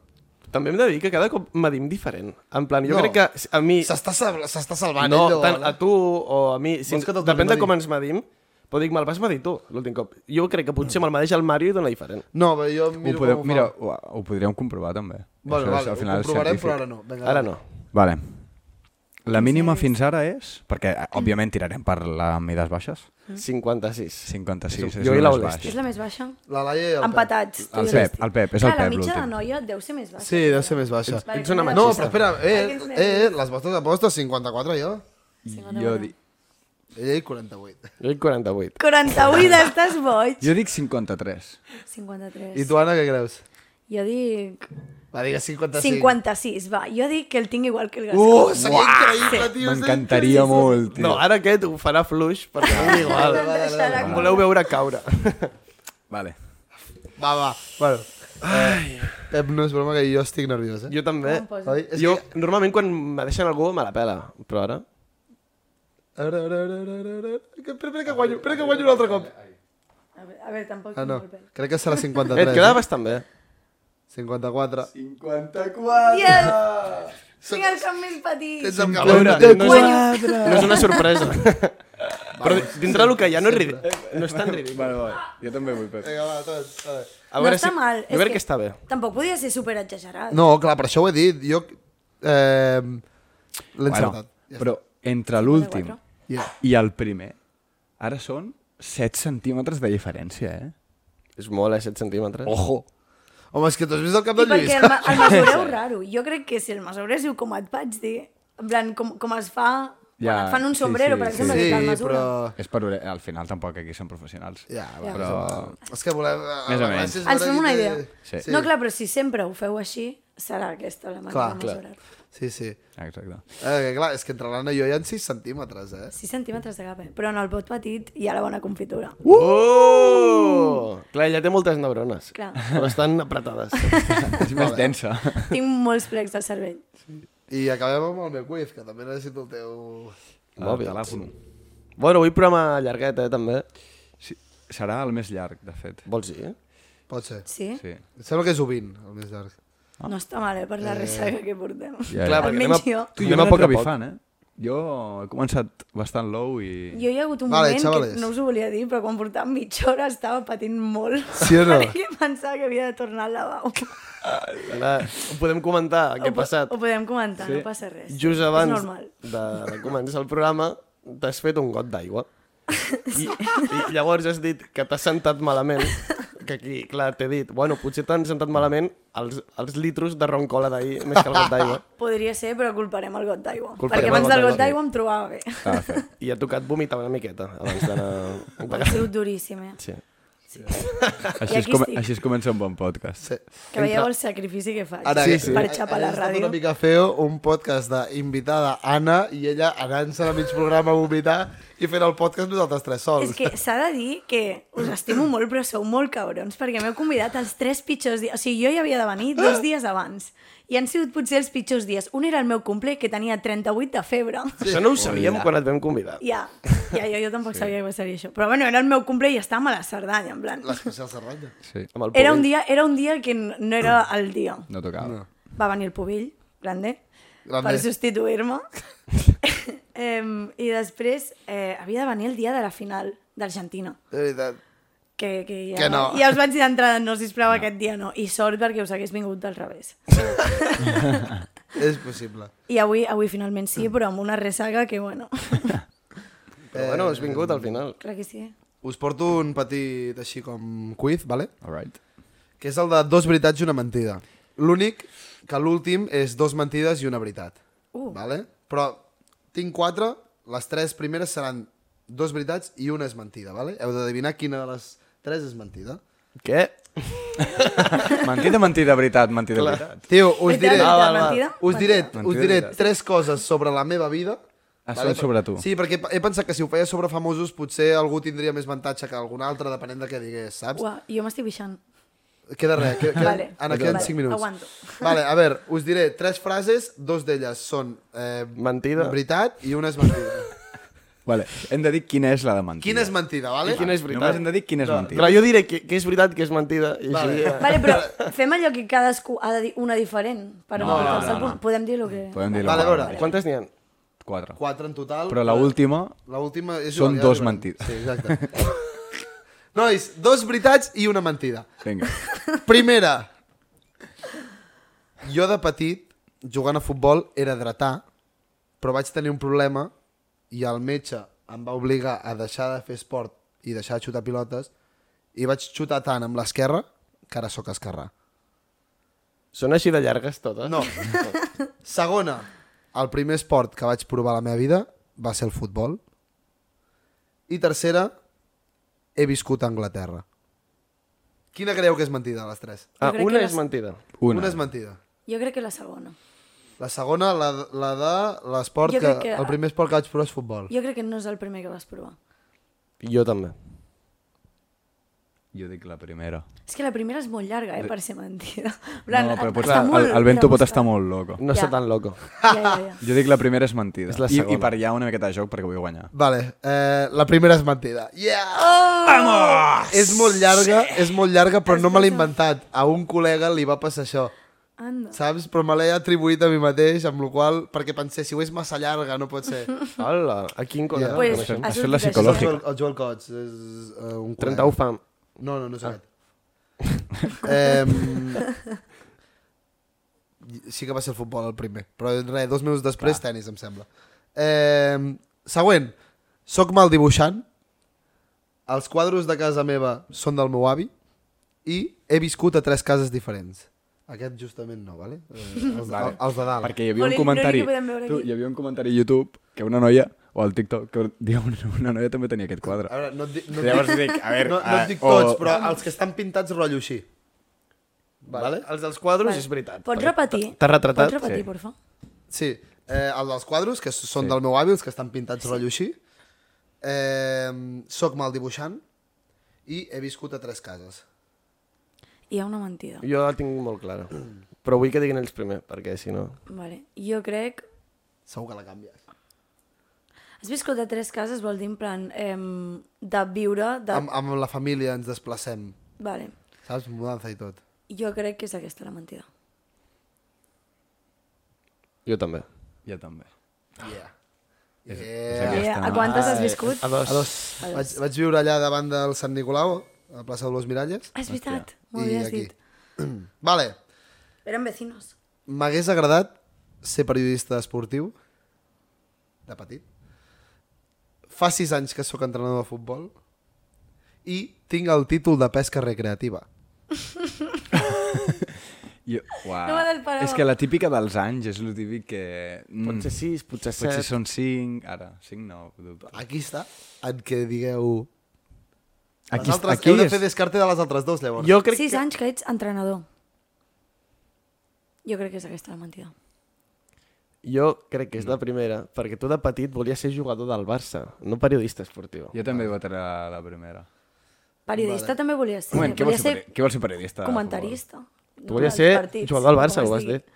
S1: També hem de dir que cada cop m'adim diferent. En plan, jo
S4: No.
S1: crec que a mi...
S4: S'està sal- s'està salvant.
S1: No,
S4: ell, o
S1: tant
S4: la-
S1: a tu o a mi. Si
S4: eh? Vols
S1: ens,
S4: que te'l
S1: depèn
S4: tornem a
S1: de
S4: dir?
S1: com ens medim, però dic, me'l vas medir tu l'últim cop. Jo crec que potser me'l medeix el Mario i dona diferent.
S4: No, però jo
S3: Ho,
S4: miro
S3: podeu,
S4: com ho fa.
S3: mira, ho, ho podríem comprovar també.
S4: Bueno,
S3: Això és,
S4: vale,
S3: al final,
S4: ho
S3: és
S4: comprovarem,
S3: científic.
S4: però ara no. Vinga,
S1: Ara
S4: dale.
S1: no.
S3: Vale. La mínima fins ara és... Perquè, eh, òbviament, tirarem per les mides baixes.
S1: 56.
S3: 56 és
S1: Jo i
S3: el més
S1: l'Aulest.
S3: baix.
S2: És la més baixa?
S4: La Laia i el
S2: Empatats. tu
S3: El
S2: i
S3: Pep,
S2: l'Esti.
S3: el Pep, és el
S2: Clar,
S3: Pep,
S2: la mitja de
S3: l'últim.
S2: noia deu ser més baixa.
S4: Sí, deu ser més baixa.
S2: Vale,
S1: Ets una
S2: mira,
S4: No,
S1: machista.
S4: però espera,
S2: Ai,
S4: eh,
S2: quins
S4: eh, eh, les vostres apostes, 54 jo.
S3: Jo, di
S4: Ella i 48.
S1: Jo dic 48.
S2: 48, estàs boig.
S3: jo dic 53.
S2: 53.
S4: I eh. tu, Anna, què creus?
S2: Jo dic...
S4: Va, digues 55.
S2: 56, va. Jo dic que el tinc igual que el Gascó.
S4: Uh, seria increïble, tio.
S3: M'encantaria molt, tio.
S1: No,
S4: eh.
S1: ara aquest ho farà fluix, perquè no és igual.
S2: Em
S1: Em
S2: deixarà com-
S1: voleu veure caure.
S3: Vale.
S4: Va, va. Bueno. Eh, Pep, no és broma que jo estic nerviós, eh?
S1: Jo també.
S2: em poso.
S4: Oi? És
S1: Jo,
S4: que-
S1: normalment, quan me deixen algú, me la pela. Però ara...
S4: A veure, a veure, a veure, a veure, a veure. Que- Espera, espera que guanyo, espera que guanyo un altre cop.
S2: A veure, a veure, tampoc
S4: Ah,
S2: tinc
S4: no.
S2: molt pèl.
S4: Crec que serà
S1: Eh,
S4: 53.
S1: et quedava bastant bé.
S4: 54.
S2: Yes! Tinc el cap més petit.
S4: Tens el
S1: A veure,
S4: cabell.
S1: no és, no és una sorpresa. Però dintre del que hi ha no és, ri- no és tan ridícul.
S3: Vale, vale. Jo també vull, Pep.
S4: Vinga, va, tot, tot.
S1: A veure
S2: no està
S1: si-
S2: mal.
S1: Jo crec que està bé.
S2: Tampoc podia ser super exagerat.
S4: No, clar, per això ho he dit. Jo... Eh, L'he
S3: Bueno,
S4: encertat.
S3: però entre l'últim
S2: quatre.
S4: Ja.
S3: i el primer, ara són 7 centímetres de diferència, eh?
S1: És molt, eh, 7 centímetres.
S3: Ojo!
S4: Home, és que tu has vist el cap
S2: I
S4: de Lluís?
S2: perquè el, ma- el mesureu raro. Jo crec que si el mesuréssiu com et vaig dir, en plan, com, com es fa...
S3: Ja,
S2: quan et fan un
S3: sí,
S2: sombrero,
S3: sí,
S2: per
S3: sí.
S2: exemple, que te'l
S4: Sí,
S2: mesura.
S4: però...
S3: És per... ore- Al final tampoc aquí són professionals.
S4: Ah. Ja, va,
S2: Ja.
S4: però...
S3: Però...
S4: És que volem... eh,
S3: Més o menys.
S2: Ens fem una idea.
S3: Sí.
S2: No, clar, però si sempre ho feu així, serà aquesta la manera
S4: Clar,
S2: de
S4: clar.
S2: mesurar.
S4: Sí, sí.
S3: Exacte.
S4: Eh, que clar, és que entre l'Anna i jo hi ha 6 centímetres, eh?
S2: 6 centímetres de cap, eh? Però en el pot petit hi ha la bona confitura.
S1: Uh! Oh! Clar, ella té moltes neurones.
S2: Clar.
S1: Però estan apretades.
S3: És
S4: eh,
S3: més densa.
S2: Tinc molts plecs al cervell.
S4: I acabem amb el meu quiz, que també necessito el teu...
S1: Mòbil.
S3: El telèfon.
S1: Bueno, avui programa llarguet, eh, també.
S3: Sí, serà el més llarg, de fet.
S1: Vols dir, eh?
S4: Pot ser.
S2: Sí?
S3: Sí.
S4: Em sembla que és ovint, el més llarg.
S2: No està mal, eh? Per la resta que portem.
S1: Clar,
S3: Ja, ja.
S1: perquè
S2: Almenys
S1: anem a-
S2: jo.
S3: Tu,
S1: anem
S3: jo
S1: a poc
S3: m'he
S1: a poc.
S3: revifant, eh? Jo he començat bastant low i...
S2: Jo hi ha hagut un
S4: Vale,
S2: moment
S4: xavales.
S2: que no us ho volia dir, però quan portava mitja hora estava patint molt.
S4: Sí o no?
S2: Perquè pensava que havia de tornar al lavabo.
S1: Ara ho podem comentar, què
S2: Ho
S1: ha
S2: po-
S1: passat.
S2: Ho podem comentar, no passa res.
S1: Just
S2: És
S1: abans
S2: normal.
S1: de, de començar el programa, t'has fet un got d'aigua. I, I llavors has dit que t'has sentat malament, que aquí, clar, t'he dit, bueno, potser t'han sentat malament els, els litros de roncola d'ahir, més que el got d'aigua.
S2: Podria ser, però culparem el got d'aigua.
S1: Culparem
S2: Perquè
S1: el
S2: abans
S1: got
S2: del got
S1: d'aigua.
S2: d'aigua em trobava bé.
S3: Ah, fet.
S1: I ha tocat vomitar una miqueta abans d'anar...
S2: Ha sigut duríssim, eh?
S1: Sí.
S3: Així,
S2: I
S3: es
S2: aquí
S3: com...
S2: estic.
S3: Així es comença un bon podcast.
S4: Sí.
S2: Que veieu el sacrifici que faig
S4: Ara, eh,
S2: sí,
S4: sí, sí.
S2: per xapar la
S4: Ha estat
S2: ràdio.
S4: una mica feo un podcast d'invitada Anna i ella anant-se a mig programa a vomitar i fent el podcast nosaltres tres sols.
S2: És que s'ha de dir que us estimo molt, però sou molt cabrons, perquè m'heu convidat els tres pitjors dies. O sigui, jo hi havia de venir dos dies abans. I han sigut potser els pitjors dies. Un era el meu cumple, que tenia 38 de febre.
S1: Això no ho sabíem quan et vam convidar.
S2: Ja, ja, jo, jo tampoc sí. sabia que passaria això. Però bueno, era el meu cumple i estàvem a la Cerdanya, en plan.
S4: L'especial Serranya.
S3: Sí.
S1: Amb el
S2: Era
S1: Puri.
S2: un dia, era un dia que Mm. no era el dia.
S3: No tocava. No.
S2: Va venir el Pubill, grande,
S4: Grande.
S2: grande. per substituir-me. eh, I després eh, havia de venir el dia de la final d'Argentina.
S4: De veritat.
S2: Que, que, ja,
S4: Que no.
S2: ja us vaig dir d'entrada, no, sisplau, no. aquest dia no. I sort perquè us hagués vingut del revés.
S4: És possible.
S2: I avui, avui finalment sí, però amb una ressaca que, bueno,
S1: Però bueno, has vingut al final.
S2: clar que sí.
S4: Eh, Us porto un petit així com quiz, vale?
S3: All right.
S4: que és el de dos veritats i una mentida. L'únic que l'últim és dos mentides i una veritat.
S2: Uh.
S4: Vale? Però tinc quatre, les tres primeres seran dos veritats i una és mentida. Vale? Heu d'adivinar quina de les tres és mentida.
S1: Què?
S3: Mentida, mentida, veritat, mentida, Clar. veritat.
S4: Tio, us
S2: Veritat,
S4: diré,
S2: veritat, Ah, val, val. mentida,
S4: us diré,
S2: mentida.
S4: us
S3: Mentida,
S4: diré
S3: veritat.
S4: tres coses sobre la meva vida.
S3: Ah, són sobre tu.
S4: Sí, perquè he pensat que si ho feia sobre famosos potser algú tindria més avantatge que algun altre, depenent de què digués, saps?
S2: Ua, jo m'estic pixant.
S4: Queda res, que, que,
S2: Vale.
S4: Anna, queden
S2: Vale,
S4: 5 minuts.
S2: aguanto.
S4: Vale, a veure, us diré tres frases, dos d'elles són eh,
S1: Mentida.
S4: veritat i una és mentida.
S3: Vale. Hem de dir quina és la de mentida.
S4: Quina és mentida, vale?
S1: Quina és veritat?
S3: Només hem de dir quina és mentida.
S1: Clar, jo diré que, que és veritat, que és mentida. I
S4: Vale.
S1: així, ja.
S2: Vale, però fem allò que cadascú ha de dir una diferent. Per no, no, no, no. Podem dir el que...
S3: Podem dir-la.
S4: Vale, a veure,
S1: Quantes n'hi ha?
S3: Quatre.
S4: Quatre en total.
S3: Però la última...
S4: La última és
S3: Són
S4: igual, ja
S3: dos
S4: arribarem.
S3: mentides.
S4: Sí, exacte. Nois, dos veritats i una mentida.
S3: Vinga.
S4: Primera. Jo de petit, jugant a futbol, era dretà, però vaig tenir un problema i el metge em va obligar a deixar de fer esport i deixar de xutar pilotes i vaig xutar tant amb l'esquerra que ara sóc esquerrà.
S1: Són així de llargues totes?
S4: No. Segona, el primer esport que vaig provar a la meva vida va ser el futbol. I tercera, he viscut a Anglaterra. Quina creieu que és mentida, les tres?
S1: Ah,
S2: Jo crec
S1: una
S2: que
S1: és
S2: les-
S1: mentida.
S3: Una.
S4: Una és mentida.
S2: Jo crec que la segona.
S4: La segona, la, la de l'esport
S2: Jo
S4: que,
S2: crec
S4: que...
S2: que-
S4: El primer esport que vaig provar és futbol.
S2: Jo crec que no és el primer que vas provar.
S1: Jo també.
S3: Jo dic la primera.
S2: És que la primera és molt llarga, eh, per ser mentida. En plan,
S3: no, però
S2: et-
S3: pot
S2: està
S3: estar,
S2: molt
S3: el, el vento pot
S2: rebuscat.
S3: estar molt loco.
S1: No
S2: Ja.
S1: està tan loco.
S2: Ja, ja, ja.
S3: Jo dic la primera és mentida.
S1: És la
S3: I, I
S1: segona.
S3: per allà una miqueta de joc perquè vull guanyar.
S4: Vale, eh, la primera és mentida. Yeah! Oh! Vamos! És molt llarga, és molt llarga, però no me l'he inventat. A un col·lega li va passar això.
S2: Anda.
S4: Saps? Però me l'he atribuït a mi mateix, amb la qual perquè pensé, si ho és massa llarga, no pot ser.
S1: Hola, a quin col·lega?
S2: Pues,
S1: Pues...
S2: ha
S3: això és
S2: sortit
S3: la
S2: això.
S4: És el
S3: psicològica.
S4: Joel, el Joel Cots, és uh, un
S1: 31 fam.
S4: col·lega. No, no, no és
S3: Ah.
S4: aquest. eh, sí que va ser el futbol el primer, però res, dos mesos després tenis, em sembla. Eh, següent. Soc mal dibuixant, els quadros de casa meva són del meu avi i he viscut a tres cases diferents. Aquest justament no, vale? Eh, els,
S3: Vale.
S4: els de dalt.
S3: Perquè hi havia
S2: Oli,
S3: un
S2: l'únic
S3: comentari...
S2: que podem veure
S3: Tu,
S2: aquí.
S3: hi havia un comentari a YouTube que una noia, o al TikTok, que diu una, una noia també tenia aquest
S4: A
S3: quadre.
S4: veure, no et, di- no et
S3: Llavors
S4: dic-
S3: dic, a veure...
S4: No, no
S3: eh,
S4: et dic tots,
S3: o-
S4: però els que estan pintats rotllo així. Vale?
S1: Els dels quadros
S2: Vale.
S1: és veritat.
S2: Pots repetir?
S1: T'has retratat?
S2: Pots repetir,
S3: Sí.
S2: porfa?
S4: Sí, eh, el dels quadros, que són sí. del meu avi, els que estan pintats sí. rotllo així. Eh, soc mal dibuixant i he viscut a tres cases.
S2: Hi ha una mentida.
S1: Jo la tinc molt clara. Però vull que diguin ells primer, perquè si no...
S2: Vale. Jo crec...
S4: Segur que la canvies.
S2: Has viscut a tres cases, vol dir, en plan, em, de viure... De...
S4: Amb, amb la família ens desplacem,
S2: Vale.
S4: saps? Mudança i tot.
S2: Jo crec que és aquesta la mentida.
S1: Jo també.
S3: Ja també.
S4: Yeah.
S3: és
S4: Yeah.
S3: Aquesta,
S2: Yeah. Eh, A
S3: no?
S2: quantes
S1: Ah,
S2: has viscut?
S1: A dos.
S4: A dos. Vaig, vaig viure allà davant del Sant Nicolau, a la plaça de Los Miralles.
S2: Ah, és veritat, m'ho
S4: I
S2: havies
S4: aquí.
S2: dit.
S4: Vale.
S2: Eren vecinos.
S4: M'hagués agradat ser periodista esportiu de petit. Fa sis anys que sóc entrenador de futbol i tinc el títol de pesca recreativa.
S3: Jo, uah.
S2: No m'ha del paró.
S3: és que la típica dels anys és el típic que... Mm,
S1: Potser sis, potser set.
S3: potser són cinc, ara, cinc no. ho dubto.
S4: Aquí està, en què digueu Aquí,
S3: Aquí,
S4: les altres,
S3: aquí
S4: heu de
S3: és...
S4: fer descarte de les altres dues, llavors.
S1: Jo crec
S2: Sis
S1: que...
S2: anys que ets entrenador. Jo crec que és aquesta la mentida.
S1: Jo crec que és la primera, perquè tu de petit volies ser jugador del Barça, no periodista esportiu.
S3: Jo també votaré la primera.
S2: Periodista també volia ser.
S3: Un moment, què
S2: volia
S3: vols ser, peri- què vols ser periodista? de futbol?
S2: comentarista.
S1: Ah, Tu volies
S2: durant
S1: ser
S2: els partits,
S1: jugador del
S2: com
S1: Barça,
S2: es
S1: ho has
S2: digui.
S1: dit.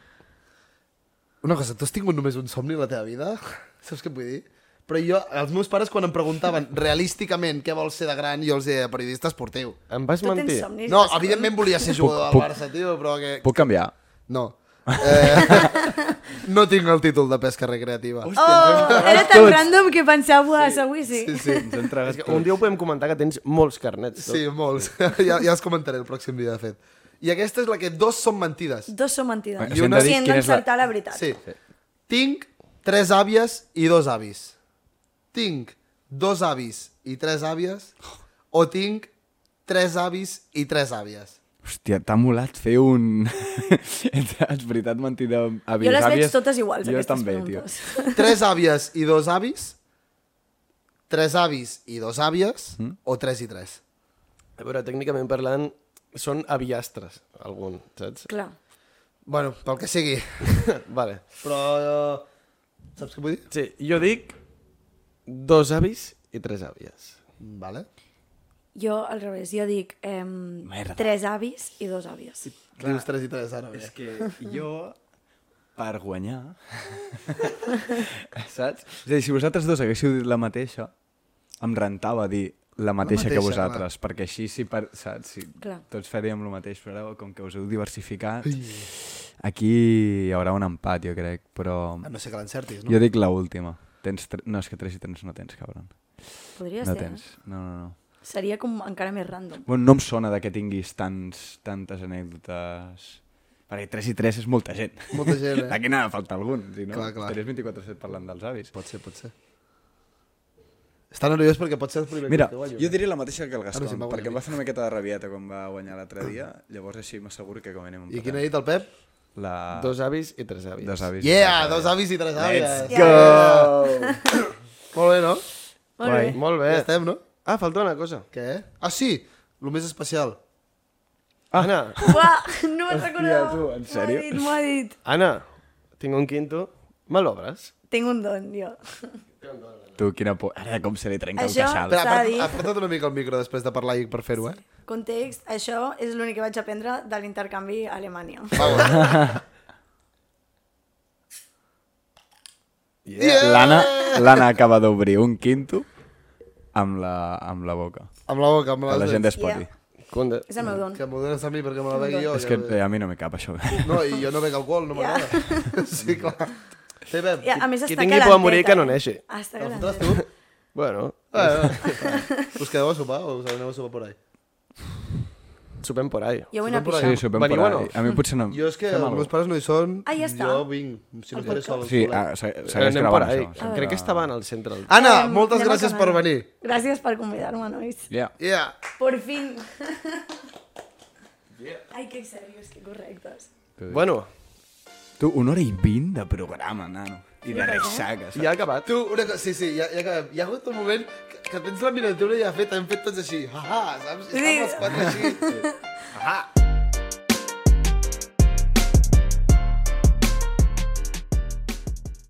S4: Una cosa, tu has tingut només un somni a la teva vida? Saps què et vull dir? Però jo, els meus pares, quan em preguntaven realísticament què vols ser de gran, jo els deia periodista esportiu.
S1: Em vas
S2: Tu tens
S1: mentir.
S2: somnis.
S4: No,
S2: Vas-
S4: evidentment volia ser jugador del
S3: puc-
S4: Barça, tio, però que...
S3: Puc canviar?
S4: No. Eh, no tinc el títol de pesca recreativa.
S2: Oh, era tan random que pensava, "Buah, segur sí.
S4: Sí, sí.
S3: Ens hem
S1: És
S3: tragat
S1: que un dia ho podem comentar que tens molts carnets. tu.
S4: Sí, molts. Ja, ja els comentaré el pròxim dia, de fet. I aquesta és la que dos són mentides.
S2: Dos són mentides.
S3: Bueno,
S2: I
S3: si hem
S2: una
S3: de dir
S2: si hem
S3: quina és la-
S2: d'encertar la... veritat.
S4: Sí. Tinc tres àvies i dos avis. Tinc dos avis i tres àvies o tinc tres avis i tres àvies.
S3: Hòstia, t'ha molat fer un... És veritat, mentida. Avis,
S2: Jo les veig
S3: àvies.
S2: totes iguals,
S3: Jo
S2: aquestes
S3: també,
S2: preguntes.
S4: Tres àvies i dos avis, tres avis i dos àvies mm? o tres i tres.
S1: A veure, tècnicament parlant, són aviastres, algun, saps?
S2: Clar.
S4: Bueno, pel que sigui.
S1: vale.
S4: Però... Eh, saps què vull dir?
S1: Sí, jo dic dos avis i tres àvies.
S4: Vale.
S2: Jo, al revés, jo dic em,
S3: Merda.
S2: tres avis i dos àvies.
S4: Dius tres i tres, ara. eh. bé.
S3: que jo, per guanyar... Saps? És a dir, si vosaltres dos haguéssiu dit la mateixa, em rentava dir la mateixa,
S4: mateixa,
S3: que vosaltres, perquè així si per, saps? Si
S2: Clar.
S3: tots faríem el mateix, però ara, com que us heu diversificat, aquí hi haurà un empat, jo crec, però...
S4: A Ah, no sé que l'encertis, no?
S3: Jo dic la última. Tens tre... No, és que 3 i 3 no tens, cabron.
S2: Podria
S3: no
S2: ser,
S3: tens. No, no, no.
S2: eh? Seria com encara més random.
S3: Bueno, no em sona de que tinguis tants, tantes anècdotes... Perquè 3 i 3 és molta gent.
S4: Molta gent, eh?
S3: Aquí n'ha de faltar algun. Si no,
S4: Clar, clar.
S3: estaries 24-7 parlant dels avis.
S4: Pot ser, pot ser. Està nerviós perquè pot ser el primer
S3: Mira,
S4: que guanyo.
S2: eh?
S3: jo diria la mateixa que el Gascon,
S4: sí, em va guanyar.
S3: perquè em va fer una miqueta de rabieta quan va guanyar l'altre dia, llavors així m'asseguro que com a mínim
S4: I
S3: empatem.
S4: quina ha dit el Pep?
S3: La...
S1: Dos avis i tres àvies.
S3: Ah. Dos avis.
S4: Yeah, dos avis i tres àvies.
S3: Let's go!
S4: Molt bé, no?
S2: Molt bé.
S1: Molt bé.
S4: Ja estem, no?
S1: Ah, falta una cosa.
S4: Què? Ah, sí! El més especial.
S1: Ah. Anna,
S2: Uah, no me'n recordava.
S3: tu,
S2: M'ho
S3: en
S2: ha
S3: sèrio?
S2: dit, m'ho ha dit.
S1: Anna, tinc un quinto, me l'obres?
S2: Tinc un don, jo.
S3: Tu, quina por... Ara com se li trenca
S2: Això-
S3: el queixal.
S4: Espera,
S2: S'ha de
S4: apart-
S2: dir.
S4: aparta't una mica el micro després de parlar i per fer-ho, eh?
S2: Context, això és l'únic que vaig aprendre de l'intercanvi a Alemanya.
S3: Ah. Yeah. L'Anna l'Anna acaba d'obrir un quinto amb la, amb la boca.
S4: Amb la boca, amb
S3: Que
S4: les
S3: la gent
S4: dents.
S3: despoti.
S2: Yeah.
S1: Conde.
S2: És el meu don.
S4: Que m'ho dones a mi perquè me la begui jo.
S3: És que
S4: ja-
S3: eh, a mi no me cap això.
S4: No, i jo no bec alcohol, no
S2: Ja.
S4: m'agrada. Sí, clar. Sí, Pep.
S2: I a més
S1: qui
S2: està
S1: tingui por a
S2: calenteta,
S1: morir, que no
S2: eh?
S1: neixi.
S2: Està
S4: Te'l fotràs
S2: calenteta.
S4: tu?
S1: Bueno,
S4: Ah, ah. Us quedeu a sopar o us aneu a sopar por ahí?
S1: supem por ahí.
S2: Jo vull anar a
S4: Sempre
S2: pixar.
S3: Sí, sopem per
S1: Veniu o no?
S3: ahí. A mi potser no.
S4: Jo és que
S3: Fem
S4: els
S3: alguna
S4: meus pares no hi són.
S2: Ah, ja està.
S4: Jo vinc, si no estaré sol. al
S3: Sí,
S4: col·le.
S3: ah, se- segueix
S1: Eh, Anem per
S3: gravant
S1: ahí.
S3: això. Ah. sempre.
S1: Crec que estava en el centre. del-
S4: Anna,
S2: Anem-
S4: moltes
S2: anem
S4: gràcies per
S2: acabant.
S4: venir.
S2: Gràcies per convidar-me, nois.
S3: Yeah.
S4: Yeah.
S2: Por fin. Ai, que serios, que correctes.
S1: Bueno,
S3: Tu, una hora i vint de programa, nano. I de ressaques.
S1: ja ha acabat.
S4: Tu, una cosa, sí, sí, ja, ja acabem. Hi ha hagut un moment que, que tens la miniatura ja feta, hem fet tots així, ha, ha, saps? I
S2: Sí.
S4: estàvem els quatre així. Ha, ha.